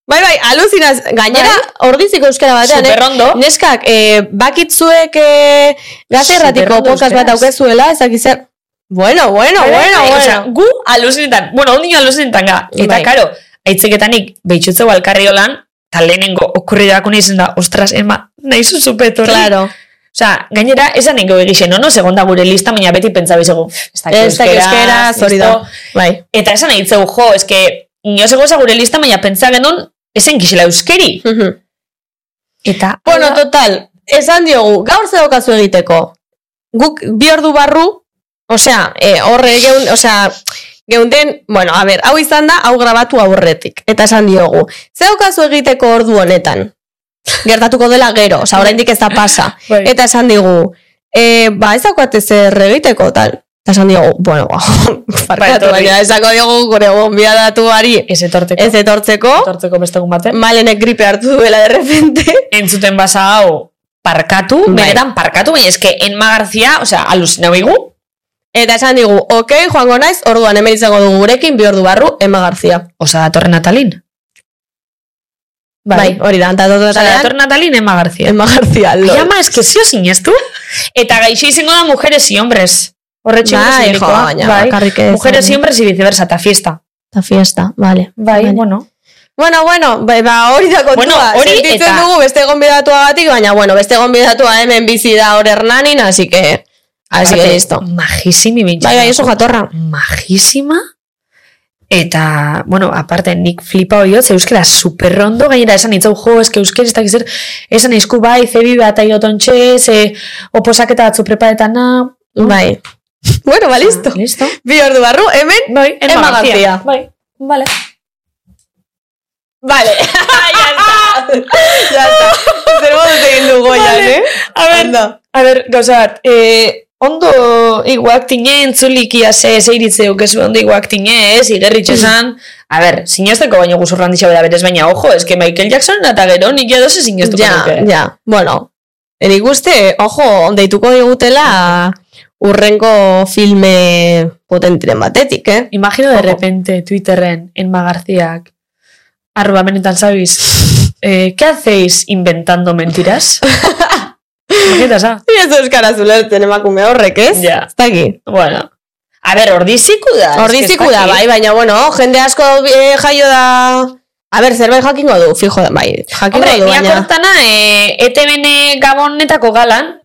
Speaker 2: Bai, bai, aluzinaz, gainera, ordiziko euskara batean,
Speaker 3: Superrondo.
Speaker 2: eh? Neskak, eh, bakitzuek eh, gazerratiko
Speaker 3: Superrondo
Speaker 2: podcast bat
Speaker 3: euskeraz.
Speaker 2: aukezuela, ezakizzer... Bueno, bueno,
Speaker 3: Bai,
Speaker 2: bueno,
Speaker 3: bai,
Speaker 2: bueno.
Speaker 3: osea, gu aluzinetan, bueno, ondino aluzinetan ga. Eta,
Speaker 2: Bai.
Speaker 3: karo, aitzeketanik behitxutze balkarri holan, Eta lehenengo okurrirako nizen da, ostras, ema, nahi zuzu petorri.
Speaker 2: Claro.
Speaker 3: Osa, gainera, esan nengo egixen, no? Segonda gure lista, baina beti pentsa bizegu, ez dakit
Speaker 2: Ez da euskera, zori da.
Speaker 3: esto.
Speaker 2: Bai.
Speaker 3: Eta esan egitzeu, jo, eske, nio zegoza gure lista, baina pentsa genuen, esen kisela euskeri.
Speaker 2: Mhm.
Speaker 3: Eta,
Speaker 2: Bueno, total, esan diogu, gaur ze daukazu egiteko. Guk bi ordu barru, osea, e, horre geun, osea, geunden, bueno, a ber, hau izan da, hau grabatu aurretik. Eta esan diogu, ze daukazu egiteko ordu honetan? Gertatuko dela gero, osea, oraindik ez da pasa.
Speaker 3: Bai.
Speaker 2: Eta esan digu, e, ba, ez daukate zer egiteko, tal. Eta esan diogu, bueno, ba, farkatu,
Speaker 3: etorri.
Speaker 2: baina esako diogu gure gonbidatuari
Speaker 3: ez etorteko,
Speaker 2: ez Mm. etortzeko,
Speaker 3: etortzeko beste egun baten.
Speaker 2: malenek gripe hartu duela de repente.
Speaker 3: Entzuten basa hau, parkatu,
Speaker 2: Bai.
Speaker 3: benetan parkatu, baina eske, Enma Garzia, osea, alusinau igu,
Speaker 2: Eta esan digu, okei, joango naiz, orduan hemen izango dugu gurekin, bi ordu barru, Ema Garzia.
Speaker 3: osea, datorren natalin.
Speaker 2: Bai, hori da, eta dotu
Speaker 3: Osea,
Speaker 2: esanean,
Speaker 3: datorren natalin Enma Garzia.
Speaker 2: Ema Garzia,
Speaker 3: Ai,
Speaker 2: lol.
Speaker 3: ama, eske zio sinestu. Eta gaixo izango da mujeres y hombres. Horretxe
Speaker 2: Bai, jo,
Speaker 3: gaurko
Speaker 2: baina,
Speaker 3: bai.
Speaker 2: bakarrik ez.
Speaker 3: Mujeres y hombres y viceversa, eta fiesta.
Speaker 2: Eta fiesta, vale.
Speaker 3: Bai, bueno.
Speaker 2: Bueno, bueno, bai, ba, hori da kontua.
Speaker 3: Bueno, hori
Speaker 2: Sentitzen
Speaker 3: eta-
Speaker 2: dugu beste gonbidatuagatik, baina, bueno, beste gonbidatua hemen bizi da hor hernanin, así que, así que
Speaker 3: Aparte,
Speaker 2: listo.
Speaker 3: Majisimi bintxan.
Speaker 2: Bai, bai, eso jatorra.
Speaker 3: Majisima. Eta, bueno, aparte, nik flipa hori dut, ze euskera superrondo gainera esan itzau, jo, eske euskera ez dakiz zer, esan esku bai, zebi bat aiotontxe, ze oposaketa batzu preparetana.
Speaker 2: Bai. Bueno, ba, listo.
Speaker 3: Listo.
Speaker 2: Bi ordu barru, hemen,
Speaker 3: Bai, Emma,
Speaker 2: Emma
Speaker 3: García.
Speaker 2: García.
Speaker 3: Bai, vale.
Speaker 2: vale. ya está. Zer moduz egin dugu, ya,
Speaker 3: Vale.
Speaker 2: eh?
Speaker 3: A ver,
Speaker 2: Ondo.
Speaker 3: a ver, gauza bat, eh, ondo iguak tinen, zulikia ze, ze iritzeuk ez, ondo iguak tine, ez, igerritxe esan. A ber, sinesteko baino guzurran dixo bera berez, baina ojo, eske Michael Jackson eta gero nik edo ze sinestuko
Speaker 2: Ja,
Speaker 3: nuke.
Speaker 2: ja. Bueno, nik uste, ojo, deituko digutela urrengo filme potentiren batetik, eh?
Speaker 3: Imagino de
Speaker 2: Ojo.
Speaker 3: repente Twitterren Enma Garcíak arroba benetan zabiz eh, ¿Qué hacéis inventando mentiras? Imagina, sa?
Speaker 2: Ez euskaraz ulertzen emakume horrek, ez?
Speaker 3: Ja.
Speaker 2: Ez daki.
Speaker 3: Bueno. A ver, ordiziku da. eske
Speaker 2: Ordiziku
Speaker 3: ez
Speaker 2: da,
Speaker 3: dakit.
Speaker 2: bai, baina, bueno, jende asko eh, jaio da... A ber, zerbait jakingo du, fijo da, bai, jakingo
Speaker 3: Hombre,
Speaker 2: du,
Speaker 3: nia
Speaker 2: baina...
Speaker 3: kortana, e, ETBN gabonetako galan,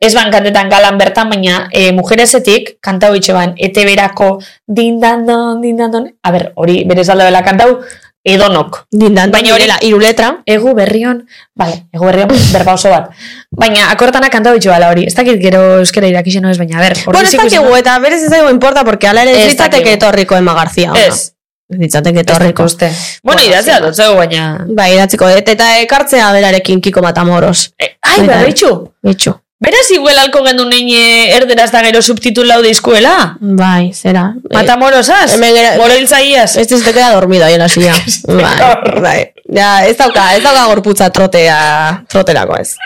Speaker 3: ez ban kantetan galan bertan, baina e, mujerezetik, kantau itxe ban, ETBerako dindandon, dindandon, a ber, hori berez alda dela kantau, edonok.
Speaker 2: Dindan,
Speaker 3: Baina
Speaker 2: baina
Speaker 3: hori-
Speaker 2: horrela, hiru letra.
Speaker 3: Egu berrion, bale, egu berrion berba oso bat. Baina, akortana kantau itxe bala hori, ez dakit gero euskera irakixen ez, baina, a ber,
Speaker 2: Bueno, ez
Speaker 3: ordiziku
Speaker 2: dakigu,
Speaker 3: izan-
Speaker 2: eta berez ez dago importa, porque ala ere ez
Speaker 3: Ez
Speaker 2: litzateke
Speaker 3: dakigu.
Speaker 2: etorriko Emma García. ona.
Speaker 3: Ez,
Speaker 2: Ez litzateke
Speaker 3: etorriko
Speaker 2: etorriko.
Speaker 3: uste. Bueno,
Speaker 2: Bueno,
Speaker 3: irazia
Speaker 2: sí.
Speaker 3: dotzeu, baina...
Speaker 2: Bai, idatziko dut, eta ekartzea berarekin Kiko Matamoros.
Speaker 3: Eh, Ai,
Speaker 2: Baita.
Speaker 3: berritxu!
Speaker 2: Betxu.
Speaker 3: Beraz, igual alko gendu nein eh, erderaz da gero subtitulau deizkuela?
Speaker 2: Bai, zera. Eh,
Speaker 3: Matamorosaz?
Speaker 2: hemen gera-
Speaker 3: Moro hiltzaiaz?
Speaker 2: Este se te queda dormido ahí en la silla. bai, bai. Ja, ez dauka, ez dauka gorputza trotea, troterako ez.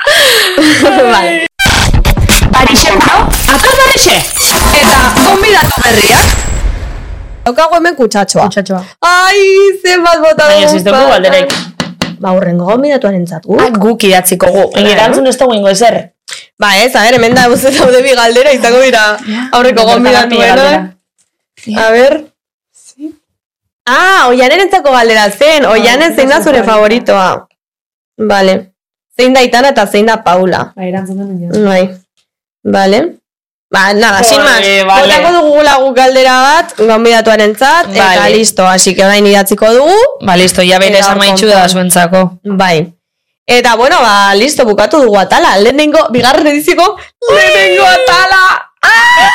Speaker 2: bai. Eta, gombidatu berriak. Daukago hemen kutsatxoa.
Speaker 3: Txatxoa.
Speaker 2: Ai, zenbat bota dugu.
Speaker 3: Baina ez dugu
Speaker 2: faltan.
Speaker 3: galderek.
Speaker 2: Ba, urrengo gombidatuaren zatgu.
Speaker 3: Ah, Guk idatziko gu. Erantzun ez dugu ingo ezer.
Speaker 2: Ba, ez, a ber, hemen da, buzet daude bi galdera, izango dira aurreko gombidatuena. A ver. Ah, oianen entzako galdera zen. Oianen zein da zure favoritoa. Vale. Zein da Itana eta zein da Paula.
Speaker 3: Ba, erantzun den dira.
Speaker 2: Bai. Vale. Ba, nada, sin más.
Speaker 3: Joder, vale.
Speaker 2: Botako dugu lagu galdera bat, gombidatuaren zat, eta
Speaker 3: Vale.
Speaker 2: listo, así que orain idatziko dugu.
Speaker 3: Ba, listo, ja bere
Speaker 2: Eta hor
Speaker 3: amaitxu da
Speaker 2: kontuan.
Speaker 3: zuentzako.
Speaker 2: Bai. Eta, bueno, ba, listo, bukatu dugu atala. Lehenengo, bigarren ediziko, lehenengo atala! Ah!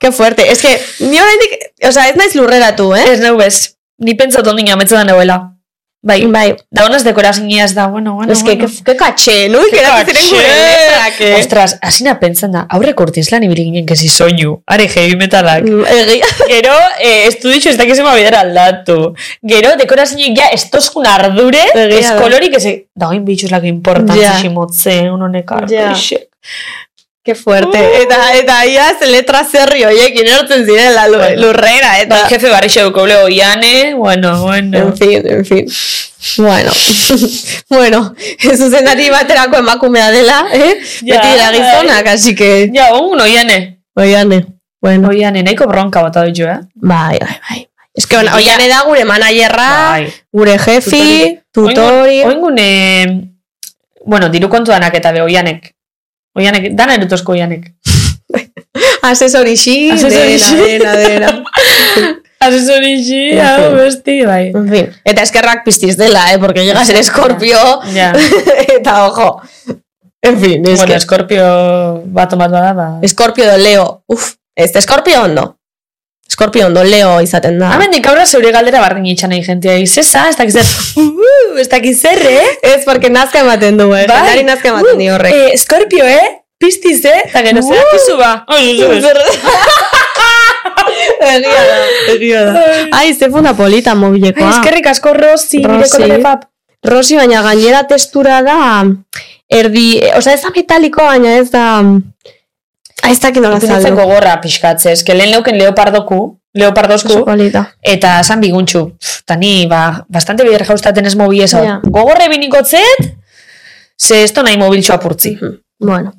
Speaker 2: Qué fuerte. Es que, ni oraindik, o sea, ez naiz lurreratu, eh?
Speaker 3: Ez neu bez. Ni pentsatu ondina ametzu da neuela. Bai.
Speaker 2: Bai.
Speaker 3: Da honez dekora zinez da, bueno, bueno,
Speaker 2: Es que,
Speaker 3: Ah, bueno.
Speaker 2: que, que katxe, nu, geratu ziren gure
Speaker 3: Katxe.
Speaker 2: letrak, eh?
Speaker 3: Ostras, asina pentsan da, aurreko urtiz lan ibili ginen kezi soinu, are heavy metalak.
Speaker 2: Mm, Egia.
Speaker 3: Gero, eh, estuditxo ez dakizema bidera aldatu. Gero, dekorazioik ja, estoskun ardure,
Speaker 2: Egia da.
Speaker 3: eskolorik ez... Da, oin bitxuz lako importantzia
Speaker 2: Ja.
Speaker 3: ximotze, unonek
Speaker 2: Ja.
Speaker 3: artixek.
Speaker 2: Qué fuerte.
Speaker 3: Uh,
Speaker 2: Eta, eta iaz letra zerri hoiekin erortzen zirela lu-
Speaker 3: Bueno.
Speaker 2: lurrera,
Speaker 3: Bai,
Speaker 2: eta...
Speaker 3: jefe barri xeo koule oiane, bueno, bueno.
Speaker 2: En fin, en fin. Bueno, bueno, zuzenari baterako emakumea dela, eh?
Speaker 3: Ja,
Speaker 2: Beti dira gizonak, así que...
Speaker 3: Ja, un oiane.
Speaker 2: Oiane, bueno.
Speaker 3: Oiane, nahiko bronka bat ditu, eh?
Speaker 2: Bai, bai, bai. Ez que, bueno, oiane da gure managerra,
Speaker 3: Bai.
Speaker 2: gure jefi, tutorio.
Speaker 3: Oingun, eh, bueno, diru kontuanak eta be, oianek. Oianek, dana erutozko oianek.
Speaker 2: Asesorixi,
Speaker 3: Asesorixi.
Speaker 2: dena, dena, dena.
Speaker 3: Asesorixi,
Speaker 2: Ja,
Speaker 3: hau,
Speaker 2: sí.
Speaker 3: besti, bai.
Speaker 2: En fin, eta eskerrak piztiz dela, eh, porque llegas en escorpio,
Speaker 3: Ja,
Speaker 2: eta ojo. En fin, es
Speaker 3: bueno,
Speaker 2: que...
Speaker 3: eskorpio bat omat bada, ba.
Speaker 2: Eskorpio do leo. Uf, ez da eskorpio ondo. Eskorpio ondo leo izaten da.
Speaker 3: Hemendik aurra zeure galdera bardin itxan nahi jentia izesa, ez dakiz zer, uh, ez dakiz zer, eh?
Speaker 2: Ez, porque nazka ematen du, eh?
Speaker 3: Bai.
Speaker 2: Jendari nazka ematen di horrek.
Speaker 3: Eh, Scorpio, eh? Piztiz, eh? Eta gero zer, akizu ba. Ai,
Speaker 2: eh,
Speaker 3: ez, ez.
Speaker 2: Egia da, egia da. Ai, ze polita
Speaker 3: Ai,
Speaker 2: mobilekoa.
Speaker 3: eskerrik asko Rosi, nire
Speaker 2: Rosi.
Speaker 3: kolore pap.
Speaker 2: Rosi, baina gainera testura da erdi, oza, ez da metaliko, baina ez da... Ai, Ah, ez dakit nola
Speaker 3: Pintzatzeko
Speaker 2: zaldu.
Speaker 3: gorra pixkatze, eske lehen leuken leopardoku, leopardosku,
Speaker 2: Oso polita.
Speaker 3: eta san biguntxu. Pff, Eta ni, ba, bastante bider jaustaten ez mobi ez hau.
Speaker 2: Ja.
Speaker 3: Gogorre binikotzet, ze esto nahi mobiltxoa purtzi.
Speaker 2: Bueno.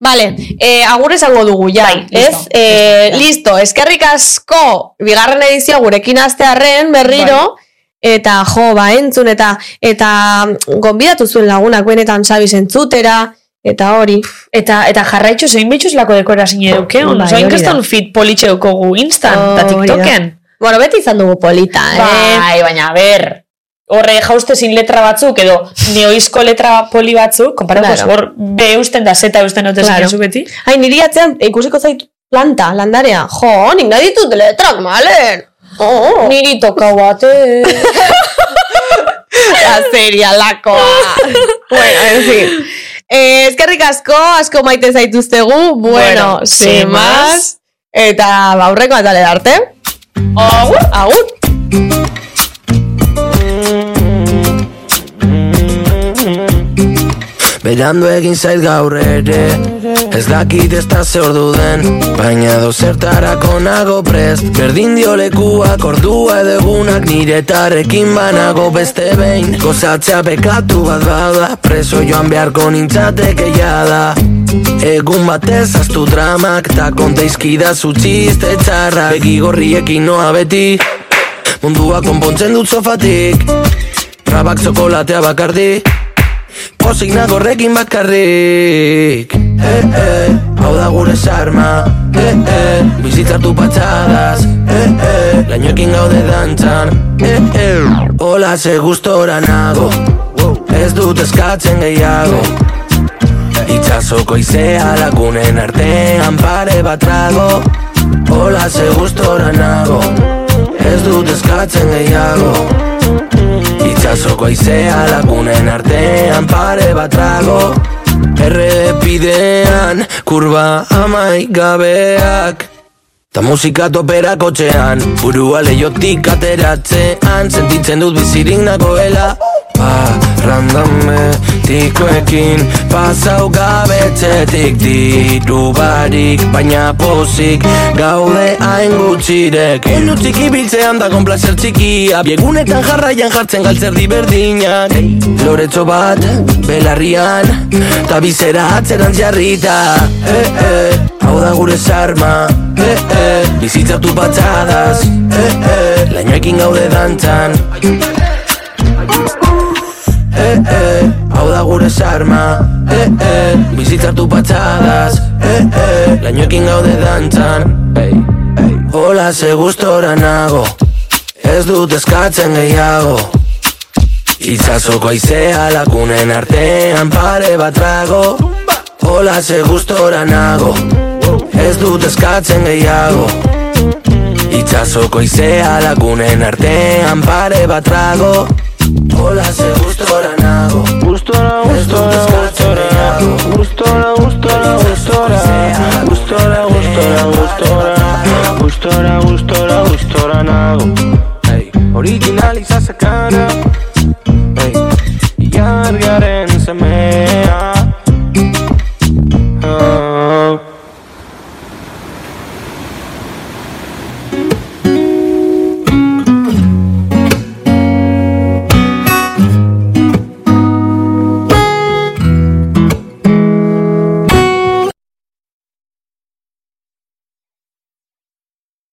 Speaker 2: Vale, eh, agur esango dugu, ja,
Speaker 3: Bai,
Speaker 2: ez?
Speaker 3: listo,
Speaker 2: eh,
Speaker 3: listo, ja.
Speaker 2: listo, eskerrik asko, bigarren edizioa gurekin astearren berriro, eta jo, ba, entzun, eta, eta gonbidatu zuen lagunak benetan sabiz entzutera, eta hori.
Speaker 3: Eta, eta jarraitxu zein bitxuz lako dekora zine duke, on,
Speaker 2: Bai,
Speaker 3: zoin
Speaker 2: hori da.
Speaker 3: kriston fit politxe dukogu instan, eta
Speaker 2: Hori da.
Speaker 3: tiktoken.
Speaker 2: Bueno, beti izan dugu polita, eh?
Speaker 3: Bai, baina, a ber, horre jaustezin letra batzuk, edo neoizko letra poli batzuk, konparatuko
Speaker 2: Claro.
Speaker 3: hor B eusten da Z eusten dute
Speaker 2: Claro.
Speaker 3: claro. beti.
Speaker 2: Ai, niri atzean eh, ikusiko zait planta, landarea. Jo, nik nahi ditut letrak, malen. Oh,
Speaker 3: Niri toka bate.
Speaker 2: Azeria lakoa. bueno, en fin. Eh, eskerrik asko, asko maite zaituztegu. Bueno,
Speaker 3: Bueno,
Speaker 2: sin
Speaker 3: sin
Speaker 2: más. Eta baurreko atale arte.
Speaker 3: Agur!
Speaker 2: Agur.
Speaker 5: Berandu egin zait gaur ere Ez dakit ez da ze ordu den Baina dozertarako nago prest Berdin dio lekuak ordua edo egunak Nire tarrekin banago beste behin Gozatzea bekatu bat bada Preso joan beharko nintzateke jada Egun batez aztu dramak Ta konteizkida zutxiste txarra Begi gorriekin noa beti Mundua konpontzen dut sofatik Trabak zokolatea bakardik Pozik nago horrekin bakarrik Eh, eh, hau da gure sarma Eh, eh, bizitzartu patxadas Eh, eh, lainoekin gaude dantzan Eh, eh, hola ze gustora nago Ez dut eskatzen gehiago Itxasoko izea lagunen artean pare bat trago Hola ze gustora nago Ez dut eskatzen gehiago Itxasoko aizea lagunen artean pare bat trago Errepidean kurba amai gabeak Ta musika topera kotxean Burua leiotik ateratzean Sentitzen dut bizirik nagoela Parrandame tikoekin Pasau gabetzetik Diru barik baina pozik Gaude hain gutxirek Elu txiki biltzean da konplazer txikia Biegunetan jarraian jartzen galtzer diberdinak Loretzo bat, belarrian Ta bizera atzeran jarrita Eh, eh, hau da gure sarma Eh, eh, bizitzatu patxadas Eh, eh, lainoekin gaude dantzan eh, eh, hau da gure sarma, eh, eh, bizitzartu patxadas, eh, eh, lainoekin gaude dantzan, hey, hey. hola ze gustora nago, ez dut eskatzen gehiago, Itxasoko aizea lakunen artean pare bat trago Hola ze gustora nago Ez dut eskatzen gehiago Itxasoko aizea lagunen artean pare bat trago Hola ze gustora nago
Speaker 6: Gustora,
Speaker 5: Ez dut
Speaker 6: gustora,
Speaker 5: eskatzen gehiago
Speaker 6: gustora, gustora, gustora, gustora, gustora, gustora, gustora, gustora, gustora nago.
Speaker 5: Hey, Original izaz sakana
Speaker 6: Ah.